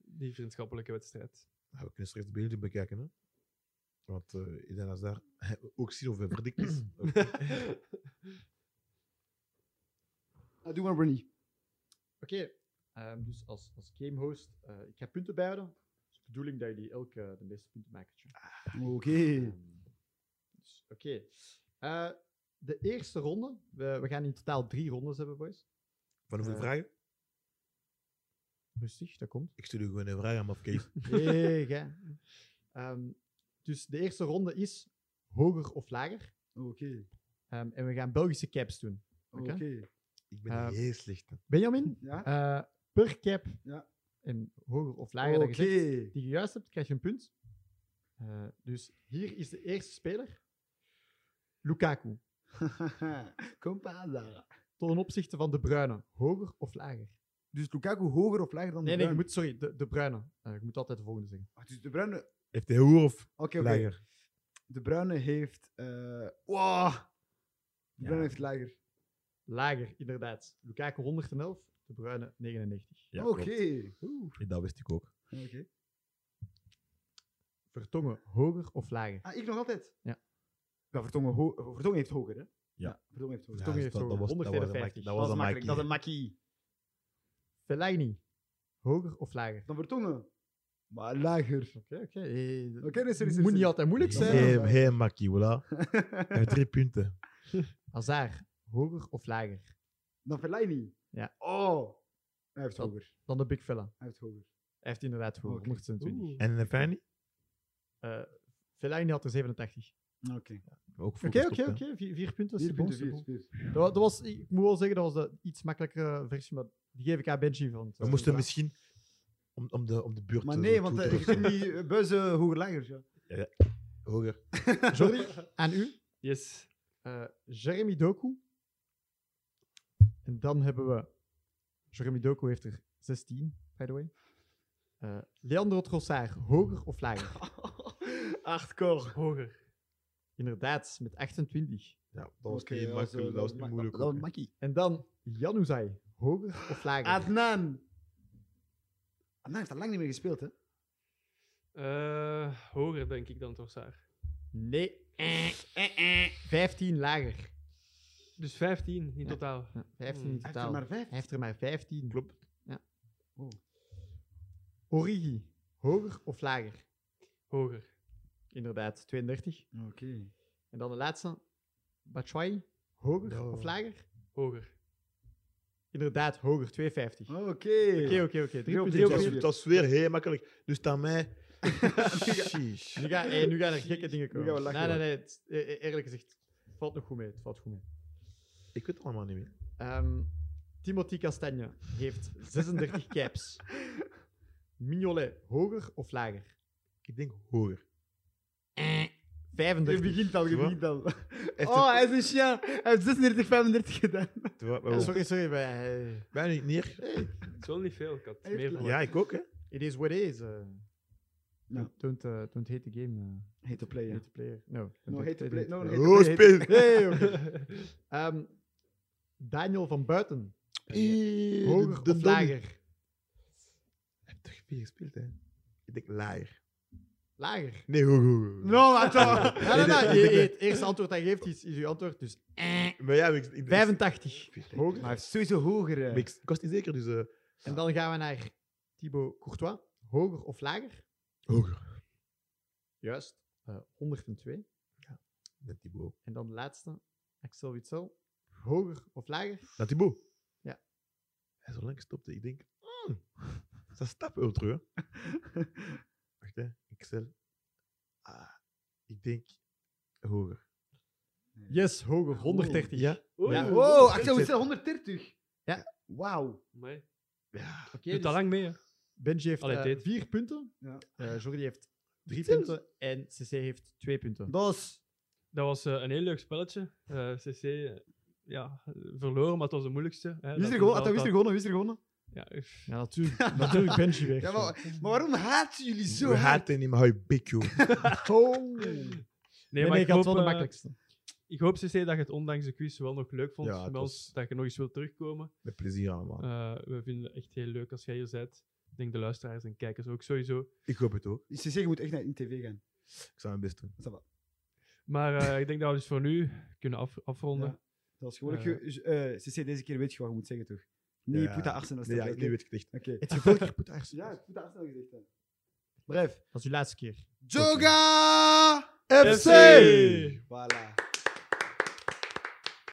[SPEAKER 1] die vriendschappelijke wedstrijd.
[SPEAKER 3] Ja, Ah, we kunnen straks de beelden bekijken. Hè? Want eh Eden Hazard, ook zien of hij verdikt is. Of-
[SPEAKER 4] Ah, doe maar Bernie.
[SPEAKER 2] Oké, ehm, dus als, als gamehost, eh ik ga punten bijhouden. Het is de bedoeling dat jullie elk eh, de meeste punten maken. tja.
[SPEAKER 4] Oké.
[SPEAKER 2] Ehm, dus, Oké. Eh, de eerste ronde, we, we gaan in totaal drie rondes hebben, boys.
[SPEAKER 3] Van hoeveel
[SPEAKER 2] Eh.
[SPEAKER 3] vragen?
[SPEAKER 2] Rustig, dat komt.
[SPEAKER 3] Ik stuur u gewoon een vraag aan, maar Kees.
[SPEAKER 2] Hey, gij. Ehm, dus de eerste ronde is hoger of lager.
[SPEAKER 4] Oké.
[SPEAKER 2] Ehm, en we gaan Belgische caps doen. Oké.
[SPEAKER 4] Oké.
[SPEAKER 3] Ik ben
[SPEAKER 2] Eh.
[SPEAKER 3] heel slecht. hè.
[SPEAKER 2] Benjamin,
[SPEAKER 4] Ja?
[SPEAKER 2] eh, per cap
[SPEAKER 4] Ja.
[SPEAKER 2] en hoger of lager dat je zegt,
[SPEAKER 4] Oké.
[SPEAKER 2] die je juist hebt, krijg je een punt. Eh, dus hier is de eerste speler. Lukaku.
[SPEAKER 4] Compada.
[SPEAKER 2] Ten opzichte van De Bruyne. Hoger of lager?
[SPEAKER 4] Dus Lukaku hoger of lager dan
[SPEAKER 2] Nee,
[SPEAKER 4] De Bruyne?
[SPEAKER 2] nee, je moet, sorry, De, de Bruyne. Eh ik moet altijd de volgende zeggen.
[SPEAKER 4] Ah, dus De Bruyne... Oké,
[SPEAKER 3] Heeft hij hoer of
[SPEAKER 4] oké.
[SPEAKER 3] lager?
[SPEAKER 4] De Bruyne heeft... eh wow. De Bruyne
[SPEAKER 3] Ja.
[SPEAKER 4] heeft lager.
[SPEAKER 2] Lager, inderdaad. Lukaku 111, De Bruyne 99.
[SPEAKER 3] Ja,
[SPEAKER 4] Oké.
[SPEAKER 3] klopt.
[SPEAKER 4] Oeh.
[SPEAKER 3] Ja, Dat wist ik ook.
[SPEAKER 4] Oké.
[SPEAKER 2] Vertongen, hoger of lager?
[SPEAKER 4] Ah, ik nog altijd?
[SPEAKER 2] Ja.
[SPEAKER 4] Ja, Vertongen, ho- Vertongen heeft hoger, hè? Vertongen heeft hoger.
[SPEAKER 3] Ja,
[SPEAKER 2] Vertongen
[SPEAKER 3] dus dat-
[SPEAKER 2] heeft
[SPEAKER 3] dat
[SPEAKER 2] hoger.
[SPEAKER 3] was- dat was een
[SPEAKER 2] 151.
[SPEAKER 3] makkie. Dat was een
[SPEAKER 4] makkelijk. Dat is
[SPEAKER 3] makkie.
[SPEAKER 4] een makkie.
[SPEAKER 2] Fellaini, hoger of lager?
[SPEAKER 4] Dan Vertongen. Maar lager.
[SPEAKER 2] Oké, oké. eh,
[SPEAKER 4] Oké, nee, sorry, sorry.
[SPEAKER 2] Moet niet
[SPEAKER 4] sorry.
[SPEAKER 2] altijd moeilijk zijn.
[SPEAKER 4] Nee.
[SPEAKER 3] Heel, heel makkie, voilà. Hij heeft drie punten.
[SPEAKER 2] Hazard, hoger of lager?
[SPEAKER 4] Dan Verleini.
[SPEAKER 2] Ja.
[SPEAKER 4] Oh. Hij heeft
[SPEAKER 2] Dat-
[SPEAKER 4] hoger.
[SPEAKER 2] Dan de Big Fella.
[SPEAKER 4] Hij heeft hoger.
[SPEAKER 2] Hij heeft inderdaad hoger,
[SPEAKER 4] Oké.
[SPEAKER 2] 126.
[SPEAKER 1] Oeh.
[SPEAKER 3] En een Fanny?
[SPEAKER 2] Eh Fellaini had er 87.
[SPEAKER 4] Oké.
[SPEAKER 3] Ook voor
[SPEAKER 2] Oké, oké,
[SPEAKER 3] gestopt, hè.
[SPEAKER 2] oké. Vier vier punten.
[SPEAKER 4] Vier
[SPEAKER 2] c'est bon,
[SPEAKER 4] punten,
[SPEAKER 2] c'est
[SPEAKER 4] vier,
[SPEAKER 2] bon.
[SPEAKER 4] vier.
[SPEAKER 2] Dat wa- dat was, ik moet wel zeggen, dat was de iets makkelijkere versie, maar die geef ik aan Benji. Want,
[SPEAKER 3] We moesten misschien om, om, de, om de buurt
[SPEAKER 4] Maar
[SPEAKER 3] eh,
[SPEAKER 4] nee,
[SPEAKER 3] toe
[SPEAKER 4] want
[SPEAKER 3] te
[SPEAKER 4] eh, ik
[SPEAKER 3] passen.
[SPEAKER 4] vind die eh, buizen hoger lager. Ja.
[SPEAKER 3] Hoger.
[SPEAKER 2] Jordi, aan u.
[SPEAKER 1] Yes.
[SPEAKER 2] Eh, Jeremy Doku. En dan hebben we... Jeremy Doku heeft er 16, by the way. Eh, Leandro Trossard, hoger of lager?
[SPEAKER 4] Acht kor.
[SPEAKER 1] Hoger.
[SPEAKER 2] Inderdaad, met 28.
[SPEAKER 3] Ja, dat was
[SPEAKER 4] Oké,
[SPEAKER 3] niet
[SPEAKER 4] dat was,
[SPEAKER 3] makkelijk.
[SPEAKER 4] eh,
[SPEAKER 3] dat was niet
[SPEAKER 4] dat-
[SPEAKER 3] moeilijk.
[SPEAKER 4] Dat
[SPEAKER 3] ook,
[SPEAKER 4] was
[SPEAKER 3] hè.
[SPEAKER 4] makkie.
[SPEAKER 2] En dan Jan Ouzai, hoger of
[SPEAKER 4] Ah,
[SPEAKER 2] lager?
[SPEAKER 4] Adnan. Adnan heeft al lang niet meer gespeeld, hè?
[SPEAKER 1] Eh, hoger, denk ik, dan Trossard.
[SPEAKER 2] Nee. 15 lager.
[SPEAKER 1] Dus 15 in
[SPEAKER 2] Ja.
[SPEAKER 1] totaal.
[SPEAKER 2] 15 in
[SPEAKER 1] Heeft
[SPEAKER 4] Hij heeft er
[SPEAKER 2] totaal.
[SPEAKER 4] maar
[SPEAKER 2] Hij
[SPEAKER 4] vijf.
[SPEAKER 2] heeft er maar 15.
[SPEAKER 3] Klopt.
[SPEAKER 2] Ja.
[SPEAKER 4] Oh.
[SPEAKER 2] Origi, hoger of lager?
[SPEAKER 1] Hoger.
[SPEAKER 2] Inderdaad, 32.
[SPEAKER 4] Oké.
[SPEAKER 2] En dan de laatste. Batshuayi, hoger
[SPEAKER 3] Ja.
[SPEAKER 2] of lager?
[SPEAKER 1] Hoger.
[SPEAKER 2] Inderdaad, hoger, 250. Oké,
[SPEAKER 4] Oké.
[SPEAKER 2] oké, oké. Drie
[SPEAKER 4] Drie op
[SPEAKER 2] punten
[SPEAKER 4] drie op
[SPEAKER 3] Het
[SPEAKER 2] voor
[SPEAKER 3] was-
[SPEAKER 4] drie.
[SPEAKER 2] jullie.
[SPEAKER 3] Het was weer heel makkelijk. Dus aan mij. Sheesh.
[SPEAKER 2] Dus Nu, ga, hey, nu gaan er gekke dingen komen.
[SPEAKER 4] gaan we lachen,
[SPEAKER 2] nee, nee,
[SPEAKER 4] man.
[SPEAKER 2] nee. het- eh, eh, eerlijk gezegd, het valt nog goed mee. Het valt goed mee.
[SPEAKER 3] Ik weet het allemaal niet meer.
[SPEAKER 2] Ehm, Timothy Castagne heeft 36 caps. Mignolet, hoger of lager?
[SPEAKER 3] Ik denk hoger.
[SPEAKER 4] Je
[SPEAKER 2] 35.
[SPEAKER 4] begint al, je
[SPEAKER 3] Wat?
[SPEAKER 4] begint al.
[SPEAKER 3] Echt
[SPEAKER 4] Oh, hij is een chien. Hij heeft 36, 35 gedaan.
[SPEAKER 2] Sorry, sorry. maar, eh,
[SPEAKER 3] Bijna niet neer.
[SPEAKER 1] Het is wel niet veel. Ik had
[SPEAKER 4] Heeft
[SPEAKER 1] meer
[SPEAKER 4] la-
[SPEAKER 1] verwacht.
[SPEAKER 3] Ja, ik ook, hè.
[SPEAKER 2] It is what it is. eh.
[SPEAKER 4] Ja.
[SPEAKER 2] Don't, eh, don't hate the game. eh.
[SPEAKER 4] Hate to play,
[SPEAKER 2] Hate the player. No.
[SPEAKER 4] No, hate to play. No, hate to
[SPEAKER 3] Roos,
[SPEAKER 4] play.
[SPEAKER 3] Pim.
[SPEAKER 2] Hey, oké. Ehm, Daniel van Buiten. Hoger of lager?
[SPEAKER 3] Hij heeft toch veel gespeeld, hè. Ik denk lager.
[SPEAKER 2] Lager.
[SPEAKER 3] Nee, hoger. hoger.
[SPEAKER 4] No, maar toch.
[SPEAKER 2] Ja, nee, nee,
[SPEAKER 3] Ik
[SPEAKER 2] je-
[SPEAKER 3] denk-
[SPEAKER 2] je- het eerste antwoord dat je geeft is, is uw antwoord. Dus
[SPEAKER 3] Maar ja, ik... ik
[SPEAKER 2] 85.
[SPEAKER 4] Maar hij heeft sowieso hoger.
[SPEAKER 3] Maar
[SPEAKER 4] eh.
[SPEAKER 3] ik, ik was niet zeker, dus... eh,
[SPEAKER 2] En dan gaan we naar Thibaut Courtois. Hoger of lager?
[SPEAKER 3] hoger.
[SPEAKER 2] Juist. Eh, 102.
[SPEAKER 3] Met Thibaut.
[SPEAKER 2] En dan de laatste. Axel Witsel. Hoger of lager?
[SPEAKER 3] Met Thibaut.
[SPEAKER 2] Ja.
[SPEAKER 3] Hij is al lang gestopt, hè. ik denk... mm, dat stap wel terug, hè. Wacht, hè. Excel. Ah, ik denk... Hoger.
[SPEAKER 2] Yes, hoger. 130.
[SPEAKER 3] Ja.
[SPEAKER 1] Oei.
[SPEAKER 2] Ja.
[SPEAKER 4] Wow, Axel is 130.
[SPEAKER 2] Ja.
[SPEAKER 4] Wauw.
[SPEAKER 1] Amai.
[SPEAKER 3] Ja.
[SPEAKER 2] Oké,
[SPEAKER 1] Doet dat
[SPEAKER 2] dus
[SPEAKER 1] lang mee, hè?
[SPEAKER 2] Benji heeft
[SPEAKER 1] Allee,
[SPEAKER 2] eh,
[SPEAKER 1] dit.
[SPEAKER 2] vier punten.
[SPEAKER 4] Ja.
[SPEAKER 2] Eh, Jordi heeft drie
[SPEAKER 3] Zelfs.
[SPEAKER 2] punten. En CC heeft twee punten.
[SPEAKER 4] Dos.
[SPEAKER 1] Dat was eh, een heel leuk spelletje. Eh, CC eh, ja, verloren, maar het was de moeilijkste. Hè.
[SPEAKER 4] Wie is er
[SPEAKER 1] Dat-
[SPEAKER 4] gewonnen?
[SPEAKER 1] dat-
[SPEAKER 4] Wie is er
[SPEAKER 1] dat-
[SPEAKER 4] gewonnen? Wie is er gewonnen?
[SPEAKER 1] Ja, uff.
[SPEAKER 2] Ja, natuurlijk. natuurlijk Benji weg.
[SPEAKER 4] Ja, maar, maar waarom haten jullie zo
[SPEAKER 3] We
[SPEAKER 4] hard?
[SPEAKER 3] haten hem, hou je bek, joh.
[SPEAKER 2] Oh. Nee,
[SPEAKER 1] Nee, maar
[SPEAKER 2] nee,
[SPEAKER 1] ik
[SPEAKER 2] ik
[SPEAKER 1] hoop,
[SPEAKER 2] had wel de
[SPEAKER 1] eh,
[SPEAKER 2] makkelijkste.
[SPEAKER 1] Ik hoop, CC, dat je het ondanks de quiz wel nog leuk vond.
[SPEAKER 3] Ja, het
[SPEAKER 1] Meld
[SPEAKER 3] was-
[SPEAKER 1] dat je nog eens wilt terugkomen.
[SPEAKER 3] Met plezier allemaal.
[SPEAKER 1] Eh, we vinden het echt heel leuk als jij hier bent. Ik denk de luisteraars en kijkers ook sowieso.
[SPEAKER 3] Ik hoop het ook.
[SPEAKER 4] CC, je moet echt naar in tv gaan.
[SPEAKER 3] Ik zal mijn best doen.
[SPEAKER 4] Ça va.
[SPEAKER 1] Maar eh, ik denk dat we dus voor nu kunnen af- afronden.
[SPEAKER 4] Ja. Dat is gewoon.
[SPEAKER 1] Eh.
[SPEAKER 4] je- eh, CC, deze keer weet je wat je moet zeggen, toch? Nee,
[SPEAKER 3] Ja.
[SPEAKER 4] Puta Arsenal.
[SPEAKER 3] Nee, ja, ik, nu weet ik het echt.
[SPEAKER 4] Oké.
[SPEAKER 2] Het gevoel dat je moet ergens-
[SPEAKER 4] Ja, Puta Arsenal gezegd. hè. Bref.
[SPEAKER 2] Dat is je laatste keer.
[SPEAKER 4] Joga
[SPEAKER 1] FC!
[SPEAKER 4] Voilà.